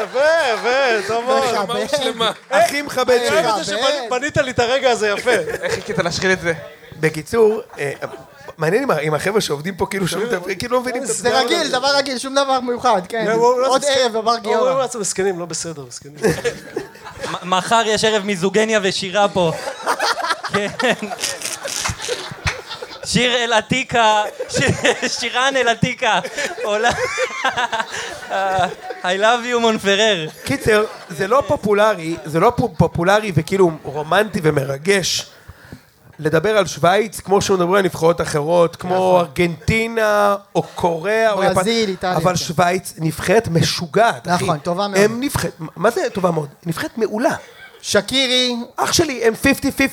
[SPEAKER 4] יפה, יפה, טוב מאוד. אה,
[SPEAKER 2] מכבד.
[SPEAKER 5] אמרנו שלמה.
[SPEAKER 1] הכי מכבד
[SPEAKER 4] אני אוהב את
[SPEAKER 1] שלך.
[SPEAKER 4] זה שבנית לי את הרגע הזה יפה.
[SPEAKER 7] איך חיכית להשחיל את זה?
[SPEAKER 1] בקיצור, אה, מעניין אם ה- אם החבר'ה שעובדים פה כאילו שומעים את הפרק, כאילו לא מבינים את
[SPEAKER 4] זה
[SPEAKER 2] זה רגיל, דבר רגיל, שום דבר מיוחד,
[SPEAKER 1] לא,
[SPEAKER 2] כן. עוד ערב בבר
[SPEAKER 4] אומרים
[SPEAKER 2] גיורא.
[SPEAKER 4] לעצמם, מסכנים, לא בסדר, מסכנים.
[SPEAKER 3] מ- מחר יש ערב מיזוגניה ושירה פה. כן. שיר אל עתיקה, שיר- שירן אל עתיקה. עולה- [LAUGHS] אה, I love you מונפרר.
[SPEAKER 1] קיצר, זה לא פופולרי, זה לא פו- פופולרי וכאילו רומנטי ומרגש לדבר על שווייץ כמו שמדברים על נבחרות אחרות, כמו ארגנטינה, או קוריאה, או יפן.
[SPEAKER 2] נכון. ברזיל, איטליה,
[SPEAKER 1] אבל
[SPEAKER 2] כן.
[SPEAKER 1] שווייץ נבחרת משוגעת, אחי.
[SPEAKER 2] נכון, טובה מאוד.
[SPEAKER 1] הם נבחרת, מה זה טובה מאוד? נבחרת מעולה.
[SPEAKER 2] שקירי,
[SPEAKER 1] אח שלי, הם 50-50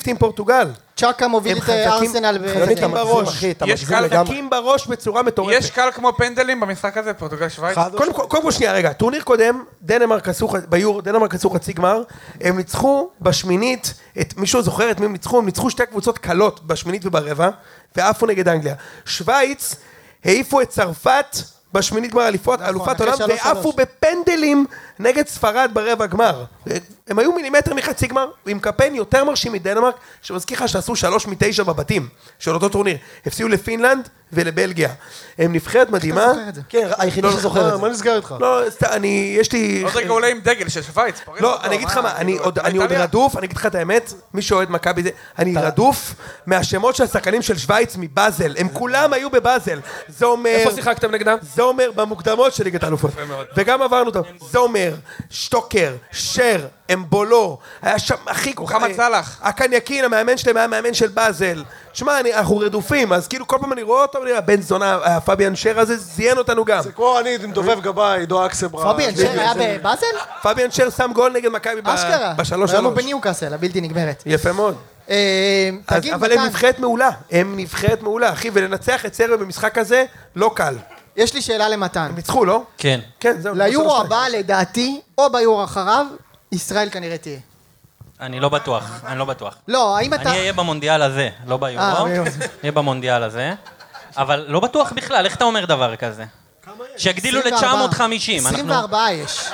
[SPEAKER 1] עם פורטוגל.
[SPEAKER 2] צ'אקה מוביל
[SPEAKER 1] הם
[SPEAKER 2] את אה,
[SPEAKER 1] חזקים-
[SPEAKER 2] ארסנל
[SPEAKER 1] חזקים
[SPEAKER 2] ב...
[SPEAKER 6] אתה מגזים,
[SPEAKER 1] לא בראש.
[SPEAKER 6] אחי, אתה
[SPEAKER 7] יש
[SPEAKER 6] מגזים
[SPEAKER 7] קהל
[SPEAKER 6] לגמרי.
[SPEAKER 1] מכים בראש בצורה מטורפת.
[SPEAKER 7] יש קהל כמו פנדלים במשחק הזה, פורטוגל שווייץ?
[SPEAKER 1] קודם כל, קודם כל שנייה, רגע, טורניר קודם, דנמרק עשו, ח- ביור, דנמרק עשו חצי גמר, הם ניצחו בשמינית, את, מישהו זוכר את מי הם ניצחו? הם ניצחו שתי קבוצות קלות בשמינית וברבע, ועפו נגד אנגליה. שווייץ העיפו את צרפת בשמינית גמר אליפות, אלופת
[SPEAKER 2] נכון, אחרי
[SPEAKER 1] עולם,
[SPEAKER 2] שלוש,
[SPEAKER 1] ועפו
[SPEAKER 2] שלוש.
[SPEAKER 1] בפנדלים נגד ספרד ברבע גמר. הם היו מילימטר מחצי גמר, עם קמפיין יותר מרשים מדנמרק, שמזכיר לך שעשו שלוש מתשע בבתים של אותו טורניר. הפסיעו לפינלנד ולבלגיה. הם נבחרת מדהימה.
[SPEAKER 2] זוכר את זה?
[SPEAKER 6] כן, היחידי שזוכר את
[SPEAKER 4] מה
[SPEAKER 6] זה.
[SPEAKER 4] נסגר איתך?
[SPEAKER 1] לא, סתם, אני, יש לי...
[SPEAKER 7] עוד רגע עולה עם דגל של שווייץ. פריז
[SPEAKER 1] לא,
[SPEAKER 7] אותו,
[SPEAKER 1] אני אגיד לך מה, אני
[SPEAKER 7] כאילו,
[SPEAKER 1] עוד אני עוד
[SPEAKER 7] איטליה?
[SPEAKER 1] רדוף, אני אגיד לך את האמת, מי שאוהד מכבי זה, אני רדוף מהשמות של השחקנים של שווייץ מבאזל, הם כולם היו בבאזל. זומר,
[SPEAKER 4] כן.
[SPEAKER 5] איפה שיחקתם נגדם?
[SPEAKER 1] זומר במוקדמות של ליגת האלופות, וגם עברנו אותם, זומר, שטוקר, שר, אמבולו, היה שם הכי...
[SPEAKER 7] מוחמד סלאח.
[SPEAKER 1] הקניאקין, המאמן שלהם היה מאמן של באזל. תשמע, אני- אנחנו רדופים, אז כאילו כל פעם אני רואה אותו, אני אומר, בן זונה, הפביאן שר הזה זיין אותנו גם.
[SPEAKER 4] זה כמו אני מדובב גבאי, עידו אקסברה.
[SPEAKER 2] פביאן
[SPEAKER 1] לא
[SPEAKER 2] שר היה בבאזל?
[SPEAKER 1] פביאן שר שם גול נגד מכבי ב-
[SPEAKER 2] אשכרה.
[SPEAKER 1] אה, בשלוש
[SPEAKER 2] היום הוא
[SPEAKER 1] שלוש.
[SPEAKER 2] בניוקאסל, הבלתי נגמרת.
[SPEAKER 1] יפה מאוד.
[SPEAKER 2] אה,
[SPEAKER 1] אז,
[SPEAKER 2] תגיד,
[SPEAKER 1] אבל הם
[SPEAKER 2] מתן,
[SPEAKER 1] נבחרת מעולה, הם נבחרת מעולה, אחי, ולנצח את סריה במשחק הזה, לא קל.
[SPEAKER 2] יש לי שאלה למתן.
[SPEAKER 1] הם ניצחו, לא?
[SPEAKER 3] כן.
[SPEAKER 1] כן, זהו.
[SPEAKER 2] ליורו
[SPEAKER 1] שלוש-
[SPEAKER 2] הבא, לדעתי, או ביורו אחריו, ישראל כנראה תהיה.
[SPEAKER 3] אני לא בטוח, אני לא בטוח.
[SPEAKER 2] לא, האם אתה...
[SPEAKER 3] אני אהיה במונדיאל הזה, לא
[SPEAKER 2] אה,
[SPEAKER 3] ביורו.
[SPEAKER 2] ביורו.
[SPEAKER 3] אהיה במונדיאל הזה. אבל לא בטוח בכלל, איך אתה אומר דבר כזה? שיגדילו
[SPEAKER 2] 24.
[SPEAKER 3] ל-950.
[SPEAKER 2] 24 יש.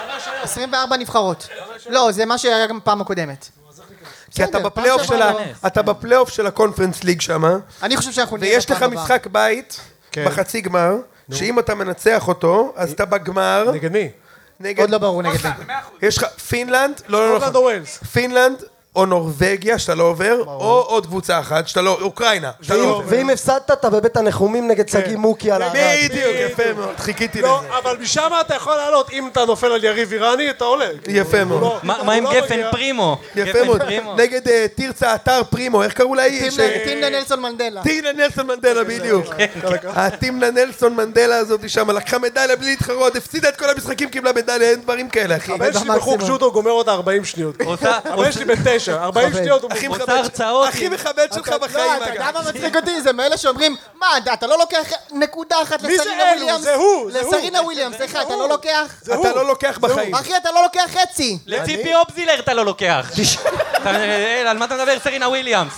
[SPEAKER 2] 24 נבחרות. לא, זה מה שהיה גם פעם הקודמת.
[SPEAKER 1] כי אתה
[SPEAKER 2] בסדר,
[SPEAKER 1] בפלייאוף
[SPEAKER 2] פעם
[SPEAKER 1] של
[SPEAKER 2] שעברה לא.
[SPEAKER 1] ה- אתה בפלייאוף של הקונפרנס ליג שמה,
[SPEAKER 2] אני חושב שאנחנו נהיה
[SPEAKER 1] ויש לך
[SPEAKER 2] בפעם הבאה.
[SPEAKER 1] משחק בית,
[SPEAKER 2] כן.
[SPEAKER 1] בחצי גמר, שאם אתה מנצח אותו, אז אתה בגמר,
[SPEAKER 4] נגד מי?
[SPEAKER 1] נגד...
[SPEAKER 2] עוד לא ברור נגד מי.
[SPEAKER 1] יש לך פינלנד, לא, לא, לא,
[SPEAKER 4] פינלנד
[SPEAKER 1] לא.
[SPEAKER 4] או ווילס?
[SPEAKER 1] פינלנד או נורבגיה, שאתה לא עובר, או עוד קבוצה אחת, שאתה לא... אוקראינה. שאתה לא
[SPEAKER 6] ואם-
[SPEAKER 1] עובר.
[SPEAKER 6] ואם הפסדת, אתה בבית הנחומים נגד שגיא מוקי על הערד.
[SPEAKER 1] בדיוק, יפה מאוד, חיכיתי לזה.
[SPEAKER 4] לא, אבל משם אתה יכול לעלות. אם אתה נופל על יריב איראני, אתה עולה.
[SPEAKER 1] יפה מאוד.
[SPEAKER 4] לא,
[SPEAKER 3] מה
[SPEAKER 4] אתה
[SPEAKER 3] מה עם
[SPEAKER 4] לא מגיע.
[SPEAKER 3] גפן פרימו?
[SPEAKER 1] יפה
[SPEAKER 3] גפן
[SPEAKER 1] מאוד.
[SPEAKER 3] פרימו.
[SPEAKER 1] נגד אה, תרצה אתר פרימו, איך קראו לה? היא? ש-
[SPEAKER 2] טימנה- טימנה נלסון מנדלה.
[SPEAKER 1] טינה נלסון מנדלה,
[SPEAKER 4] כן,
[SPEAKER 1] בדיוק. הטימנה נלסון מנדלה הזאת שם, לקחה מדליה בלי להתחרות, הפסידה את כל המשחקים, קיבלה מדליה, אין דברים כאלה, אחי.
[SPEAKER 4] הבן שלי בחוג ג'ודו גומר אותה 40 שניות. [LAUGHS]
[SPEAKER 3] עושה-
[SPEAKER 4] הבן שלי בן 9, 40 שניות הוא
[SPEAKER 1] הכי
[SPEAKER 4] מוכן.
[SPEAKER 1] מכבד-
[SPEAKER 3] הרצאות.
[SPEAKER 1] הכי מכבד שלך בחיים,
[SPEAKER 2] לא, אתה יודע
[SPEAKER 1] אגב.
[SPEAKER 2] מה מצחיק אותי? זה מאלה שאומרים, מה, אתה- אתה לא לוקח נקודה אחת
[SPEAKER 4] מי זה
[SPEAKER 2] לסרינה
[SPEAKER 4] אלו?
[SPEAKER 2] וויליאמס?
[SPEAKER 4] זה הוא, זה הוא.
[SPEAKER 2] לסרינה וויליאמס, סליחה, אתה לא לוקח?
[SPEAKER 4] זה הוא.
[SPEAKER 1] אתה לא לוקח בחיים.
[SPEAKER 2] אחי, אתה לא לוקח חצי.
[SPEAKER 3] לציפי אופזילר אתה לא
[SPEAKER 1] [LAUGHS]
[SPEAKER 3] לוקח. אתה- אה, על מה אתה מדבר? סרינה וויליאמס.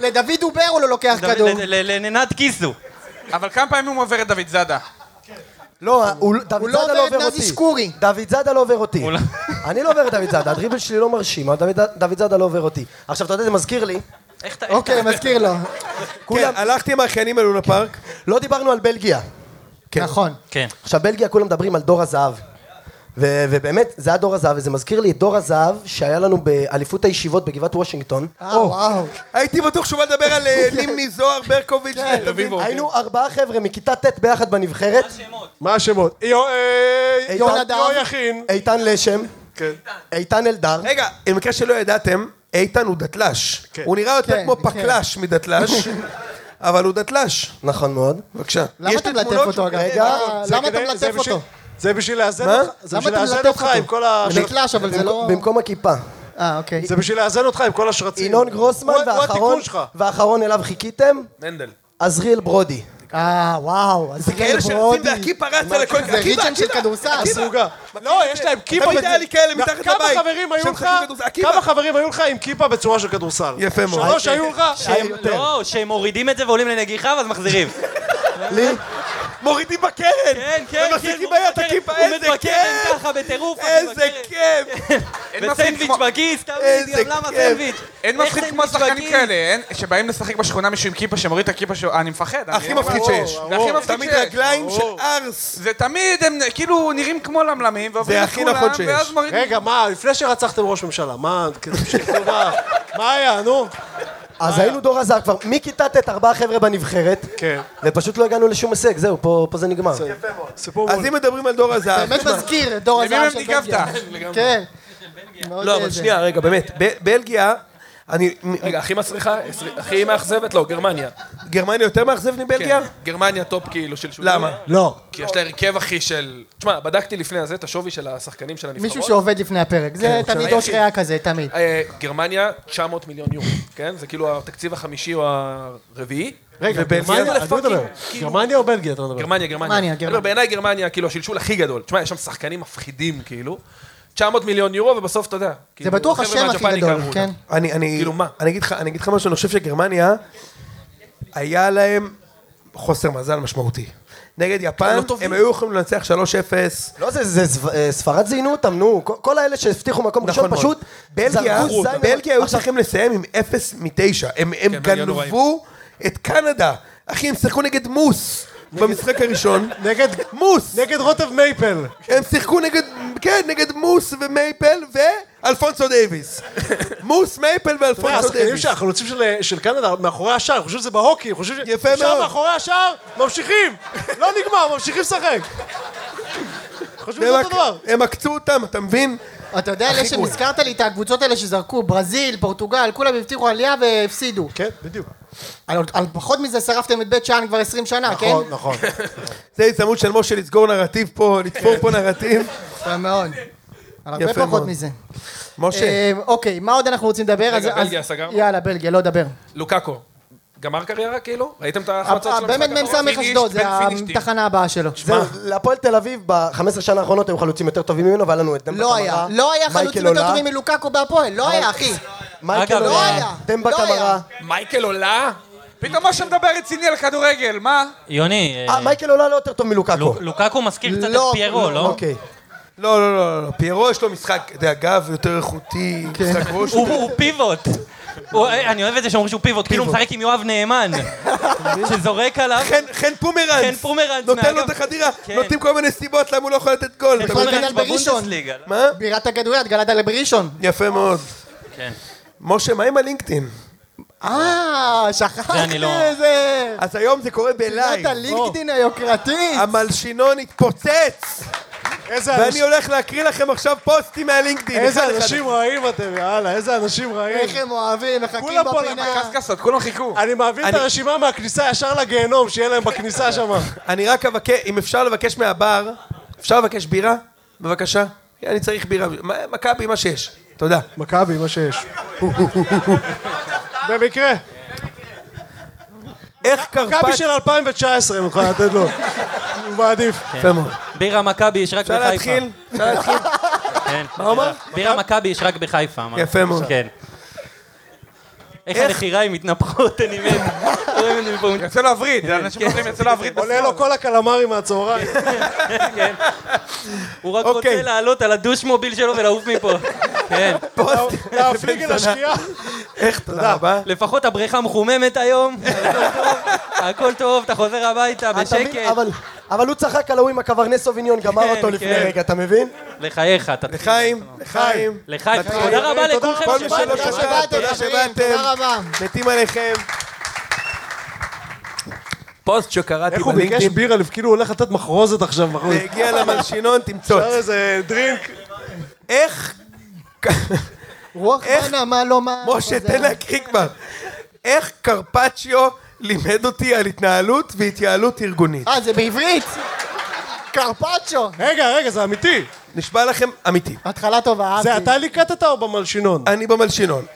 [SPEAKER 2] לדוד עובר הוא לא לוקח כדור.
[SPEAKER 3] ל- ל- ל- לננת קיסו.
[SPEAKER 7] אבל כמה פעמים הוא עובר את דוד זאדה?
[SPEAKER 6] לא, הוא- דוד
[SPEAKER 2] לא
[SPEAKER 6] זאדה
[SPEAKER 2] עובר
[SPEAKER 6] לא
[SPEAKER 2] את
[SPEAKER 6] עובר
[SPEAKER 2] נזי
[SPEAKER 6] אותי.
[SPEAKER 2] שקורי.
[SPEAKER 6] דוד זאדה לא עובר אותי.
[SPEAKER 3] לא-
[SPEAKER 6] אני לא עובר את דוד זאדה, הדריבל שלי לא מרשים, אבל דוד- דוד זאדה לא עובר אותי. עכשיו, אתה יודע, זה מזכיר לי,
[SPEAKER 3] איך אתה...
[SPEAKER 2] אוקיי, מזכיר לו.
[SPEAKER 1] כן,
[SPEAKER 6] כולם,
[SPEAKER 1] הלכתי עם האחיינים האלו לפארק.
[SPEAKER 6] לא דיברנו על בלגיה.
[SPEAKER 2] נכון.
[SPEAKER 3] כן.
[SPEAKER 6] עכשיו, בלגיה כולם מדברים על דור הזהב. ו- ובאמת, זה היה דור הזהב, וזה מזכיר לי את דור הזהב שהיה לנו באליפות הישיבות בגבעת וושינגטון.
[SPEAKER 2] אה, וואו.
[SPEAKER 1] הייתי בטוח שהוא בא לדבר על
[SPEAKER 4] [LAUGHS]
[SPEAKER 1] אה, נימני זוהר, ברקוביץ',
[SPEAKER 4] כן.
[SPEAKER 1] תל אביב.
[SPEAKER 6] היינו ארבעה חבר'ה מכיתה ט' ביחד בנבחרת,
[SPEAKER 4] מה השמות? יו- אה,
[SPEAKER 2] יונדב.
[SPEAKER 4] יו יכין.
[SPEAKER 6] איתן לשם,
[SPEAKER 1] כן.
[SPEAKER 6] איתן אלדר,
[SPEAKER 1] רגע, במקרה שלא ידעתם, איתן הוא דתל"ש. הוא נראה יותר
[SPEAKER 2] כן,
[SPEAKER 1] כמו
[SPEAKER 2] כן. [LAUGHS]
[SPEAKER 1] פקל"ש מדתל"ש. אבל הוא דתל"ש.
[SPEAKER 6] נכון מאוד.
[SPEAKER 1] בבקשה.
[SPEAKER 2] למה
[SPEAKER 1] יש
[SPEAKER 2] אתה
[SPEAKER 1] לי
[SPEAKER 2] מלטף
[SPEAKER 1] תמונות אה,
[SPEAKER 2] אותו,
[SPEAKER 1] שהוא-
[SPEAKER 2] אגב?
[SPEAKER 6] רגע,
[SPEAKER 2] למה-
[SPEAKER 4] זה
[SPEAKER 2] למה אתה
[SPEAKER 4] כדי- זה
[SPEAKER 2] מלטף
[SPEAKER 4] בשביל-
[SPEAKER 2] אותו?
[SPEAKER 4] זה בשביל לאזן
[SPEAKER 1] מה?
[SPEAKER 4] אותך, זה
[SPEAKER 2] למה
[SPEAKER 4] בשביל
[SPEAKER 2] אתה
[SPEAKER 4] לאזן
[SPEAKER 2] מלטף
[SPEAKER 4] אותך
[SPEAKER 2] אותו?
[SPEAKER 4] עם כל ה...
[SPEAKER 2] הוא נתלש, אבל זה לא...
[SPEAKER 6] במקום הכיפה.
[SPEAKER 2] אה, אוקיי.
[SPEAKER 4] זה בשביל לאזן אותך עם כל השרצים.
[SPEAKER 6] ינון גרוסמן,
[SPEAKER 4] הוא- הוא
[SPEAKER 6] והאחרון-
[SPEAKER 4] התיקון שלך.
[SPEAKER 6] והאחרון אליו חיכיתם,
[SPEAKER 5] מנדל.
[SPEAKER 6] עזריאל ברודי.
[SPEAKER 2] אה, וואו. אז
[SPEAKER 1] זה כאלה שרצים והכיפה רצה לכל...
[SPEAKER 2] זה ריצ'ן של כדורסל.
[SPEAKER 4] סוגה. לא, יש להם כיפה.
[SPEAKER 1] תמיד היה לי כאלה מתחת לבית,
[SPEAKER 4] כמה חברים היו
[SPEAKER 1] שהם
[SPEAKER 4] לך?
[SPEAKER 1] משחקים כדורסל? הכיפה.
[SPEAKER 4] כמה חברים היו לך עם כיפה בצורה של כדורסל?
[SPEAKER 1] יפה מאוד.
[SPEAKER 4] שלוש היו [LAUGHS] לך?
[SPEAKER 3] שהם, לא, שהם מורידים את זה ועולים לנגיחה ואז מחזירים.
[SPEAKER 6] לי?
[SPEAKER 1] מורידים בקרן!
[SPEAKER 3] כן, כן, כן.
[SPEAKER 1] ומחזיקים ביד את הכיפה,
[SPEAKER 3] הוא
[SPEAKER 1] איזה
[SPEAKER 3] עומד בקרן
[SPEAKER 1] כיף!
[SPEAKER 3] ככה בטירוף.
[SPEAKER 1] איזה כיף!
[SPEAKER 7] אין מצחיק
[SPEAKER 3] וסנדוויץ'
[SPEAKER 7] כמו-
[SPEAKER 3] בכיס, תמיד,
[SPEAKER 1] איזה
[SPEAKER 3] גם למה
[SPEAKER 1] כיף.
[SPEAKER 3] סנדוויץ'?
[SPEAKER 7] אין
[SPEAKER 3] איך
[SPEAKER 7] מצחיק כמו
[SPEAKER 3] סנדוויץ'
[SPEAKER 7] שחקנים
[SPEAKER 3] בכיס?
[SPEAKER 7] כאלה, אין? שבאים לשחק בשכונה מישהו עם כיפה שמוריד את הכיפה שלו, אני מפחד. אני-
[SPEAKER 1] הכי מפחיד שיש.
[SPEAKER 7] זה הכי מפחיד
[SPEAKER 1] תמיד
[SPEAKER 7] שיש.
[SPEAKER 1] רגליים של ארס.
[SPEAKER 7] זה תמיד, הם כאילו נראים כמו למלמים, ועוברים
[SPEAKER 1] זה
[SPEAKER 7] את
[SPEAKER 1] הכי נכון
[SPEAKER 7] כולם,
[SPEAKER 1] שיש.
[SPEAKER 7] ואז מורידים.
[SPEAKER 4] רגע, מה, לפני שרצחתם ראש ממשלה, מה, כאילו, שכאילו, [LAUGHS] מה- מה היה, נו?
[SPEAKER 6] אז היינו דור הזר כבר, מכיתה ט' ארבעה חבר'ה בנבחרת,
[SPEAKER 4] כן.
[SPEAKER 6] ופשוט לא הגענו לשום הישג, זהו, פה פה זה נגמר.
[SPEAKER 4] סיפור
[SPEAKER 1] אז
[SPEAKER 4] מול.
[SPEAKER 1] אם מדברים על דור הזהב... [LAUGHS]
[SPEAKER 2] באמת
[SPEAKER 1] תשמע,
[SPEAKER 2] מזכיר את דור
[SPEAKER 7] למי
[SPEAKER 2] הזהב
[SPEAKER 7] מהם
[SPEAKER 2] של
[SPEAKER 7] ניגבת?
[SPEAKER 2] בלגיה. כן. מאוד אה,
[SPEAKER 1] לא, אבל
[SPEAKER 2] זה.
[SPEAKER 1] שנייה, רגע, באמת. ב- בלגיה, אני... מ-
[SPEAKER 5] רגע, הכי מצליחה? עשרי- הכי מאכזבת? לא, גרמניה.
[SPEAKER 4] כן.
[SPEAKER 1] גרמניה יותר מאכזב מבלגיה?
[SPEAKER 5] כן. גרמניה טופ כאילו של שולחן.
[SPEAKER 1] למה?
[SPEAKER 6] לא.
[SPEAKER 5] כי יש לה הרכב הכי של... תשמע, בדקתי לפני הזה את השווי של השחקנים של הנבחרות.
[SPEAKER 2] מישהו שעובד לפני הפרק. זה תמיד
[SPEAKER 5] עכשיו-
[SPEAKER 2] אושר היה כזה, תמיד.
[SPEAKER 5] אה, גרמניה, 900 מיליון יורו, כן? זה כאילו התקציב החמישי או הרביעי.
[SPEAKER 4] רגע,
[SPEAKER 1] ובלגיה,
[SPEAKER 4] גרמניה, אני לא
[SPEAKER 5] לפאקינג,
[SPEAKER 4] מדבר. גרמניה או בלגיה, אתה מדבר?
[SPEAKER 5] גרמניה, גרמניה.
[SPEAKER 2] גרמניה,
[SPEAKER 5] אני
[SPEAKER 2] גרמניה.
[SPEAKER 5] אומר, בעיניי גרמניה, כאילו, השלשול הכי גדול. תשמע, יש שם שחקנים מפחידים, כאילו. 900 מיליון יורו, ובסוף, אתה יודע.
[SPEAKER 2] זה
[SPEAKER 5] כאילו,
[SPEAKER 2] בטוח
[SPEAKER 5] החבר'ה
[SPEAKER 2] השם הכי
[SPEAKER 5] מהג'פניקה
[SPEAKER 2] גדול,
[SPEAKER 5] אמרו,
[SPEAKER 2] כן?
[SPEAKER 1] אני, אני,
[SPEAKER 5] כאילו, מה?
[SPEAKER 1] אני אגיד לך, אני אגיד לך משהו, אני חושב שגרמניה, היה להם חוסר מזל משמעותי. נגד יפן,
[SPEAKER 5] לא
[SPEAKER 1] הם
[SPEAKER 5] טובים.
[SPEAKER 1] היו יכולים לנצח 3-0.
[SPEAKER 6] לא, זה- זה סב- אה, ספרד זיינו אותם, נו. כל- כל האלה שהבטיחו מקום
[SPEAKER 1] נכון
[SPEAKER 6] ראשון,
[SPEAKER 1] מאוד.
[SPEAKER 6] פשוט
[SPEAKER 1] בלגיה,
[SPEAKER 6] זרקו זין-
[SPEAKER 1] בלגיה היו
[SPEAKER 6] עכשיו,
[SPEAKER 1] צריכים לסיים עם 0 מ-9. הם, הם
[SPEAKER 5] הם היו נוראים.
[SPEAKER 1] גנבו את קנדה. אחי, הם שיחקו נגד מוס במשחק
[SPEAKER 5] [LAUGHS]
[SPEAKER 1] הראשון.
[SPEAKER 4] נגד...
[SPEAKER 1] מוס!
[SPEAKER 4] נגד רוטב מייפל.
[SPEAKER 1] הם שיחקו נגד, כן, נגד מוס ומייפל ואלפונסו דייוויס. מוס, מייפל
[SPEAKER 4] תראה,
[SPEAKER 1] ואלפונסו
[SPEAKER 4] השחקנים
[SPEAKER 1] דייוויס.
[SPEAKER 4] של החלוצים של- של קנדה מאחורי השער, חושבים שזה בהוקי, חושבים ש...
[SPEAKER 1] יפה
[SPEAKER 4] שם
[SPEAKER 1] מאוד.
[SPEAKER 4] מאחורי השער, ממשיכים. לא נגמר, ממשיכים לשחק. חושבים שזה
[SPEAKER 1] הם
[SPEAKER 4] אותו דבר.
[SPEAKER 1] עק- הם עקצו אותם, אתה מבין?
[SPEAKER 2] אתה יודע, אלה שהזכרת לי את הקבוצות האלה שזרקו, ברזיל, פורטוגל, כולם הבטיחו עלייה והפסידו.
[SPEAKER 4] כן, בדיוק.
[SPEAKER 2] על על פחות מזה שרפתם את בית שאן כבר 20 שנה, כן?
[SPEAKER 4] נכון, נכון.
[SPEAKER 1] זה הזדמנות של משה לסגור נרטיב פה, לתפור פה נרטיב.
[SPEAKER 2] יפה מאוד. על הרבה
[SPEAKER 1] יפה
[SPEAKER 2] פחות
[SPEAKER 1] מאוד.
[SPEAKER 2] מזה.
[SPEAKER 1] משה,
[SPEAKER 2] אה, אוקיי, מה עוד אנחנו רוצים לדבר? אז- אז-
[SPEAKER 5] בלגיה, סגרנו?
[SPEAKER 2] יאללה, בלגיה, לא דבר.
[SPEAKER 5] לוקאקו. גמר קריירה, כאילו? ראיתם את ההחמצות של
[SPEAKER 2] אה, באמת מ"ס
[SPEAKER 5] האחרון? פיניש,
[SPEAKER 2] אשדוד, זה
[SPEAKER 5] בן פיניש,
[SPEAKER 2] התחנה הבאה שלו.
[SPEAKER 6] זהו, להפועל תל אביב, ב-15 שנה האחרונות היו חלוצים יותר טובים ממנו, והיה לנו את דמבה
[SPEAKER 2] לא היה.
[SPEAKER 6] קמרה,
[SPEAKER 2] לא היה
[SPEAKER 6] מייקל
[SPEAKER 2] חלוצים יותר
[SPEAKER 6] אולה,
[SPEAKER 2] טובים מלוקאקו בהפועל, לא היה, אחי.
[SPEAKER 6] מייקל
[SPEAKER 3] אגב,
[SPEAKER 2] לא
[SPEAKER 6] אולה,
[SPEAKER 2] היה.
[SPEAKER 6] דמבה
[SPEAKER 2] לא היה.
[SPEAKER 6] קמרה.
[SPEAKER 5] טיל. מייקל עולה?
[SPEAKER 7] פתאום משה מדבר רציני על כדורגל, מה?
[SPEAKER 3] יוני, אה,
[SPEAKER 6] אה, מייקל אולה לא יותר טוב מלוקאקו.
[SPEAKER 3] לוק- לוקקו מזכיר קצת
[SPEAKER 2] לא,
[SPEAKER 3] את פיירו, לא?
[SPEAKER 6] אוקיי.
[SPEAKER 1] לא, לא, לא, לא, פיירו יש לו משחק, אתה יודע, גב יותר איכותי, משחק ראש.
[SPEAKER 3] הוא הוא פיבוט. הוא- אה, אני אוהב את זה שאומרים שהוא פיבוט, כאילו הוא משחק עם יואב נאמן. שזורק עליו.
[SPEAKER 1] חן- חן פומרנץ,
[SPEAKER 3] חן פומרנץ
[SPEAKER 1] נותן לו את
[SPEAKER 3] מהגב.
[SPEAKER 1] החדירה,
[SPEAKER 3] כן.
[SPEAKER 1] נותנים כל מיני סיבות למה הוא לא יכול לתת גול. אתה
[SPEAKER 2] פומרנץ.
[SPEAKER 1] מבין?
[SPEAKER 2] גדל בראשון.
[SPEAKER 3] בבונדסליגה. לא?
[SPEAKER 1] מה?
[SPEAKER 2] בירת הכדוריד, גלדה לבראשון.
[SPEAKER 1] יפה מאוד.
[SPEAKER 3] כן.
[SPEAKER 1] משה, מה עם הלינקדאין?
[SPEAKER 2] אה, שכחתי לא,
[SPEAKER 3] זה אני לא-
[SPEAKER 2] זה.
[SPEAKER 1] אז היום זה קורה בלייב.
[SPEAKER 2] פינת הלינקדאין היוקרתית.
[SPEAKER 1] המלשינון התפוצץ,
[SPEAKER 4] איזה
[SPEAKER 1] ואני
[SPEAKER 4] אנשים-
[SPEAKER 1] הולך להקריא לכם עכשיו פוסטים מהלינקדאין.
[SPEAKER 4] איזה
[SPEAKER 1] אחד אחד.
[SPEAKER 4] אנשים רעים אתם, יאללה, איזה אנשים רעים.
[SPEAKER 2] איך הם אוהבים, מחכים
[SPEAKER 4] כולם פה
[SPEAKER 2] בפינה.
[SPEAKER 7] קסקסות, כולם חיכו.
[SPEAKER 4] אני מעביר את
[SPEAKER 1] אני-
[SPEAKER 4] הרשימה מהכניסה ישר לגיהנום, שיהיה להם בכניסה שם.
[SPEAKER 1] אני רק אבקש, אם אפשר לבקש מהבר, אפשר לבקש בירה? בבקשה. אני צריך בירה. מה- מכבי, מה שיש. תודה.
[SPEAKER 4] מכבי, מה שיש. במקרה.
[SPEAKER 1] איך
[SPEAKER 4] מכבי
[SPEAKER 1] קרפט...
[SPEAKER 4] של 2019, אם יכולה לתת לו. הוא מעדיף.
[SPEAKER 1] יפה מאוד.
[SPEAKER 3] בירה מכבי יש רק
[SPEAKER 1] אפשר
[SPEAKER 3] בחיפה.
[SPEAKER 1] להתחיל? אפשר להתחיל?
[SPEAKER 3] כן.
[SPEAKER 1] מה הוא אמר?
[SPEAKER 3] בירה מכבי יש רק בחיפה. אמר.
[SPEAKER 1] יפה מאוד.
[SPEAKER 3] כן. איך הנחיריים מתנפחות, אני מת. רואים את זה מפה,
[SPEAKER 7] יצא לו הווריד,
[SPEAKER 1] כן,
[SPEAKER 7] אנשים אומרים יצא לו הווריד.
[SPEAKER 4] עולה לו כל
[SPEAKER 1] [LAUGHS]
[SPEAKER 4] הקלמרי מהצהריים.
[SPEAKER 3] כן. הוא רק
[SPEAKER 1] אוקיי.
[SPEAKER 3] רוצה לעלות על הדוש מוביל שלו ולעוף מפה. כן.
[SPEAKER 1] פוסט.
[SPEAKER 4] להפליג אל השקיעה.
[SPEAKER 1] איך, תודה רבה.
[SPEAKER 3] לפחות הבריכה מחוממת היום. הכל טוב, הכל טוב, אתה חוזר הביתה
[SPEAKER 6] אתה מבין?
[SPEAKER 3] בשקט.
[SPEAKER 6] אבל- אבל הוא צחק על ההוא עם הקברני סוביניון, גמר אותו לפני
[SPEAKER 3] כן. כן.
[SPEAKER 6] רגע, אתה מבין?
[SPEAKER 3] לחייך, אתה...
[SPEAKER 1] לחיים, לחיים.
[SPEAKER 3] לחיים. תודה רבה
[SPEAKER 4] תודה
[SPEAKER 3] לכולכם
[SPEAKER 1] כל מי שלא
[SPEAKER 3] שבאתם.
[SPEAKER 1] שמע,
[SPEAKER 2] תודה שבאתם,
[SPEAKER 1] תודה
[SPEAKER 2] חברים,
[SPEAKER 1] שבאתם.
[SPEAKER 2] תודה רבה.
[SPEAKER 1] מתים עליכם. פוסט שקראתי
[SPEAKER 4] איך הוא ביקש
[SPEAKER 1] בלינקדאין,
[SPEAKER 4] בירה, כאילו הוא הולך לתת מחרוזת עכשיו, מחרוזת.
[SPEAKER 1] והגיע למלשינון, תמצוץ.
[SPEAKER 4] אפשר איזה דרינק.
[SPEAKER 1] איך...
[SPEAKER 2] רוח
[SPEAKER 1] איך-
[SPEAKER 2] מנה, מה לא מה...
[SPEAKER 1] משה,
[SPEAKER 2] זה-
[SPEAKER 1] תן להקריא כבר. איך קרפצ'יו לימד אותי על התנהלות והתייעלות ארגונית.
[SPEAKER 2] אה, זה בעברית! קרפצ'ו!
[SPEAKER 4] רגע, רגע, זה אמיתי.
[SPEAKER 1] נשבע לכם, אמיתי.
[SPEAKER 2] התחלה טובה, אהבתי.
[SPEAKER 4] זה אתה ליקטת או במלשינון?
[SPEAKER 1] אני במלשינון.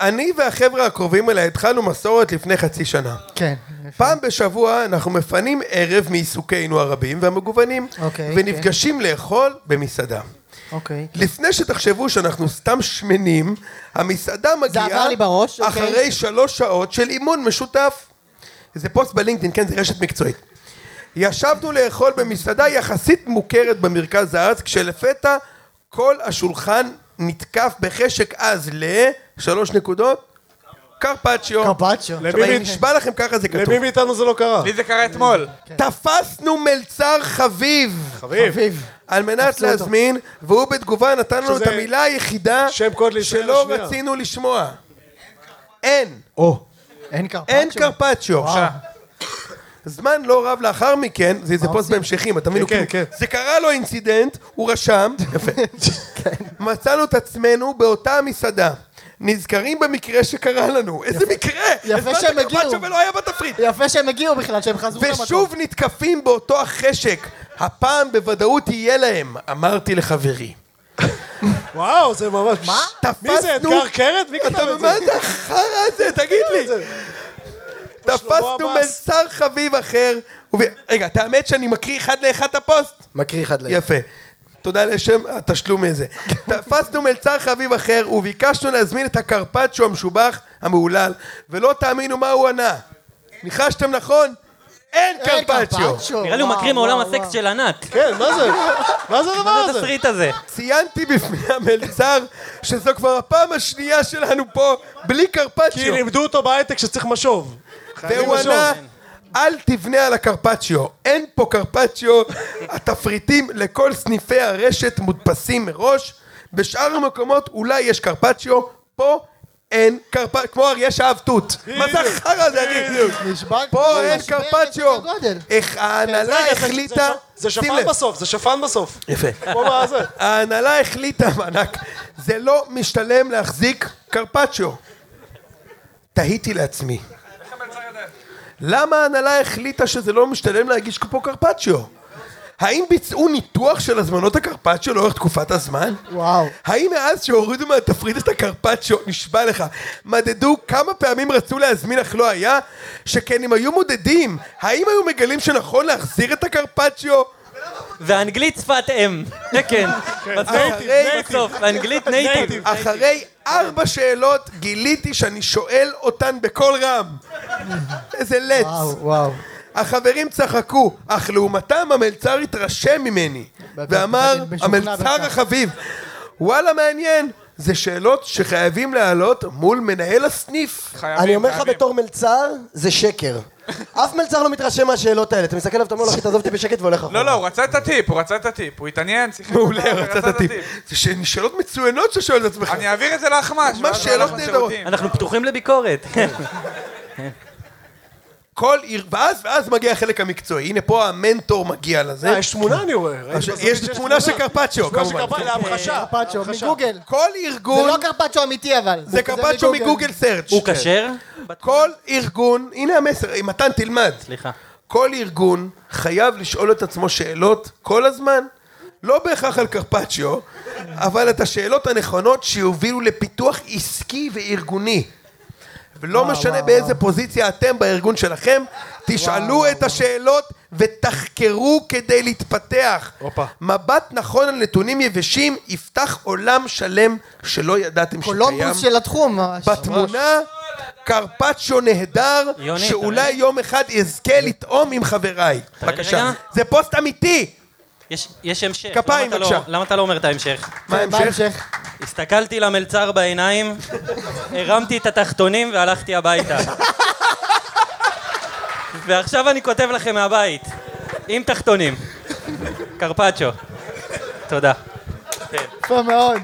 [SPEAKER 1] אני והחבר'ה הקרובים אליי התחלנו מסורת לפני חצי שנה.
[SPEAKER 2] כן.
[SPEAKER 1] פעם בשבוע אנחנו מפנים ערב מעיסוקינו הרבים והמגוונים,
[SPEAKER 2] אוקיי,
[SPEAKER 1] ונפגשים לאכול במסעדה.
[SPEAKER 2] אוקיי.
[SPEAKER 1] לפני שתחשבו שאנחנו סתם שמנים, המסעדה מגיעה...
[SPEAKER 2] עבר לי בראש, אוקיי.
[SPEAKER 1] אחרי שלוש שעות של אימון משותף. זה פוסט בלינקדאין, כן, זה רשת מקצועית. ישבנו לאכול במסעדה יחסית מוכרת במרכז הארץ, כשלפתע כל השולחן נתקף בחשק עז ל... שלוש נקודות? קרפצ'יו.
[SPEAKER 2] קרפצ'ו.
[SPEAKER 1] עכשיו, אני
[SPEAKER 4] למי-
[SPEAKER 1] נשבע לכם ככה זה כתוב.
[SPEAKER 4] למי מאיתנו זה לא קרה?
[SPEAKER 7] לי זה קרה אתמול.
[SPEAKER 2] כן.
[SPEAKER 1] תפסנו מלצר חביב.
[SPEAKER 4] חביב.
[SPEAKER 2] אביב.
[SPEAKER 1] על מנת
[SPEAKER 2] תפסו אותו.
[SPEAKER 1] להזמין, והוא בתגובה נתן לנו את
[SPEAKER 4] שזה
[SPEAKER 1] המילה היחידה
[SPEAKER 4] שם קוד לישראל
[SPEAKER 1] שלא
[SPEAKER 4] השנייה.
[SPEAKER 1] רצינו לשמוע. אין,
[SPEAKER 2] או. אין קרפצ'ו.
[SPEAKER 1] אין קרפצ'יו.
[SPEAKER 2] וואו.
[SPEAKER 1] זמן לא רב לאחר מכן, זה
[SPEAKER 2] אה,
[SPEAKER 1] זה פוסט בהמשכים, אתה מבין?
[SPEAKER 4] כן,
[SPEAKER 1] הוא
[SPEAKER 4] כן,
[SPEAKER 1] כאילו- זה קרה לו אינסידנט, הוא
[SPEAKER 2] [LAUGHS]
[SPEAKER 1] רשם, יפה.
[SPEAKER 2] כן.
[SPEAKER 1] מצאנו את עצמנו באותה המסעדה. נזכרים במקרה שקרה לנו, איזה מקרה! הזמנת
[SPEAKER 2] שהם הגיעו.
[SPEAKER 1] קרפצ'יו ולא היה בתפריט.
[SPEAKER 2] יפה שהם הגיעו בכלל, שהם חזרו למקום.
[SPEAKER 1] ושוב נתקפים באותו החשק. הפעם בוודאות יהיה להם, אמרתי לחברי.
[SPEAKER 4] וואו, זה ממש... מה? מי זה,
[SPEAKER 1] תפסנו-
[SPEAKER 4] אתגר קרת? מי
[SPEAKER 1] [LAUGHS]
[SPEAKER 4] כתב
[SPEAKER 1] אתה
[SPEAKER 4] את זה?
[SPEAKER 1] מה זה החרא הזה? תגיד לי. תפסנו
[SPEAKER 4] שלמה עבאס.
[SPEAKER 1] מלצר חביב אחר. וב- רגע, תאמת שאני מקריא אחד לאחד את הפוסט?
[SPEAKER 6] מקריא אחד
[SPEAKER 4] כן.
[SPEAKER 6] לאחד.
[SPEAKER 1] יפה. תודה לשם התשלום
[SPEAKER 4] [LAUGHS]
[SPEAKER 1] הזה. תפסנו מלצר חביב אחר וביקשנו להזמין את הקרפצ'ו המשובח המהולל, ולא תאמינו מה הוא ענה. ניחשתם נכון? אין
[SPEAKER 2] אין
[SPEAKER 1] קרפצ'יו.
[SPEAKER 3] נראה לי הוא
[SPEAKER 2] וואו,
[SPEAKER 3] מקריא
[SPEAKER 2] וואו,
[SPEAKER 3] מעולם
[SPEAKER 2] וואו.
[SPEAKER 3] הסקס של ענת.
[SPEAKER 4] כן, מה זה? מה זה הדבר
[SPEAKER 3] מה זה
[SPEAKER 4] הזה?
[SPEAKER 3] התסריט הזה?
[SPEAKER 1] ציינתי בפני המלצר שזו כבר הפעם השנייה שלנו פה בלי
[SPEAKER 4] כי
[SPEAKER 1] קרפצ'יו.
[SPEAKER 4] לימדו אותו בהייטק שצריך משוב.
[SPEAKER 1] והוא
[SPEAKER 4] משוב.
[SPEAKER 1] ענה, אל תבנה על הקרפצ'יו, אין פה קרפצ'יו, התפריטים לכל סניפי הרשת מודפסים מראש, בשאר המקומות אולי יש קרפצ'יו, פה אין קרפצ'יו, כמו אריה שאהב תות. מה זה החרא הזה, אחי?
[SPEAKER 2] נשבר...
[SPEAKER 1] פה אין
[SPEAKER 2] נשבר
[SPEAKER 1] קרפצ'יו.
[SPEAKER 2] את הגודל.
[SPEAKER 1] איך
[SPEAKER 4] רגע,
[SPEAKER 1] ההנהלה
[SPEAKER 4] כן, זה- זה
[SPEAKER 1] החליטה...
[SPEAKER 4] ש- זה
[SPEAKER 1] שים
[SPEAKER 4] שפן
[SPEAKER 1] לב.
[SPEAKER 4] בסוף, זה שפן בסוף.
[SPEAKER 1] יפה.
[SPEAKER 4] כמו
[SPEAKER 1] [LAUGHS]
[SPEAKER 4] מה זה?
[SPEAKER 1] ההנהלה החליטה, מענק, זה לא משתלם להחזיק קרפצ'יו. תהיתי לעצמי. למה ההנהלה החליטה שזה לא משתלם להגיש פה קרפצ'יו? האם ביצעו ניתוח של הזמנות הקרפצ'יו לאורך תקופת הזמן?
[SPEAKER 2] וואו.
[SPEAKER 1] האם מאז שהורידו מהתפריט את הקרפצ'יו, נשבע לך, מדדו כמה פעמים רצו להזמין אך לא היה? שכן אם היו מודדים, האם היו מגלים שנכון להחזיר את הקרפצ'יו?
[SPEAKER 3] ואנגלית שפת אם. כן. בסוף,
[SPEAKER 1] נייטיב,
[SPEAKER 3] בסוף, אנגלית נייטיב.
[SPEAKER 1] אחרי אחרי ארבע שאלות גיליתי שאני שואל אותן בקול רם. איזה לץ.
[SPEAKER 2] וואו, וואו.
[SPEAKER 1] החברים צחקו, אך לעומתם המלצר התרשם ממני, ואמר
[SPEAKER 2] בטח,
[SPEAKER 1] המלצר
[SPEAKER 2] משוכנע בכך."
[SPEAKER 1] החביב, וואלה מעניין, זה שאלות שחייבים להעלות מול מנהל הסניף.
[SPEAKER 7] חייבים,
[SPEAKER 6] אני אומר לך
[SPEAKER 7] חייבים.
[SPEAKER 6] בתור מלצר, זה שקר. אף מלצר לא מתרשם מהשאלות האלה. אתה מסתכל עליו, אתה אומר לו, אחי, תעזוב אותי בשקט והולך אחורה.
[SPEAKER 7] לא, לא, הוא רצה את הטיפ, הוא רצה את הטיפ. הוא התעניין, שיחק.
[SPEAKER 1] מעולה,
[SPEAKER 7] אותה,
[SPEAKER 1] רצת הטיפ. זה ש- שאלות מצוינות שאתה שואל את עצמך.
[SPEAKER 7] אני אעביר את זה לאחמ"ש.
[SPEAKER 1] ממש
[SPEAKER 7] ואז
[SPEAKER 1] שאלות
[SPEAKER 7] אנחנו
[SPEAKER 1] נהדרות.
[SPEAKER 7] שירותים.
[SPEAKER 3] אנחנו פתוחים לביקורת.
[SPEAKER 1] כל עיר, ואז, ואז מגיע החלק המקצועי. הנה פה המנטור מגיע לזה.
[SPEAKER 4] אה, יש תמונה אני רואה. ראיתי
[SPEAKER 1] עכשיו,
[SPEAKER 4] בסרט
[SPEAKER 1] יש תמונה של קרפצ'יו,
[SPEAKER 4] תמונה של
[SPEAKER 1] כמובן.
[SPEAKER 4] קרפ- להמחשה.
[SPEAKER 2] קרפצ'ו אה, מגוגל.
[SPEAKER 1] כל
[SPEAKER 2] זה
[SPEAKER 1] ארגון...
[SPEAKER 2] לא קרפצ'ו אמיתי אבל.
[SPEAKER 1] זה קפצ'ו מגוגל סרצ'.
[SPEAKER 4] כן.
[SPEAKER 3] הוא כשר?
[SPEAKER 1] כל ארגון, הנה המסר, מתן תלמד.
[SPEAKER 3] סליחה.
[SPEAKER 1] כל ארגון חייב לשאול את עצמו שאלות כל הזמן. לא בהכרח על קרפצ'יו, אבל את השאלות הנכונות שיובילו לפיתוח עסקי וארגוני. ולא משנה באיזה פוזיציה אתם בארגון שלכם, תשאלו את השאלות ותחקרו כדי להתפתח.
[SPEAKER 4] הופה.
[SPEAKER 1] מבט נכון על נתונים יבשים יפתח עולם שלם שלא ידעתם שקיים.
[SPEAKER 2] קולומבוס של התחום. ממש.
[SPEAKER 1] בתמונה קרפצ'ו נהדר,
[SPEAKER 3] יוני,
[SPEAKER 1] שאולי
[SPEAKER 3] תראה.
[SPEAKER 1] יום אחד אזכה לטעום עם חבריי.
[SPEAKER 3] לי
[SPEAKER 1] בבקשה.
[SPEAKER 3] רגע.
[SPEAKER 1] זה פוסט אמיתי!
[SPEAKER 3] יש- יש המשך.
[SPEAKER 1] כפיים,
[SPEAKER 3] למה אתה לא-
[SPEAKER 1] בבקשה.
[SPEAKER 3] למה אתה לא אומר את ההמשך?
[SPEAKER 4] כן,
[SPEAKER 1] מה ההמשך?
[SPEAKER 2] כן, בהמשך.
[SPEAKER 3] הסתכלתי למלצר בעיניים, הרמתי את התחתונים והלכתי הביתה. ועכשיו אני כותב לכם מהבית, עם תחתונים. קרפצ'ו. תודה.
[SPEAKER 2] יפה מאוד.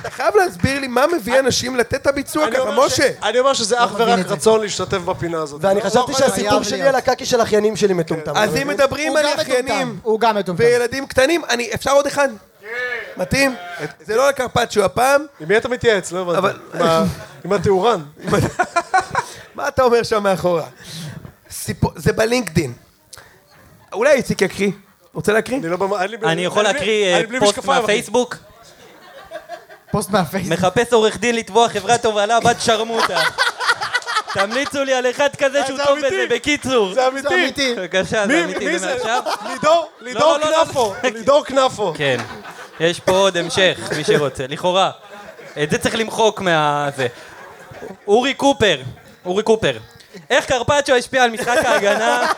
[SPEAKER 1] אתה חייב להסביר לי מה מביא אנשים לתת את הביצוע
[SPEAKER 4] אני
[SPEAKER 1] ככה,
[SPEAKER 4] אומר ש-
[SPEAKER 1] משה.
[SPEAKER 4] אני אומר שזה אך
[SPEAKER 2] מבין
[SPEAKER 4] ורק
[SPEAKER 2] את זה.
[SPEAKER 4] רצון להשתתף בפינה הזאת.
[SPEAKER 6] ואני
[SPEAKER 4] לא-
[SPEAKER 6] חשבתי
[SPEAKER 4] לא-
[SPEAKER 6] שהסיפור שלי
[SPEAKER 2] להיות.
[SPEAKER 6] על הקקי של אחיינים שלי מטומטם.
[SPEAKER 1] אז אם מדברים
[SPEAKER 2] הוא
[SPEAKER 1] על
[SPEAKER 2] גם
[SPEAKER 1] אחיינים
[SPEAKER 2] מטומטם. הוא גם מטומטם.
[SPEAKER 1] וילדים קטנים, אני, אפשר עוד אחד? מתאים? זה לא הקרפצ'יו הפעם.
[SPEAKER 4] עם מי אתה מתייעץ? לא הבנתי.
[SPEAKER 1] אבל-
[SPEAKER 4] עם ה- עם הטהורן.
[SPEAKER 1] [LAUGHS] מה אתה אומר שם מאחורה? סיפור- זה בלינקדין. אולי איציק יקריא. רוצה להקריא?
[SPEAKER 4] אני לא במ... אין לי-
[SPEAKER 3] אני יכול
[SPEAKER 4] בלי-
[SPEAKER 3] להקריא
[SPEAKER 4] אני
[SPEAKER 3] אה,
[SPEAKER 4] בלי
[SPEAKER 3] פוסט
[SPEAKER 4] משקפיים, אחי.
[SPEAKER 3] מהפייסבוק?
[SPEAKER 2] פוסט מהפייסבוק.
[SPEAKER 3] מחפש עורך דין לתבוע חברת תובלה בת שרמוטה. תמליצו לי על אחד כזה שהוא
[SPEAKER 4] זה
[SPEAKER 3] טוב
[SPEAKER 4] אמיתי.
[SPEAKER 3] בזה, בקיצור.
[SPEAKER 4] זה
[SPEAKER 2] זה
[SPEAKER 4] אמיתי.
[SPEAKER 2] אמיתי.
[SPEAKER 3] בבקשה, זה
[SPEAKER 4] מי
[SPEAKER 3] אמיתי, זה
[SPEAKER 4] מי זה?
[SPEAKER 3] מעכשיו?
[SPEAKER 4] לידור, לידור
[SPEAKER 3] לא, לא, לא.
[SPEAKER 4] כנפו. לידור כנפו.
[SPEAKER 3] כן. יש פה עוד המשך, מי שרוצה, לכאורה. את זה צריך למחוק מה... זה. אורי קופר, אורי קופר. איך קרפצ'ו השפיע על משחק ההגנה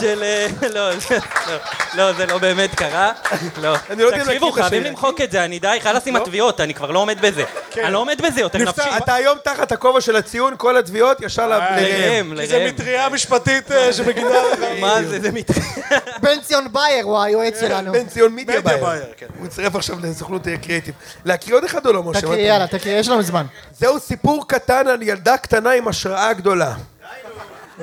[SPEAKER 3] של... אה, לא, זה- לא, לא, זה לא באמת קרה. לא.
[SPEAKER 1] אני לא יודע אם להקריא
[SPEAKER 3] תקשיבו,
[SPEAKER 1] את השאלה.
[SPEAKER 3] חייבים למחוק את זה, אני די, חלאס עם התביעות, אני כבר לא עומד בזה. אני לא עומד בזה יותר [LAUGHS] נפשי.
[SPEAKER 1] כן.
[SPEAKER 3] אה,
[SPEAKER 1] אתה היום תחת הכובע של הציון, כל התביעות ישר לראם.
[SPEAKER 3] לראם,
[SPEAKER 4] כי זה
[SPEAKER 3] לראם.
[SPEAKER 4] מטריה משפטית אה,
[SPEAKER 1] לא
[SPEAKER 4] שמגינה לך.
[SPEAKER 3] מה זה, זה מתחיל.
[SPEAKER 2] בן ציון בייר הוא היועץ
[SPEAKER 1] [LAUGHS]
[SPEAKER 2] שלנו.
[SPEAKER 1] בן ציון מידיה
[SPEAKER 4] מדיה
[SPEAKER 1] בייר.
[SPEAKER 4] בייר, כן.
[SPEAKER 1] הוא הצטרף עכשיו לסוכנות קריאיטיב. להקריא עוד אחד או לא, משה?
[SPEAKER 2] תקריא, יאללה, תקריא, יש לנו זמן.
[SPEAKER 1] זהו סיפור קטן על ילדה קטנה עם השראה גדולה.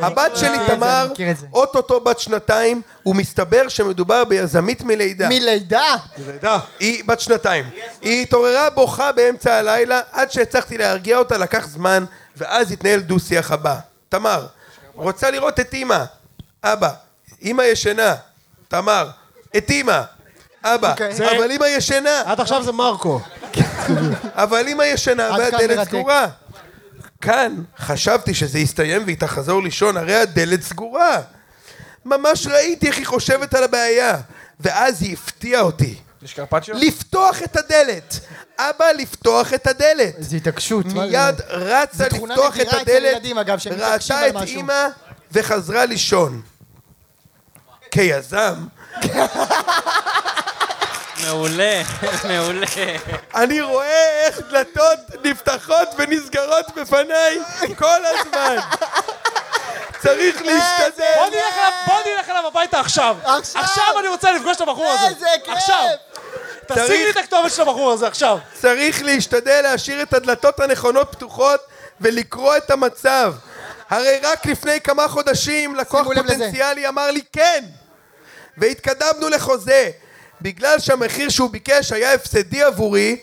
[SPEAKER 1] הבת שלי
[SPEAKER 2] מכיר את זה,
[SPEAKER 1] תמר,
[SPEAKER 2] אה, אני מכיר את זה.
[SPEAKER 1] אוטוטו בת שנתיים, ומסתבר שמדובר ביזמית מלידה.
[SPEAKER 2] מלידה?
[SPEAKER 4] לידה.
[SPEAKER 1] היא בת שנתיים. היא התעוררה בוכה באמצע הלילה, עד שהצלחתי להרגיע אותה לקח זמן, ואז התנהל דו-שיח הבא. תמר, רוצה לראות את אימא. אבא, אימא ישנה. תמר, את אימא. אבא,
[SPEAKER 2] אוקיי. זה-
[SPEAKER 1] אבל אימא ישנה.
[SPEAKER 4] עד עכשיו זה מרקו.
[SPEAKER 1] אבל אימא ישנה
[SPEAKER 2] עד כאן
[SPEAKER 1] והדלת
[SPEAKER 2] מרתק.
[SPEAKER 1] סגורה. כאן חשבתי שזה יסתיים והיא תחזור לישון, הרי הדלת סגורה. ממש ראיתי איך היא חושבת על הבעיה, ואז היא הפתיעה אותי.
[SPEAKER 5] יש קרפצ'יו?
[SPEAKER 1] לפתוח את הדלת! אבא, לפתוח את הדלת!
[SPEAKER 2] איזו התעקשות. מה זה?
[SPEAKER 1] מיד רצה
[SPEAKER 2] זו תכונה
[SPEAKER 1] לפתוח את
[SPEAKER 2] נדירה אצל
[SPEAKER 1] הדלת,
[SPEAKER 2] ילדים, אגב, שהם מתעקשים
[SPEAKER 1] ראתה
[SPEAKER 2] על
[SPEAKER 1] את
[SPEAKER 2] משהו.
[SPEAKER 1] אימא וחזרה לישון. כיזם,
[SPEAKER 3] מעולה, [LAUGHS] מעולה.
[SPEAKER 1] אני רואה איך דלתות נפתחות ונסגרות בפניי כל הזמן.
[SPEAKER 2] [LAUGHS]
[SPEAKER 1] צריך
[SPEAKER 2] אה,
[SPEAKER 4] בוא
[SPEAKER 1] להשתדל.
[SPEAKER 4] נלך אליו- בוא נלך אליו הביתה עכשיו.
[SPEAKER 2] עכשיו!
[SPEAKER 4] עכשיו אני רוצה לפגוש את הבחור הזה.
[SPEAKER 2] איזה כיף!
[SPEAKER 4] עכשיו. תשיג לי את הכתובת של הבחור הזה עכשיו.
[SPEAKER 1] צריך להשתדל להשאיר את הדלתות הנכונות פתוחות ולקרוא את המצב. הרי רק לפני כמה חודשים לקוח
[SPEAKER 2] שימו לב לזה.
[SPEAKER 1] פוטנציאלי אמר לי כן, והתקדמנו לחוזה. בגלל שהמחיר שהוא ביקש היה הפסדי עבורי,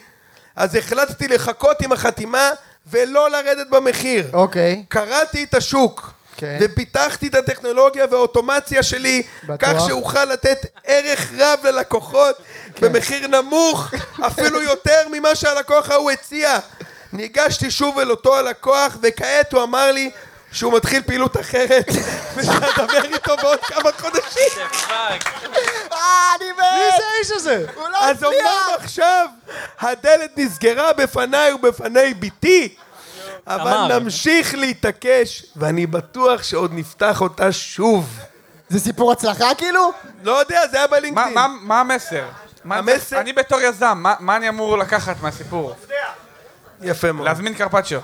[SPEAKER 1] אז החלטתי לחכות עם החתימה ולא לרדת במחיר.
[SPEAKER 2] אוקיי.
[SPEAKER 1] קראתי את השוק.
[SPEAKER 2] כן.
[SPEAKER 1] ופיתחתי את הטכנולוגיה והאוטומציה שלי,
[SPEAKER 2] בטוח.
[SPEAKER 1] כך שאוכל לתת ערך רב ללקוחות
[SPEAKER 2] כן.
[SPEAKER 1] במחיר נמוך, אפילו יותר ממה שהלקוח ההוא הציע. ניגשתי שוב אל אותו הלקוח, וכעת הוא אמר לי שהוא מתחיל פעילות אחרת, [LAUGHS] ושאדבר איתו בעוד כמה חודשים. כן.
[SPEAKER 2] אה, אני
[SPEAKER 4] מי
[SPEAKER 2] מת!
[SPEAKER 4] זה האיש הזה?
[SPEAKER 2] הוא לא
[SPEAKER 1] אז אמנם עכשיו הדלת נסגרה בפניי ובפני בתי, אבל
[SPEAKER 3] תמר.
[SPEAKER 1] נמשיך להתעקש, ואני בטוח שעוד נפתח אותה שוב.
[SPEAKER 2] זה סיפור הצלחה כאילו?
[SPEAKER 1] לא יודע, זה היה
[SPEAKER 7] מה-
[SPEAKER 1] בלינקדאין.
[SPEAKER 7] מה- מה המסר? מה-
[SPEAKER 1] המסר-
[SPEAKER 7] אני בתור יזם, מה- מה אני אמור לקחת מהסיפור?
[SPEAKER 1] יפה מאוד.
[SPEAKER 7] להזמין קרפצ'יו.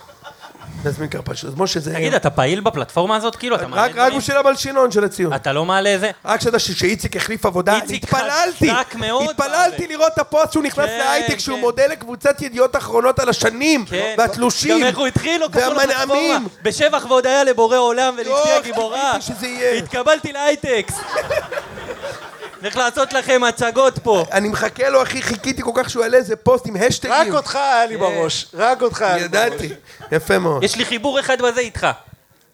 [SPEAKER 1] להזמין קרפצ'ו. אז משה זה...
[SPEAKER 3] תגיד, אתה פעיל בפלטפורמה הזאת? כאילו, אתה מעלה
[SPEAKER 1] רק רק
[SPEAKER 3] דברים?
[SPEAKER 1] בשביל הבלשינון של הציון.
[SPEAKER 3] אתה לא מעלה זה?
[SPEAKER 1] רק שתדע ש- שאיציק החליף עבודה,
[SPEAKER 3] איציק
[SPEAKER 1] התפללתי,
[SPEAKER 3] חזק מאוד
[SPEAKER 1] התפללתי
[SPEAKER 3] בעבודה.
[SPEAKER 1] לראות את הפוסט שהוא נכנס
[SPEAKER 3] כן,
[SPEAKER 1] להייטק,
[SPEAKER 3] כן.
[SPEAKER 1] שהוא מודה לקבוצת ידיעות אחרונות על השנים,
[SPEAKER 3] כן.
[SPEAKER 1] והתלושים,
[SPEAKER 3] גם איך הוא התחיל, לא קשור לפלטפורמה.
[SPEAKER 1] והמנעמים.
[SPEAKER 3] בשבח והודיה לבורא עולם ולצבי
[SPEAKER 1] יואו,
[SPEAKER 3] הגיבורה.
[SPEAKER 1] קיוויתי לא, שזה יהיה.
[SPEAKER 3] התקבלתי להייטקס. צריך לעשות לכם הצגות פה.
[SPEAKER 1] אני מחכה לו, אחי, חיכיתי כל כך שהוא יעלה איזה פוסט עם
[SPEAKER 4] רק
[SPEAKER 1] השטגים.
[SPEAKER 4] אותך היה לי בראש. רק אותך היה לי בראש.
[SPEAKER 1] ידעתי. יפה מאוד.
[SPEAKER 3] יש לי חיבור אחד בזה איתך.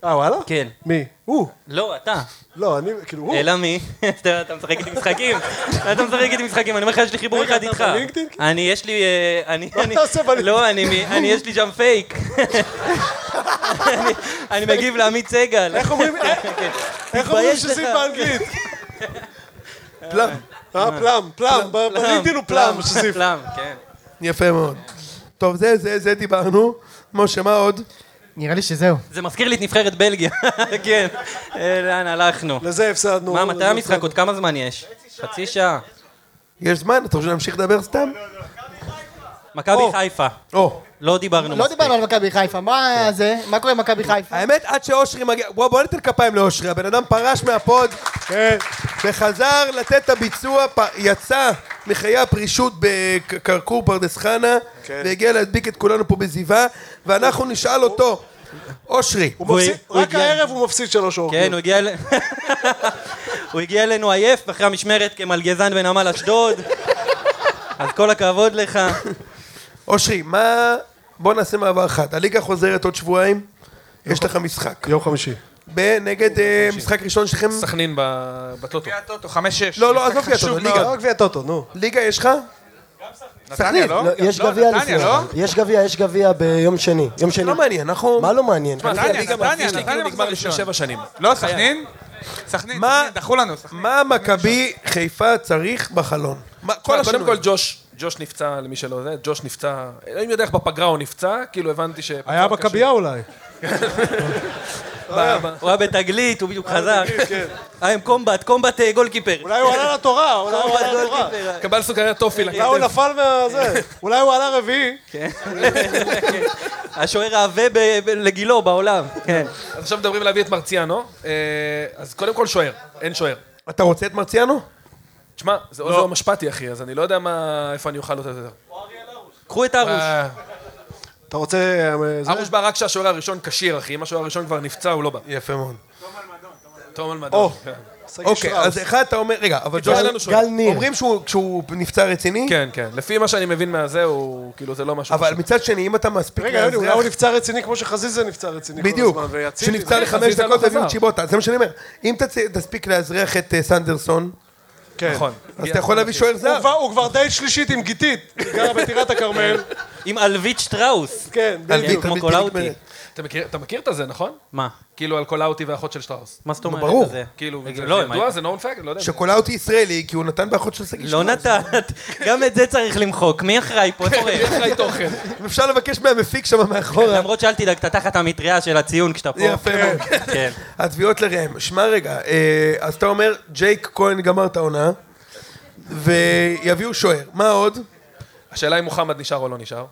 [SPEAKER 4] אה, וואלה?
[SPEAKER 3] כן.
[SPEAKER 4] מי? הוא.
[SPEAKER 3] לא, אתה.
[SPEAKER 4] לא, אני, כאילו, הוא.
[SPEAKER 3] אלא מי? [LAUGHS] אתה אתה משחק איתי משחקים? אתה משחק איתי משחקים, אני אומר לך, יש לי חיבור
[SPEAKER 4] רגע,
[SPEAKER 3] אחד
[SPEAKER 4] אתה
[SPEAKER 3] איתך.
[SPEAKER 4] בלינקדאין?
[SPEAKER 3] אני, יש לי... אה, אני...
[SPEAKER 4] מה
[SPEAKER 3] אני-
[SPEAKER 4] אתה עושה בלינקדאין?
[SPEAKER 3] לא, אני, מ- אני, יש לי שם פייק.
[SPEAKER 4] [LAUGHS]
[SPEAKER 3] אני- אני מגיב לעמית סגל.
[SPEAKER 4] איך אומרים-
[SPEAKER 3] כן.
[SPEAKER 4] איך אומרים
[SPEAKER 3] תתבייש
[SPEAKER 4] שזה
[SPEAKER 3] לך.
[SPEAKER 4] באנגלית? פלאם. אה, פלאם, פלאם. ב- בלינקדאין הוא פלאם, שזיף.
[SPEAKER 3] פלאם, כן.
[SPEAKER 1] יפה מאוד. טוב, זה, זה, זה דיברנו. משה, מה עוד?
[SPEAKER 2] נראה לי שזהו.
[SPEAKER 3] זה מזכיר לי את נבחרת בלגיה. [LAUGHS] כן. אה, לאן הלכנו?
[SPEAKER 4] לזה הפסדנו.
[SPEAKER 3] מה,
[SPEAKER 4] לזה
[SPEAKER 3] מתי המשחק?
[SPEAKER 4] הפסדנו.
[SPEAKER 3] עוד כמה זמן יש? חצי שעה.
[SPEAKER 1] יש זמן? אתה רוצה שנמשיך לדבר סתם?
[SPEAKER 3] מכבי
[SPEAKER 1] או.
[SPEAKER 3] חיפה.
[SPEAKER 1] או.
[SPEAKER 3] לא דיברנו
[SPEAKER 2] לא
[SPEAKER 3] מספיק.
[SPEAKER 2] דיברנו על מכבי חיפה, מה זה? מה קורה עם מכבי חיפה?
[SPEAKER 1] האמת, עד שאושרי מגיע... בוא, בוא ניתן כפיים לאושרי. הבן אדם פרש מהפוד
[SPEAKER 4] כן.
[SPEAKER 1] וחזר לתת את הביצוע, פ... יצא מחיי הפרישות בכרכור פרדס חנה,
[SPEAKER 4] כן.
[SPEAKER 1] והגיע להדביק את כולנו פה בזיווה, ואנחנו נשאל אותו, אושרי,
[SPEAKER 4] הוא
[SPEAKER 3] הוא-
[SPEAKER 4] מפסיד-
[SPEAKER 3] הוא
[SPEAKER 4] רק
[SPEAKER 3] הגיע-
[SPEAKER 4] הערב הוא מפסיד שלוש אורכות.
[SPEAKER 3] כן, הוא הגיע [LAUGHS] אל- הוא הגיע אלינו עייף אחרי המשמרת כמלגזן בנמל אשדוד. אז כל הכבוד לך.
[SPEAKER 1] אושרי, מה... בוא נעשה מעבר אחד. הליגה חוזרת עוד שבועיים, יש לך משחק.
[SPEAKER 4] יום חמישי.
[SPEAKER 1] נגד אה, משחק ראשון שלכם...
[SPEAKER 5] סכנין ב- בטוטו.
[SPEAKER 7] גביע הטוטו, 5-6.
[SPEAKER 1] לא, לא, עזוב יתו, ליגה.
[SPEAKER 4] לא רק גביע טוטו, נו.
[SPEAKER 1] ליגה יש לך?
[SPEAKER 7] נתניה, לא?
[SPEAKER 6] לא, יש
[SPEAKER 7] לא,
[SPEAKER 6] גביע
[SPEAKER 7] נתניה,
[SPEAKER 6] לפני
[SPEAKER 7] לא?
[SPEAKER 6] זה. יש גביע, יש גביע ביום שני. יום שני.
[SPEAKER 1] לא מעניין, אנחנו...
[SPEAKER 6] מה לא מעניין?
[SPEAKER 7] נתניה,
[SPEAKER 5] הליגה
[SPEAKER 7] נתניה,
[SPEAKER 5] באפיק שלי
[SPEAKER 7] נתניה
[SPEAKER 5] כאילו נגמר
[SPEAKER 7] מחזור
[SPEAKER 5] לפני
[SPEAKER 7] ראשון.
[SPEAKER 5] שבע שנים.
[SPEAKER 7] לא, סכנין? סכנין,
[SPEAKER 1] מה-
[SPEAKER 7] סכנין, דחו לנו, סכנין.
[SPEAKER 1] מה מכבי חיפה צריך בחלון? מה- כל
[SPEAKER 5] תשמע, קודם
[SPEAKER 1] השינויים.
[SPEAKER 5] כל ג'וש, ג'וש נפצע, למי שלא יודע, ג'וש נפצע, אני יודע איך בפגרה הוא נפצע, כאילו הבנתי ש...
[SPEAKER 8] היה בכבייה
[SPEAKER 4] [LAUGHS]
[SPEAKER 8] אולי.
[SPEAKER 3] הוא היה בתגלית, הוא בדיוק חזר. היה עם קומבט, קומבט אה, גולקיפר.
[SPEAKER 4] אולי הוא עלה לתורה, אולי הוא
[SPEAKER 3] קומבט
[SPEAKER 4] עלה לתורה.
[SPEAKER 3] גולקיפר.
[SPEAKER 5] קבל סוכריה
[SPEAKER 2] אה,
[SPEAKER 5] טופי
[SPEAKER 4] אולי הוא
[SPEAKER 5] לכתף.
[SPEAKER 4] נפל
[SPEAKER 1] [LAUGHS]
[SPEAKER 4] מהזה. אולי הוא עלה רביעי.
[SPEAKER 3] השוער העבה ב- ב- לגילו בעולם. כן.
[SPEAKER 5] אז עכשיו מדברים להביא את מרציאנו, אה, אז קודם כל שוער, אין שוער.
[SPEAKER 1] אתה רוצה את מרציאנו?
[SPEAKER 5] תשמע, זה עוזר משפטי, אחי, אז אני לא יודע מה, איפה אני אוכל אותו יותר.
[SPEAKER 3] קחו את הרוש.
[SPEAKER 5] אה,
[SPEAKER 4] אתה רוצה... אה, זה?
[SPEAKER 5] הרוש בא רק כשהשוער הראשון כשיר, אחי, אם השוער הראשון כבר נפצע, הוא לא בא.
[SPEAKER 1] יפה מאוד.
[SPEAKER 5] תום אלמדון.
[SPEAKER 4] שגיא
[SPEAKER 1] אוקיי,
[SPEAKER 4] שטראוס.
[SPEAKER 1] אז אחד אתה אומר, רגע, אבל
[SPEAKER 5] קיצור, אין
[SPEAKER 1] ג'וש...
[SPEAKER 5] לנו שוער.
[SPEAKER 6] גל ניר.
[SPEAKER 1] אומרים שהוא כשהוא נפצע רציני,
[SPEAKER 5] כן, כן. לפי מה שאני מבין מהזה, הוא... כאילו, זה לא משהו...
[SPEAKER 1] אבל
[SPEAKER 5] פשוט.
[SPEAKER 1] מצד שני, אם אתה מספיק
[SPEAKER 4] רגע, יוני, אולי
[SPEAKER 1] לאזרח...
[SPEAKER 4] הוא נפצע רציני כמו שחזיזה נפצע רציני כל הזמן.
[SPEAKER 1] בדיוק,
[SPEAKER 4] ויצילי.
[SPEAKER 1] שנפצע לחמש
[SPEAKER 5] חזיזה לא
[SPEAKER 1] דקות תביאו
[SPEAKER 5] חזר.
[SPEAKER 1] את שיבוטה, זה מה שאני אומר. אם תצ- תספיק לאזרח את אה, סנדרסון,
[SPEAKER 4] כן.
[SPEAKER 5] נכון.
[SPEAKER 1] אז אתה יכול להביא שוער
[SPEAKER 4] הוא
[SPEAKER 1] זר.
[SPEAKER 4] כבר- הוא כבר דייט שלישית עם [LAUGHS] גיתית. היא גרה בטירת הכרמל.
[SPEAKER 3] עם אלווית שטראוס.
[SPEAKER 4] כן,
[SPEAKER 1] על
[SPEAKER 4] בדיוק.
[SPEAKER 1] ויטה
[SPEAKER 3] כמו
[SPEAKER 1] בלתי
[SPEAKER 3] קולאוטי.
[SPEAKER 1] נגמרת.
[SPEAKER 5] אתה מכיר- אתה מכיר את הזה, נכון?
[SPEAKER 3] מה?
[SPEAKER 5] כאילו, על קולאוטי והאחות של שטראוס.
[SPEAKER 3] מה זאת אומרת?
[SPEAKER 1] ברור.
[SPEAKER 3] זה?
[SPEAKER 5] כאילו, זה
[SPEAKER 3] לא,
[SPEAKER 5] ידוע, זה נורמל פאק, לא יודע.
[SPEAKER 1] שקולה אותי ישראלי, כי הוא נתן באחות של שגיא
[SPEAKER 3] לא
[SPEAKER 1] שטראוס.
[SPEAKER 3] נתת. גם את זה צריך למחוק. מי אחראי פה? איפה ראם?
[SPEAKER 5] יש לך תוכן.
[SPEAKER 1] אם אפשר לבקש מהמפיק שם מאחורה.
[SPEAKER 3] למרות שאל תדאג, אתה תחת המטריה של הציון כשאתה פה.
[SPEAKER 1] אוקיי. יפה מאוד.
[SPEAKER 3] כן.
[SPEAKER 1] התביעות לראם. שמע רגע, אה, אז אתה אומר, ג'ייק כהן גמר את העונה, ויביאו שוער. מה עוד?
[SPEAKER 5] השאלה אם מוחמד נשאר או לא נשאר.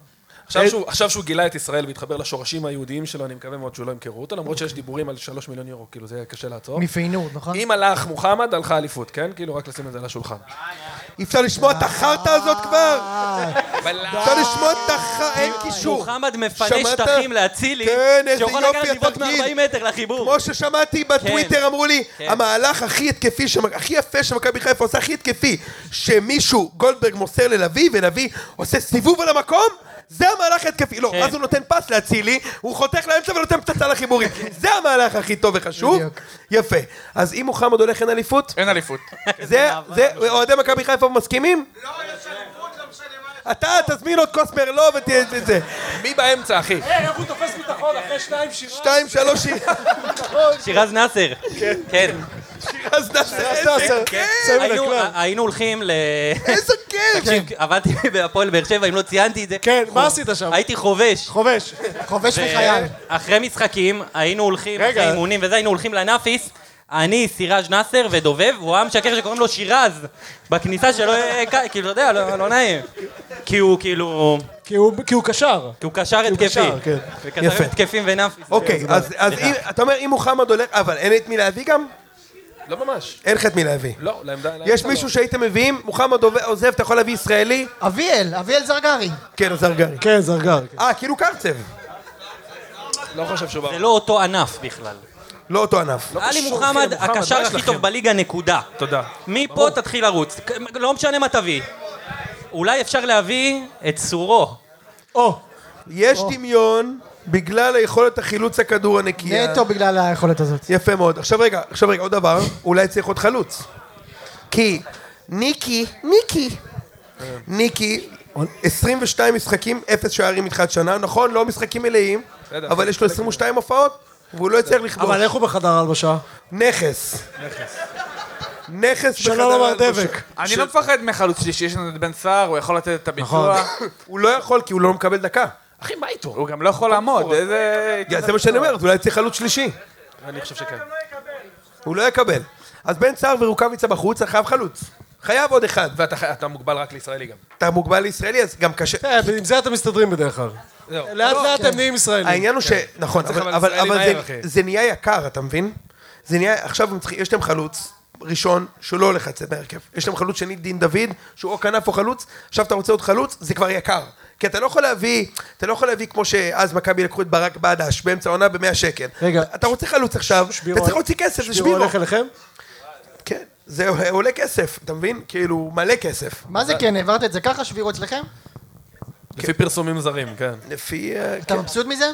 [SPEAKER 5] עכשיו
[SPEAKER 1] אה,
[SPEAKER 5] שהוא, עכשיו שהוא גילה את ישראל והתחבר לשורשים היהודיים שלו, אני מקווה מאוד שהוא לא ימכרו אותו, למרות שיש דיבורים על שלוש מיליון יורו, כאילו זה יהיה קשה לעצור.
[SPEAKER 2] מפיינורד, נכון?
[SPEAKER 5] אם הלך מוחמד, הלכה אליפות, כן? כאילו, רק לשים את זה על השולחן.
[SPEAKER 1] אי אפשר לשמוע את החרטא הזאת כבר? אפשר לשמוע את החרטא, אין קישור.
[SPEAKER 3] מוחמד מפנה
[SPEAKER 1] שמעת?
[SPEAKER 3] שטחים להצילי,
[SPEAKER 1] כן, איזה
[SPEAKER 3] שיכול
[SPEAKER 1] יופי,
[SPEAKER 3] לקחת לבעוט
[SPEAKER 1] התרגיל.
[SPEAKER 3] מ-40 מטר לחיבור.
[SPEAKER 1] כמו ששמעתי בטוויטר אמרו לי, המהלך הכי התקפי, שמ- הכי יפה שמכבי חיפה עושה, הכי התקפי, שמישהו, גולדברג מוסר ללביא, ולביא עושה סיבוב על המקום, זה המהלך ההתקפי. לא,
[SPEAKER 3] כן.
[SPEAKER 1] אז הוא נותן פס לאצילי, הוא חותך לאמצע ונותן פצצה לחיבורים. זה המהלך הכי טוב וחשוב.
[SPEAKER 2] בדיוק.
[SPEAKER 1] יפה. אז אם מוחמד הולך אין אליפות,
[SPEAKER 7] אין אליפות.
[SPEAKER 1] זה, זה, אוהדי מכבי חיפה מסכימים? לא, יש אליפות, לא משנה מה... אתה תזמין עוד כוס מרלו ותהיה את זה.
[SPEAKER 5] מי באמצע, אחי?
[SPEAKER 4] איך כן, הוא תופס ביטחון אחרי שניים שירה?
[SPEAKER 1] שתיים, שלוש,
[SPEAKER 3] שירז נאסר.
[SPEAKER 1] [LAUGHS]
[SPEAKER 3] כן.
[SPEAKER 1] אז נעשה איזה כיף!
[SPEAKER 3] היינו- היינו
[SPEAKER 1] [LAUGHS]
[SPEAKER 3] הולכים ל...
[SPEAKER 1] איזה כיף!
[SPEAKER 3] תקשיב, עבדתי בהפועל באר שבע, אם לא ציינתי את זה.
[SPEAKER 4] כן, מה עשית שם?
[SPEAKER 3] הייתי חובש. אה,
[SPEAKER 4] חובש.
[SPEAKER 2] חובש מחייל.
[SPEAKER 3] אחרי משחקים, היינו הולכים,
[SPEAKER 4] רגע.
[SPEAKER 3] אחרי אימונים וזה, היינו הולכים לנאפיס. אני, סיראז' נאסר ודובב, והוא היה משקר שקוראים לו שירז בכניסה שלא יהיה קל, כאילו, אתה יודע, לא לא נעים. כי הוא כאילו,
[SPEAKER 4] כי הוא כי הוא קשר.
[SPEAKER 3] כי הוא קשר התקפי.
[SPEAKER 4] קשר, כן.
[SPEAKER 1] יפה.
[SPEAKER 3] וקשר התקפי ונאפיס.
[SPEAKER 1] אוקיי, אז אז אם, אתה אומר, אם מוחמד הולך, אבל אין את מי להביא גם?
[SPEAKER 5] לא ממש.
[SPEAKER 1] אין לך את מי להביא.
[SPEAKER 5] לא, לעמדה...
[SPEAKER 1] יש
[SPEAKER 5] לאמצע לא.
[SPEAKER 1] מישהו שהייתם מביאים, מוחמד עוב- עוזב, אתה יכול להביא ישראלי?
[SPEAKER 2] אביאל, אביאל זרגרי.
[SPEAKER 1] כן, עוזר גרי.
[SPEAKER 4] כן, זרגר. כן.
[SPEAKER 1] אה, כאילו קרצב.
[SPEAKER 5] לא חושב שהוא בא.
[SPEAKER 3] זה לא אותו ענף בכלל.
[SPEAKER 1] לא אותו ענף.
[SPEAKER 3] עלי
[SPEAKER 5] קשור,
[SPEAKER 3] מוחמד,
[SPEAKER 5] אחי, מוחמד,
[SPEAKER 3] הקשר
[SPEAKER 5] מה יש
[SPEAKER 3] הכי
[SPEAKER 5] לכם?
[SPEAKER 3] טוב בליגה, נקודה.
[SPEAKER 5] תודה.
[SPEAKER 3] מפה תתחיל לרוץ. לא משנה מה תביא. אולי אפשר להביא את סורו.
[SPEAKER 1] יש דמיון בגלל היכולת החילוץ הכדור הנקייה.
[SPEAKER 2] נטו בגלל היכולת הזאת.
[SPEAKER 1] יפה מאוד. עכשיו רגע, עכשיו רגע, עוד דבר, אולי צריך עוד חלוץ. כי ניקי, ניקי, ניקי, 22 משחקים, אפס שערים מתחילת שנה, נכון, לא משחקים מלאים,
[SPEAKER 5] בסדר.
[SPEAKER 1] אבל יש לו 22 הופעות, והוא לא יצליח לכבוש.
[SPEAKER 8] אבל איך הוא בחדר ההלבשה?
[SPEAKER 1] נכס. נכס. נכס
[SPEAKER 4] שלום אמר דבק.
[SPEAKER 7] אני לא מפחד מחלוץ שלישי, יש לנו את בן סער, הוא יכול לתת את הביצוע.
[SPEAKER 3] נכון.
[SPEAKER 1] הוא לא יכול כי הוא לא מקבל דקה.
[SPEAKER 5] אחי, מה איתו?
[SPEAKER 7] הוא גם לא יכול לעמוד, איזה...
[SPEAKER 1] יא, זה מה שאני אומר, אז אולי צריך חלוץ שלישי.
[SPEAKER 5] אני חושב שכן.
[SPEAKER 1] הוא לא יקבל. אז בן סער ורוקאביצה בחוץ, אתה חייב חלוץ. חייב עוד אחד.
[SPEAKER 5] ואתה חי- אתה מוגבל רק לישראלי גם.
[SPEAKER 1] אתה מוגבל לישראלי, אז גם קשה.
[SPEAKER 4] אה, עם זה אתם מסתדרים בדרך כלל.
[SPEAKER 5] זהו.
[SPEAKER 7] לא
[SPEAKER 4] לאט לאט הם נהיים ישראלים.
[SPEAKER 1] העניין הוא ש... נכון,
[SPEAKER 5] כן. צריך
[SPEAKER 1] אבל-
[SPEAKER 5] אבל
[SPEAKER 1] אבל
[SPEAKER 5] ישראלי
[SPEAKER 1] אבל
[SPEAKER 5] מהר,
[SPEAKER 1] זה-
[SPEAKER 5] אחי.
[SPEAKER 1] זה נהיה יקר, אתה מבין? זה נהיה... עכשיו הם צריכים- יש להם חלוץ ראשון שלא הולך לצאת מהרכב. יש להם חלוץ שני, דין דוד, שהוא או כנף או חלוץ, עכשיו אתה רוצה עוד חלוץ, זה כבר יקר. כי אתה לא יכול להביא, אתה לא יכול להביא כמו שאז מכבי לקחו את ברק בדש באמצע העונה ב-100 שקל.
[SPEAKER 8] רגע.
[SPEAKER 4] לא?
[SPEAKER 1] אתה רוצה חלוץ עכשיו, אתה צריך להוציא כסף, זה שבירו.
[SPEAKER 4] אליכם?
[SPEAKER 1] כן, זה עולה כסף, אתה מבין? כאילו, מלא כסף.
[SPEAKER 2] מה זה כן, העברת את זה ככה, שבירו אצלכם?
[SPEAKER 5] לפי פרסומים זרים, כן.
[SPEAKER 1] לפי... אה,
[SPEAKER 2] אתה
[SPEAKER 1] כן,
[SPEAKER 2] מבסוט מזה?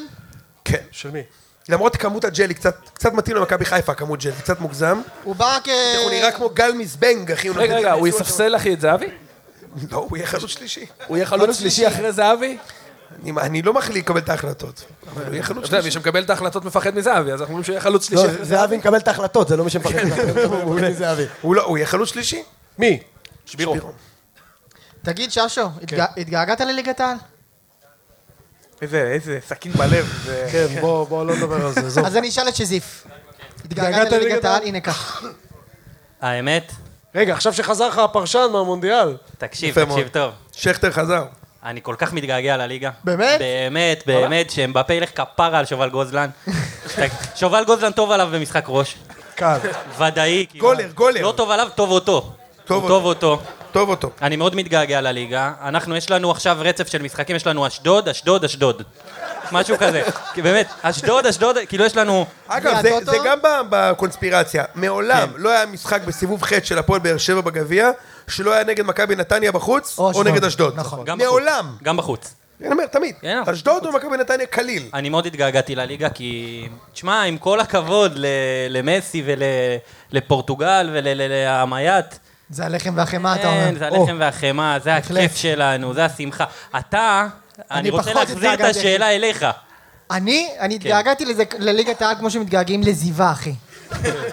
[SPEAKER 1] כן.
[SPEAKER 4] של מי?
[SPEAKER 1] למרות כמות הג'לי, קצת קצת מתאים למכבי חיפה, כמות ג'לי, קצת מוגזם.
[SPEAKER 2] הוא בא כ...
[SPEAKER 1] הוא נראה כמו גל מזבנג, אחי.
[SPEAKER 5] רגע, רגע, הוא יספסל אחי את זהבי?
[SPEAKER 1] לא, הוא יהיה חלוץ שלישי.
[SPEAKER 5] הוא יהיה חלוץ שלישי אחרי זהבי?
[SPEAKER 1] אני- אני לא מחליט לקבל את ההחלטות, אבל הוא יהיה חלוץ
[SPEAKER 5] אתה יודע,
[SPEAKER 1] שלישי.
[SPEAKER 5] מי שמקבל את ההחלטות מפחד מזהבי, אז אנחנו אומרים שהוא יהיה חלוץ
[SPEAKER 6] לא,
[SPEAKER 5] שלישי. אחרי
[SPEAKER 6] זהבי מקבל את ההחלטות, זה לא מי שמפחד
[SPEAKER 4] כן.
[SPEAKER 6] [LAUGHS] ממנו. זהבי.
[SPEAKER 1] הוא לא, הוא יהיה חלוץ שלישי.
[SPEAKER 4] מי?
[SPEAKER 5] שבירו.
[SPEAKER 2] תגיד, ששו, התגע- התגעגעת לליגת העל?
[SPEAKER 7] איזה, איזה סכין בלב. זה-
[SPEAKER 4] כן, בוא בוא לא נדבר על
[SPEAKER 6] [LAUGHS]
[SPEAKER 4] זה, עזוב.
[SPEAKER 2] אז אני אשאל את שזיף. התגעגעת לליגת העל? הנה כך.
[SPEAKER 3] האמת,
[SPEAKER 4] רגע, עכשיו שחזר לך הפרשן מהמונדיאל,
[SPEAKER 3] תקשיב,
[SPEAKER 1] יפה מאוד.
[SPEAKER 3] תקשיב טוב.
[SPEAKER 1] שכטר חזר.
[SPEAKER 3] אני כל כך מתגעגע לליגה.
[SPEAKER 2] באמת?
[SPEAKER 3] באמת, באמת, שאמבפה ילך כפרה על שובל גוזלן. ת- שובל גוזלן טוב עליו במשחק ראש.
[SPEAKER 1] קל.
[SPEAKER 3] ודאי. כאילו.
[SPEAKER 1] גולר, גולר.
[SPEAKER 3] לא טוב עליו, טוב אותו.
[SPEAKER 1] טוב
[SPEAKER 3] הוא טוב אותו.
[SPEAKER 1] טוב אותו.
[SPEAKER 3] אני מאוד מתגעגע לליגה. אנחנו, יש לנו עכשיו רצף של משחקים, יש לנו אשדוד, אשדוד, אשדוד. משהו כזה. כי באמת, אשדוד, אשדוד, כאילו יש לנו...
[SPEAKER 1] אגב, זה,
[SPEAKER 2] והטוטו?
[SPEAKER 1] זה גם ב- בקונספירציה. מעולם
[SPEAKER 5] כן.
[SPEAKER 1] לא היה משחק בסיבוב ח' של הפועל באר שבע בגביע, שלא היה נגד מכבי נתניה בחוץ, או,
[SPEAKER 2] אשדוד.
[SPEAKER 1] נגד אשדוד.
[SPEAKER 2] נכון.
[SPEAKER 3] גם בחוץ.
[SPEAKER 1] מעולם.
[SPEAKER 3] גם בחוץ.
[SPEAKER 1] אני אומר, תמיד.
[SPEAKER 3] כן,
[SPEAKER 5] נכון.
[SPEAKER 3] אנחנו
[SPEAKER 1] אשדוד או מכבי נתניה קליל.
[SPEAKER 3] אני מאוד התגעגעתי לליגה, כי... תשמע, עם כל הכבוד ל- למסי ולפורטוגל ולעמייט,
[SPEAKER 2] זה הלחם והחמאה, אתה אומר.
[SPEAKER 3] כן, זה הלחם והחמאה, זה הכיף שלנו, זה השמחה. אתה, אני רוצה
[SPEAKER 2] פחות
[SPEAKER 3] להחזיר את
[SPEAKER 2] התגעגעתי.
[SPEAKER 3] השאלה אליך.
[SPEAKER 2] אני? אני התגעגעתי לזה- לליגת העל כמו שמתגעגעים לזיווה, אחי.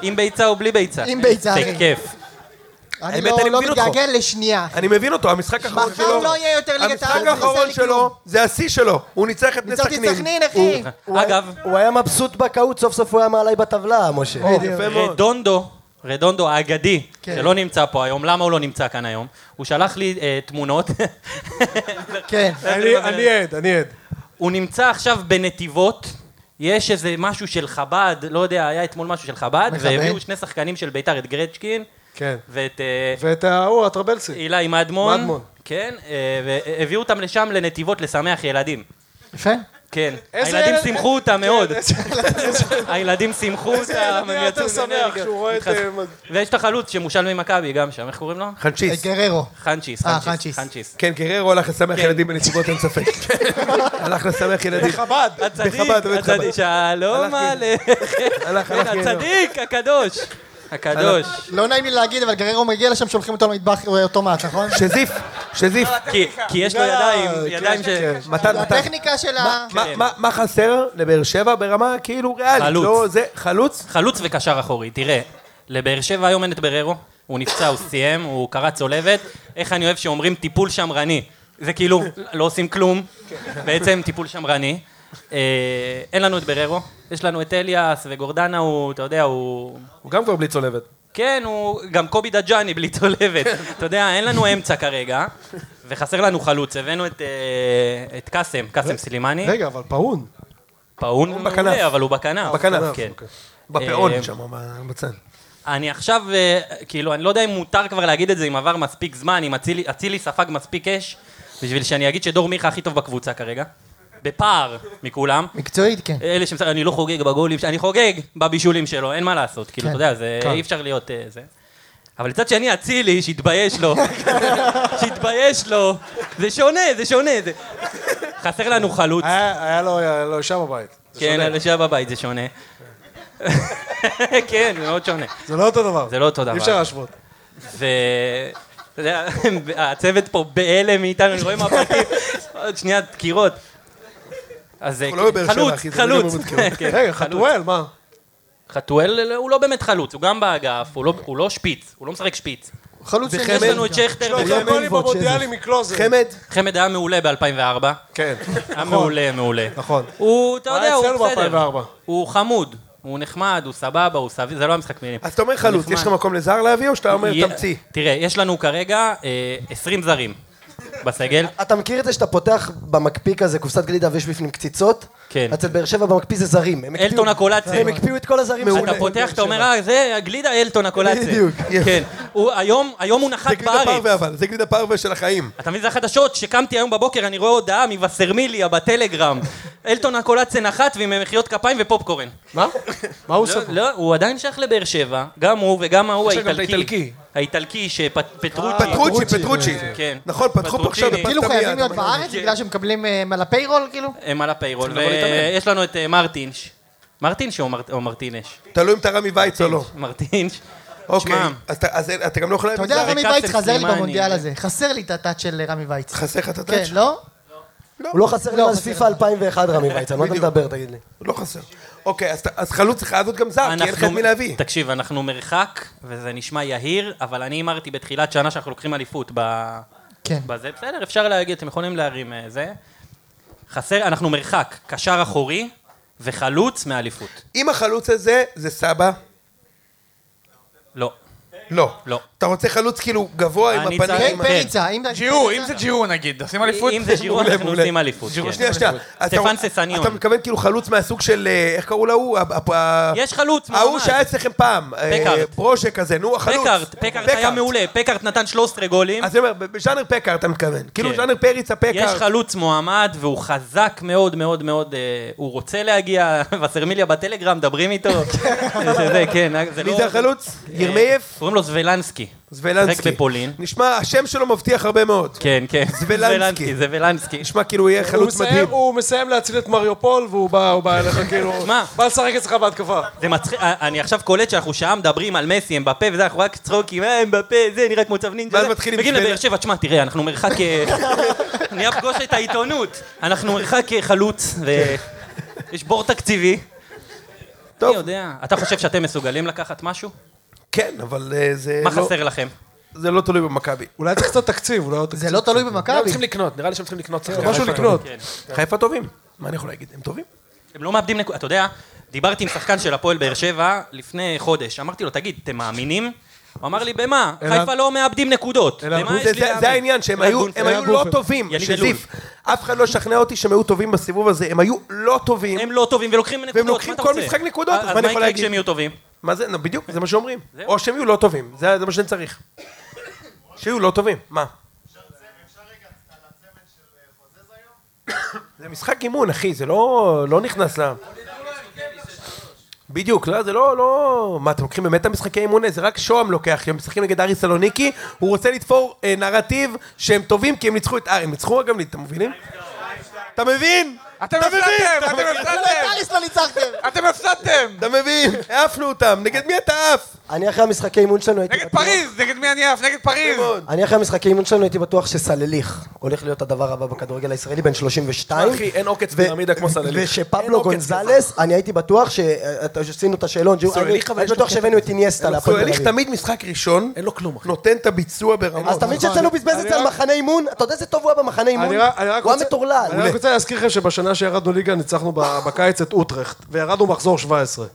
[SPEAKER 3] עם ביצה או בלי ביצה.
[SPEAKER 2] עם ביצה,
[SPEAKER 3] זה
[SPEAKER 2] אחי.
[SPEAKER 3] כיף.
[SPEAKER 2] אני
[SPEAKER 1] האמת,
[SPEAKER 2] לא-
[SPEAKER 1] אני
[SPEAKER 2] לא
[SPEAKER 1] מבין אותך.
[SPEAKER 2] מתגעגע לשנייה. אחי.
[SPEAKER 1] אני מבין אותו, המשחק האחרון
[SPEAKER 2] מחר
[SPEAKER 1] שלו...
[SPEAKER 2] לא יהיה יותר ליגת העל,
[SPEAKER 1] המשחק
[SPEAKER 2] זה עושה
[SPEAKER 1] האחרון
[SPEAKER 2] לי
[SPEAKER 1] שלו,
[SPEAKER 2] כלום.
[SPEAKER 1] זה השיא שלו. הוא ניצח את בני
[SPEAKER 2] ניצחתי את
[SPEAKER 1] סכנין.
[SPEAKER 2] סכנין, אחי.
[SPEAKER 3] אגב,
[SPEAKER 6] הוא היה מבסוט בקהות, סוף סוף הוא היה מעלי בטבלה, משה.
[SPEAKER 1] יפה מאוד.
[SPEAKER 3] רדונדו, רדונדו האגדי,
[SPEAKER 2] כן.
[SPEAKER 3] שלא נמצא פה היום, למה הוא לא נמצא כאן היום? הוא שלח לי אה, תמונות.
[SPEAKER 2] כן.
[SPEAKER 4] אני אני עד, אני עד.
[SPEAKER 3] הוא נמצא עכשיו בנתיבות, יש איזה משהו של חב"ד, לא יודע, היה אתמול משהו של חב"ד,
[SPEAKER 2] מכבד.
[SPEAKER 3] והביאו שני שחקנים של ביתר, את גרצ'קין
[SPEAKER 4] כן.
[SPEAKER 3] ואת אה,
[SPEAKER 4] ואת ההוא, הטרבלסי.
[SPEAKER 3] אילי מדמון.
[SPEAKER 4] מדמון.
[SPEAKER 3] כן, אה, והביאו אותם לשם לנתיבות לשמח ילדים.
[SPEAKER 2] יפה.
[SPEAKER 3] כן.
[SPEAKER 4] איזה
[SPEAKER 3] הילדים
[SPEAKER 4] ילד- כן,
[SPEAKER 3] שימחו אותם מאוד.
[SPEAKER 4] איזה-
[SPEAKER 3] הילדים שימחו אותם, הם
[SPEAKER 4] ילד היה יותר
[SPEAKER 3] יצאו עם
[SPEAKER 4] שמח
[SPEAKER 3] אנרגיות.
[SPEAKER 4] כשהוא רואה את,
[SPEAKER 3] מתחזק.
[SPEAKER 4] אה, מד-
[SPEAKER 3] ויש את החלוץ שמושל ממכבי גם שם, איך קוראים לו?
[SPEAKER 1] חנצ'יס.
[SPEAKER 2] אה, גררו.
[SPEAKER 3] חנצ'יס,
[SPEAKER 2] אה,
[SPEAKER 3] חנצ'יס,
[SPEAKER 2] חנצ'יס.
[SPEAKER 3] חנצ'יס.
[SPEAKER 1] כן, גררו הלך לשמח ילדים בנתיבות, אין ספק.
[SPEAKER 3] [LAUGHS]
[SPEAKER 1] הלך לשמח ילדים. בחב"ד.
[SPEAKER 3] הצדיק,
[SPEAKER 1] בחב"ד, בבית חב"ד.
[SPEAKER 3] הצדיק,
[SPEAKER 1] הלך,
[SPEAKER 3] שלום עליכם. כן,
[SPEAKER 1] הלך,
[SPEAKER 3] הצדיק, הקדוש. הקדוש.
[SPEAKER 2] לא נעים לי להגיד, אבל גררו מגיע לשם, שולחים אותו למטבח אה, אוטומט, נכון?
[SPEAKER 1] שזיף, שזיף.
[SPEAKER 3] כי- כי יש לו לא, ידיים,
[SPEAKER 4] כן,
[SPEAKER 3] ידיים כן. ש...
[SPEAKER 1] מתן, מתן.
[SPEAKER 2] הטכניקה של ה...
[SPEAKER 1] מה- מה- מה חסר לבאר שבע ברמה כאילו ריאלית?
[SPEAKER 3] חלוץ.
[SPEAKER 1] לא, זה חלוץ?
[SPEAKER 3] חלוץ וקשר אחורי, תראה. לבאר שבע היום אין את בררו, הוא נפצע, הוא סיים, הוא קרע צולבת. איך אני אוהב שאומרים טיפול שמרני. זה כאילו, לא עושים כלום, בעצם טיפול שמרני. אה, אין לנו את בררו, יש לנו את אליאס וגורדנה, הוא, אתה יודע, הוא...
[SPEAKER 5] הוא גם כבר בלי צולבת.
[SPEAKER 3] כן, הוא גם קובי דג'אני בלי צולבת. אתה יודע, אין לנו אמצע כרגע, וחסר לנו חלוץ. הבאנו את, אה, את קאסם, קאסם סלימני.
[SPEAKER 8] רגע, אבל פאון.
[SPEAKER 3] פאון הוא
[SPEAKER 1] בכנף.
[SPEAKER 3] מעולה, אבל הוא בכנף.
[SPEAKER 1] בכנף.
[SPEAKER 3] כן. אה,
[SPEAKER 1] בפאון שם, ב- בצד.
[SPEAKER 3] אני עכשיו, אה, כאילו, אני לא יודע אם מותר כבר להגיד את זה, אם עבר מספיק זמן, אם אצילי- אצילי ספג מספיק אש, בשביל שאני אגיד שדור מיכה הכי טוב בקבוצה כרגע. בפער מכולם.
[SPEAKER 2] מקצועית, כן.
[SPEAKER 1] אוקיי,
[SPEAKER 3] אלה שמשחק, אני לא חוגג בגולים, ש- אני חוגג בבישולים שלו, אין מה לעשות, כאילו,
[SPEAKER 2] כן.
[SPEAKER 3] אתה יודע, זה, אי אפשר להיות אה, זה. אבל מצד שני, אצילי, שיתבייש לו, [LAUGHS] שיתבייש לו, זה שונה, זה שונה, זה... חסר לנו
[SPEAKER 2] אה,
[SPEAKER 3] חלוץ,
[SPEAKER 4] היה היה לו- היה לו אישה בבית.
[SPEAKER 3] כן, אלה שהיה בבית, זה שונה. [LAUGHS] כן, זה מאוד שונה.
[SPEAKER 4] זה לא אותו דבר.
[SPEAKER 3] זה לא אותו דבר.
[SPEAKER 4] אי אפשר להשוות.
[SPEAKER 3] ו... אתה יודע, הצוות פה בהלם מאיתנו, אני רואה מבטים, עוד שנייה דקירות. אז אה,
[SPEAKER 1] לא בבאר שבע,
[SPEAKER 3] חלוץ,
[SPEAKER 1] אחי, זה
[SPEAKER 3] חלוץ.
[SPEAKER 1] מינימום דקירות.
[SPEAKER 3] [LAUGHS] כן,
[SPEAKER 4] רגע,
[SPEAKER 3] חלוץ.
[SPEAKER 4] חתואל, מה?
[SPEAKER 3] חתואל הוא לא באמת חלוץ, הוא גם באגף, הוא לא- הוא לא שפיץ, הוא לא משחק שפיץ.
[SPEAKER 2] חלוץ
[SPEAKER 1] זה
[SPEAKER 2] שני
[SPEAKER 1] חמד.
[SPEAKER 3] יש
[SPEAKER 2] יש לנו-
[SPEAKER 3] לנו את שכטר,
[SPEAKER 4] לא,
[SPEAKER 3] וגם-
[SPEAKER 4] גם גולים במונדיאלים מקלוזר.
[SPEAKER 1] חמד?
[SPEAKER 3] חמד היה מעולה ב-2004,
[SPEAKER 4] כן.
[SPEAKER 3] היה מעולה, מעולה.
[SPEAKER 4] נכון.
[SPEAKER 3] הוא, אתה
[SPEAKER 4] הוא
[SPEAKER 3] יודע,
[SPEAKER 4] היה
[SPEAKER 3] הוא
[SPEAKER 4] אצלנו
[SPEAKER 3] בסדר,
[SPEAKER 4] ב- 2004.
[SPEAKER 3] הוא חמוד, הוא נחמד, הוא סבבה, הוא סביר, זה לא המשחק מילים.
[SPEAKER 1] אז אתה אומר חלוץ, יש לך מקום לזר להביא או שאתה אומר תמציא?
[SPEAKER 3] תראה, יש לנו כרגע אה, 20 זרים בסגל,
[SPEAKER 6] אתה מכיר את זה שאתה פותח במקפיא כזה, קופסת גלידה ויש בפנים קציצות?
[SPEAKER 3] כן.
[SPEAKER 6] אצל באר שבע במקפיא זה זרים. הם הקפיאו-
[SPEAKER 3] אלטון הקולציה.
[SPEAKER 6] הם הקפיאו את כל הזרים.
[SPEAKER 3] אתה פותח, אתה אומר, אה, זה גלידה אלטון הקולציה.
[SPEAKER 6] בדיוק,
[SPEAKER 1] יפה.
[SPEAKER 3] כן. הוא היום, היום הוא נחת
[SPEAKER 1] זה גלידה
[SPEAKER 3] בארץ.
[SPEAKER 1] פרווה אבל, זה גלידה פרווה של החיים.
[SPEAKER 3] אתה מבין, זה החדשות, שקמתי היום בבוקר, אני רואה הודעה מווסרמיליה בטלגרם. אלטון הקולצה נחת ועם מחיאות כפיים ופופקורן.
[SPEAKER 6] מה? מה הוא עושה?
[SPEAKER 3] לא, לא, הוא עדיין שייך לבאר שבע, גם הוא וגם ההוא
[SPEAKER 5] יש גם את
[SPEAKER 3] האיטלקי.
[SPEAKER 5] האיטלקי.
[SPEAKER 3] האיטלקי שפטרוטי.
[SPEAKER 1] אה. פטרוצ'י, פטרוצ'י.
[SPEAKER 3] אה, כן.
[SPEAKER 1] נכון, פתחו פה עכשיו
[SPEAKER 3] פטרוציני.
[SPEAKER 1] בפסטה
[SPEAKER 2] כאילו
[SPEAKER 1] מיד,
[SPEAKER 2] חייבים להיות
[SPEAKER 1] אבל-
[SPEAKER 2] בארץ בגלל שמקבלים אה, על הפיירול, כאילו?
[SPEAKER 3] הם על הפיירול,
[SPEAKER 5] צריכים לבוא לא להתאמן.
[SPEAKER 3] ויש לנו את אה, מרטינש. מרטינש או מר- או מרטינש?
[SPEAKER 1] תלוי אם אתה רמי וייץ או לא.
[SPEAKER 3] מרטינש.
[SPEAKER 1] אוקיי,
[SPEAKER 3] כן. שמע,
[SPEAKER 1] אז אתה- אז אתה גם לא יכול...
[SPEAKER 2] אתה יודע, רמי
[SPEAKER 3] קאסם
[SPEAKER 2] וייץ חזר לי
[SPEAKER 3] סלימני.
[SPEAKER 2] במונדיאל הזה. חסר לי את הטאט של רמי וייץ.
[SPEAKER 1] חסר לך את הדעת
[SPEAKER 2] כן, לא?
[SPEAKER 6] הוא לא חסר לי
[SPEAKER 2] לא,
[SPEAKER 6] מאז
[SPEAKER 2] חסר.
[SPEAKER 6] פיפא 2001, רמי וייץ, על מה אתה מדבר, תגיד לי?
[SPEAKER 1] לא חסר. אוקיי, אז אתה- אז חלוץ צריך לעבוד גם זר, כי אין לך את מי להביא.
[SPEAKER 3] תקשיב, אנחנו מרחק, וזה נשמע יהיר, אבל אני הימרתי בתחילת שנה שאנחנו לוקחים אליפות ב...
[SPEAKER 2] כן.
[SPEAKER 3] בזה. בסדר, אפשר להגיד, אתם יכולים להרים אה, זה. חסר, אנחנו מרחק, קשר אחורי וחלוץ מאליפות.
[SPEAKER 1] אם החלוץ הזה זה סבא,
[SPEAKER 3] לא.
[SPEAKER 1] לא.
[SPEAKER 3] לא.
[SPEAKER 1] אתה רוצה חלוץ כאילו גבוה עם
[SPEAKER 3] אני
[SPEAKER 1] הפנים.
[SPEAKER 3] צריך-
[SPEAKER 2] כן,
[SPEAKER 1] עם ה-
[SPEAKER 2] פריצה, אם...
[SPEAKER 7] ג'ירו, אם זה ג'ירו נגיד, עושים אליפות?
[SPEAKER 3] אם זה ג'ירו, אנחנו
[SPEAKER 1] מעולה.
[SPEAKER 3] עושים אליפות. כן.
[SPEAKER 1] שנייה, שנייה. אתה-
[SPEAKER 3] סטפן ססניון.
[SPEAKER 1] אתה מתכוון כאילו חלוץ מהסוג של, אה, איך קראו להוא? ה- ה-
[SPEAKER 3] יש חלוץ,
[SPEAKER 1] ההוא
[SPEAKER 3] מועמד.
[SPEAKER 1] שהיה אצלכם פעם. אה,
[SPEAKER 3] פקארט.
[SPEAKER 1] ברושה כזה, נו, החלוץ.
[SPEAKER 3] פקארט, פקארט היה מעולה, פקארט נתן 13 גולים.
[SPEAKER 1] אז אני אומר, בז'אנר פקארט אתה מתכוון. כאילו
[SPEAKER 3] כן.
[SPEAKER 1] ז'אנר פריצה פקארט.
[SPEAKER 3] יש חלוץ מועמד והוא חזק מאוד מאוד מאוד, אה, הוא רוצה להגיע, [LAUGHS] וסרמיליה בטלגרם, מדברים איתו.
[SPEAKER 1] [LAUGHS]
[SPEAKER 3] זה, זה, כן, זה
[SPEAKER 1] מי
[SPEAKER 3] לא-
[SPEAKER 1] זה החלוץ?
[SPEAKER 3] אה,
[SPEAKER 1] ירמייף?
[SPEAKER 3] קוראים לו זבלנסקי.
[SPEAKER 1] זבלנסקי.
[SPEAKER 3] שיחק בפולין.
[SPEAKER 1] נשמע, השם שלו מבטיח הרבה מאוד.
[SPEAKER 3] כן,
[SPEAKER 1] [LAUGHS]
[SPEAKER 3] כן.
[SPEAKER 1] זבלנסקי.
[SPEAKER 3] זבלנסקי.
[SPEAKER 1] נשמע כאילו יהיה
[SPEAKER 4] הוא
[SPEAKER 1] חלוץ
[SPEAKER 4] מסיים-
[SPEAKER 1] מדהים.
[SPEAKER 4] הוא מסיים להציל את מריופול, והוא בא הוא בא אליך כאילו...
[SPEAKER 3] [LAUGHS] מה?
[SPEAKER 4] בא לשחק אצלך בהתקפה.
[SPEAKER 3] זה מצחיק, אה, אני עכשיו קולט שאנחנו שעה מדברים על מסי, אמבפה וזה, אנחנו רק צחוקים, אה, אמבפה, זה, נראה כמו צו נינג'ה.
[SPEAKER 1] ואז
[SPEAKER 3] זה.
[SPEAKER 1] מתחיל עם
[SPEAKER 3] מגיעים
[SPEAKER 1] שבדיה.
[SPEAKER 3] לבאר שבע, תשמע, תראה, אנחנו מרחק... אה, [LAUGHS] אני אפגוש את העיתונות. אנחנו מרחק אה, חלוץ,
[SPEAKER 1] [LAUGHS]
[SPEAKER 3] ויש בור תקציבי.
[SPEAKER 1] טוב.
[SPEAKER 3] אני יודע. אתה חושב שאתם מסוגלים לקחת משהו?
[SPEAKER 1] כן, אבל אה, זה
[SPEAKER 3] מה
[SPEAKER 1] לא-
[SPEAKER 3] חסר לכם?
[SPEAKER 1] זה לא תלוי במכבי.
[SPEAKER 4] אולי צריך קצת תקציב, אולי... עוד
[SPEAKER 2] זה
[SPEAKER 4] תקציב.
[SPEAKER 2] לא תלוי
[SPEAKER 5] הם
[SPEAKER 2] במכבי.
[SPEAKER 5] צריכים לקנות, נראה לי שהם צריכים לקנות שחקן.
[SPEAKER 4] משהו לקנות.
[SPEAKER 3] כן,
[SPEAKER 1] חיפה טובים. מה אני יכול להגיד? הם טובים.
[SPEAKER 3] הם לא מאבדים נקודה, אתה יודע, דיברתי עם שחקן של הפועל באר שבע לפני חודש, אמרתי לו, תגיד, אתם מאמינים? הוא אמר לי, במה? חיפה לא מאבדים נקודות. במה יש
[SPEAKER 1] זה-
[SPEAKER 3] לי
[SPEAKER 1] זה-
[SPEAKER 3] להאמין?"
[SPEAKER 1] זה העניין, שהם
[SPEAKER 3] אלעד
[SPEAKER 1] היו הם
[SPEAKER 3] גולדפרב.
[SPEAKER 1] היו לא טובים.
[SPEAKER 3] יניב
[SPEAKER 1] שזיף, אף אחד לא שכנע אותי שהם היו טובים בסיבוב הזה. הם היו לא טובים.
[SPEAKER 3] הם לא טובים ולוקחים נקודות,
[SPEAKER 1] והם לוקחים
[SPEAKER 3] מה אתה
[SPEAKER 1] כל
[SPEAKER 3] רוצה?
[SPEAKER 1] משחק נקודות, אז מה אני יכול
[SPEAKER 3] אז מה
[SPEAKER 1] להגיד?
[SPEAKER 3] יקרה כשהם יהיו טובים?
[SPEAKER 1] מה זה? נו, בדיוק, זה מה שאומרים. או שהם יהיו לא טובים. זה זה מה שאני צריך. שיהיו לא טובים. מה? אה, זה משחק אימון, אחי, זה לא, לא נכנס ל... בדיוק, לא, זה לא, לא... מה, אתם לוקחים באמת את המשחקי אימון? האלה? זה רק שוהם לוקח, כי הם משחקים נגד ארי סלוניקי, הוא רוצה לתפור אה, נרטיב שהם טובים כי הם ניצחו את ארי. הם ניצחו גם, לי, אתם מבינים? אתה מבין?
[SPEAKER 7] אתם הפסדתם, אתם הפסדתם,
[SPEAKER 2] טליס לא ניצחתם.
[SPEAKER 7] אתם הפסדתם!
[SPEAKER 1] אתה מבין? העפנו אותם, נגד מי אתה עף?
[SPEAKER 6] אני אחרי המשחקי אימון שלנו הייתי
[SPEAKER 7] נגד
[SPEAKER 6] בטוח-
[SPEAKER 7] פריז, נגד מי אני עף, נגד פריז!
[SPEAKER 6] אני אחרי המשחקי אימון שלנו הייתי בטוח שסלליך הולך להיות הדבר הבא בכדורגל הישראלי, בן 32.
[SPEAKER 5] אחי, אין עוקץ
[SPEAKER 6] ו-
[SPEAKER 5] פירמידה כמו סלליך.
[SPEAKER 1] אין
[SPEAKER 6] ושפפלו
[SPEAKER 1] עוקץ
[SPEAKER 6] גונזלס, אני הייתי בטוח ש... אה, אתה- שעשינו את השאלון, ג'ו- אני
[SPEAKER 1] סלליך, אבל יש
[SPEAKER 6] הייתי
[SPEAKER 1] לו
[SPEAKER 6] בטוח שהבאנו את איניאסטה להפועל תל
[SPEAKER 1] סואליך
[SPEAKER 6] אביב.
[SPEAKER 1] תמיד משחק ראשון,
[SPEAKER 5] אין לו כלום, אחי.
[SPEAKER 1] נותן את הביצוע ברמות.
[SPEAKER 6] אז אתה מבין שאצלנו בזבז את זה על מחנה אימון? אתה יודע איזה טוב הוא היה במחנה אימון?
[SPEAKER 4] אני רק- אני רק
[SPEAKER 6] הוא היה
[SPEAKER 4] רוצה-
[SPEAKER 6] מטורלל.
[SPEAKER 4] אני רק רוצה להזכיר לכם שבשנה שירדנו ליגה ניצחנו ב- בקיץ את אוטרחט, וירדנו מחזור 17.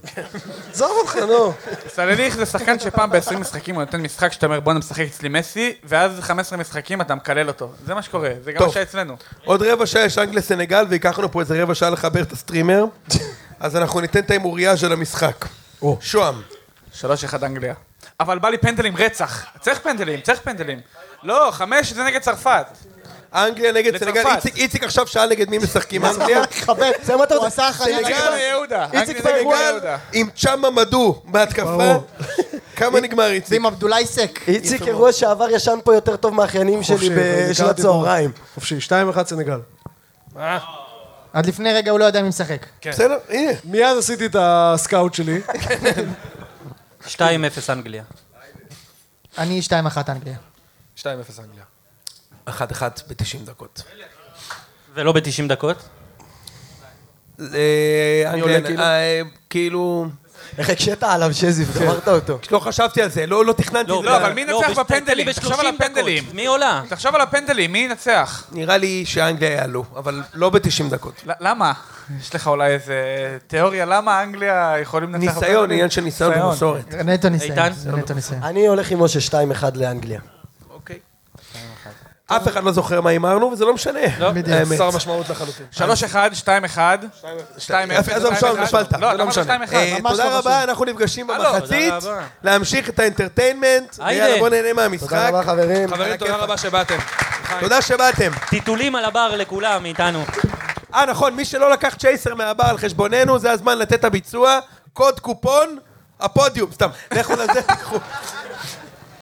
[SPEAKER 4] עזוב אותך, נו.
[SPEAKER 7] סלליך זה שחקן שפעם ב-20 משחקים הוא נותן משחק שאתה אומר בואנה משחק אצלי מסי, ואז 15 משחקים אתה מקלל אותו. זה מה שקורה, זה גם מה
[SPEAKER 1] טוב.
[SPEAKER 7] שהיה אצלנו.
[SPEAKER 1] עוד רבע שעה יש אנגליה סנגל, וייקח לנו פה איזה רבע שעה לחבר את הסטרימר, אז אנחנו ניתן את ההימוריה של המשחק. שוהם.
[SPEAKER 7] 3-1 אנגליה. אבל בא לי פנדל עם רצח. צריך פנדלים, צריך פנדלים. לא, חמש זה נגד צרפת.
[SPEAKER 1] אנגליה נגד
[SPEAKER 7] לצרפת.
[SPEAKER 1] סנגל, איציק- איציק עכשיו שאל נגד מי משחקים אנגליה,
[SPEAKER 6] תכבד, זה מה אתה
[SPEAKER 2] הוא
[SPEAKER 6] רוצה?
[SPEAKER 2] עשה חיים.
[SPEAKER 7] נגד בני יהודה.
[SPEAKER 6] איציק
[SPEAKER 7] אנגליה נגד בני
[SPEAKER 6] פרגואל.
[SPEAKER 7] יהודה.
[SPEAKER 1] עם צ'אמה מדו בהתקפה, [LAUGHS] כמה נגמר איציק?
[SPEAKER 2] [LAUGHS] ועם עבדולאי סק.
[SPEAKER 6] איציק אירוע שעבר ישן פה יותר טוב מהאחיינים שלי
[SPEAKER 4] חופשי, ניגרתי
[SPEAKER 6] בשל
[SPEAKER 4] פה.
[SPEAKER 6] הצהריים.
[SPEAKER 4] חופשי, 2-1 סנגל.
[SPEAKER 2] עד לפני רגע הוא לא ידע מי משחק.
[SPEAKER 1] בסדר, הנה.
[SPEAKER 4] מיד עשיתי את הסקאוט שלי.
[SPEAKER 3] 2-0 אנגליה.
[SPEAKER 2] אני 2-1 אנגליה.
[SPEAKER 5] 2-0 אנגליה. 1-1 ב-90 דקות.
[SPEAKER 1] לא-
[SPEAKER 3] ולא ב-90 דקות?
[SPEAKER 1] אה,
[SPEAKER 5] עולה, כאילו?
[SPEAKER 1] אנגליה, אה, כאילו,
[SPEAKER 6] איך הקשית עליו שזיף, גמרת אותו.
[SPEAKER 1] לא חשבתי על זה, לא לא תכננתי את
[SPEAKER 7] לא,
[SPEAKER 1] זה,
[SPEAKER 7] אבל מי ינצח
[SPEAKER 3] בש-
[SPEAKER 7] בפנדלים?
[SPEAKER 3] תן לי ב-
[SPEAKER 7] תחשוב על
[SPEAKER 3] 30 דקות.
[SPEAKER 7] הפנדלים.
[SPEAKER 3] מי עולה?
[SPEAKER 7] תחשוב על הפנדלים, מי ינצח?
[SPEAKER 1] נראה לי שאנגליה יעלו, אבל לא ב-90 דקות.
[SPEAKER 7] ל- למה? יש לך אולי איזה תיאוריה למה אנגליה יכולים לנצח
[SPEAKER 1] ניסיון,
[SPEAKER 7] בפנדלים?
[SPEAKER 1] עניין של ניסיון ומסורת.
[SPEAKER 2] נטו ניסיון.
[SPEAKER 3] איתן?
[SPEAKER 2] זה נטו ניסיון.
[SPEAKER 6] אני הולך עם משה 2-1 לאנגליה.
[SPEAKER 1] אוקיי. אף אחד לא זוכר מה הימרנו, וזה לא משנה.
[SPEAKER 3] לא.
[SPEAKER 1] בדיוק.
[SPEAKER 5] חסר משמעות לחלוטין.
[SPEAKER 7] 3-1, 2-1, 2-0.
[SPEAKER 1] עזוב, שם, נפלת.
[SPEAKER 7] לא, אתה
[SPEAKER 1] לא
[SPEAKER 7] אמרת 2-1.
[SPEAKER 1] אה,
[SPEAKER 2] ממש לא
[SPEAKER 1] תודה
[SPEAKER 2] חשוב.
[SPEAKER 1] רבה, אנחנו נפגשים
[SPEAKER 7] הלו,
[SPEAKER 1] במחצית.
[SPEAKER 3] תודה רבה.
[SPEAKER 1] להמשיך את האינטרטיינמנט.
[SPEAKER 3] היידה.
[SPEAKER 1] יאללה, בוא נהנה
[SPEAKER 6] תודה
[SPEAKER 1] מהמשחק.
[SPEAKER 6] רבה חברים.
[SPEAKER 5] חברים, תודה רבה שבאתם.
[SPEAKER 1] תודה שבאתם.
[SPEAKER 3] טיטולים על הבר לכולם מאיתנו.
[SPEAKER 1] אה, נכון, מי שלא לקח צ'ייסר מהבר על חשבוננו, זה הזמן לתת את הביצוע. קוד קופון, הפודיום, סתם. לכו לזה, [LAUGHS] תקחו.